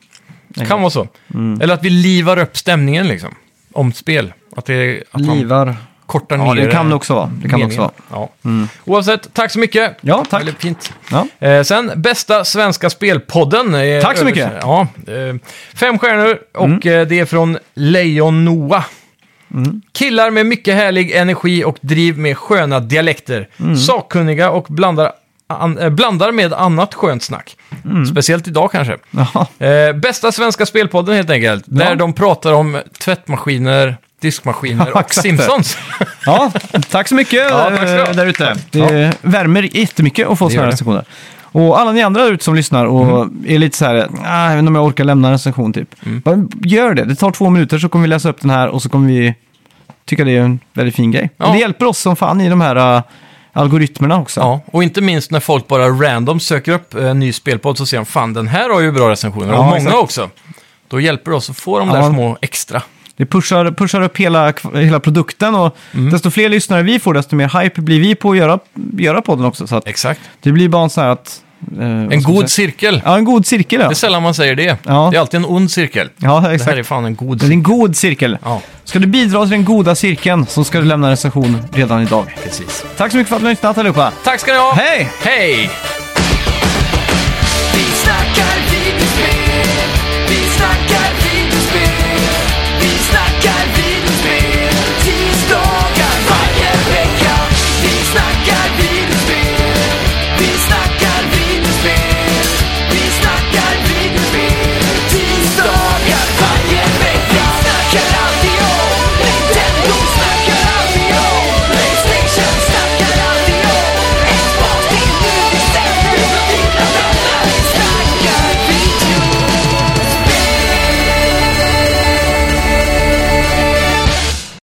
Speaker 2: Det kan vara så.
Speaker 1: Mm.
Speaker 2: Eller att vi livar upp stämningen liksom. Om spel. Att, det, att man
Speaker 1: Livar.
Speaker 2: kortar
Speaker 1: Ja,
Speaker 2: ner
Speaker 1: det kan det också vara. Det kan det också vara. Mm.
Speaker 2: meningen. Ja. Oavsett, tack så mycket.
Speaker 1: Ja, tack.
Speaker 2: Väldigt fint.
Speaker 1: Ja.
Speaker 2: Eh, sen, bästa svenska spelpodden. är
Speaker 1: Tack så mycket. Mm.
Speaker 2: överst- Ja, eh, fem stjärnor och eh, det är från Leon Noah.
Speaker 1: Mm.
Speaker 2: Killar med mycket härlig energi och driv med sköna dialekter.
Speaker 1: Mm.
Speaker 2: Sakkunniga och blandar, an, eh, blandar med annat skönt snack.
Speaker 1: Mm.
Speaker 2: Speciellt idag kanske.
Speaker 1: Ja.
Speaker 2: Eh, bästa svenska spelpodden helt enkelt.
Speaker 1: Ja.
Speaker 2: Där de pratar om tvättmaskiner, diskmaskiner
Speaker 1: Ja,
Speaker 2: och
Speaker 1: exakt.
Speaker 2: Simpsons.
Speaker 1: ja, tack så mycket
Speaker 2: Ja, tack ska du ha.
Speaker 1: eh, där ute. Det värmer jättemycket att få
Speaker 2: Det gör
Speaker 1: sådana här
Speaker 2: det.
Speaker 1: recensioner. Och alla ni andra där ute som lyssnar och är lite så här, ah, jag vet inte om jag orkar lämna en recension typ. Bara gör det, det tar två minuter så kommer vi läsa upp den här och så kommer vi tycka det är en väldigt fin grej.
Speaker 2: Ja.
Speaker 1: Och det hjälper oss som fan i de här eh, algoritmerna också.
Speaker 2: Ja, och inte minst när folk bara random söker upp en ny spelpodd så ser de fan den här har ju bra recensioner
Speaker 1: Ja,
Speaker 2: och många
Speaker 1: exakt.
Speaker 2: också. Då hjälper det oss att få de där
Speaker 1: Ja.
Speaker 2: små extra.
Speaker 1: Det pushar, pushar upp hela, hela produkten och
Speaker 2: Mm.
Speaker 1: desto fler lyssnare vi får, desto mer hype blir vi på att göra, göra podden också. Så att
Speaker 2: Exakt.
Speaker 1: det blir bara en sån här att... eh, vad ska
Speaker 2: En
Speaker 1: man
Speaker 2: god
Speaker 1: säga?
Speaker 2: cirkel.
Speaker 1: Ja, en god cirkel ja.
Speaker 2: Det är sällan man säger det.
Speaker 1: Ja.
Speaker 2: Det är alltid en ond cirkel.
Speaker 1: Ja,
Speaker 2: Det här
Speaker 1: exakt.
Speaker 2: är fan en god
Speaker 1: Det är
Speaker 2: cirkel.
Speaker 1: en god cirkel.
Speaker 2: Ja,
Speaker 1: Ska du bidra till den goda cirkeln så ska du lämna en recension redan idag.
Speaker 2: precis.
Speaker 1: Tack så mycket för att ni har lyssnat allihopa.
Speaker 2: Tack ska ni ha.
Speaker 1: Hej!
Speaker 2: Hej!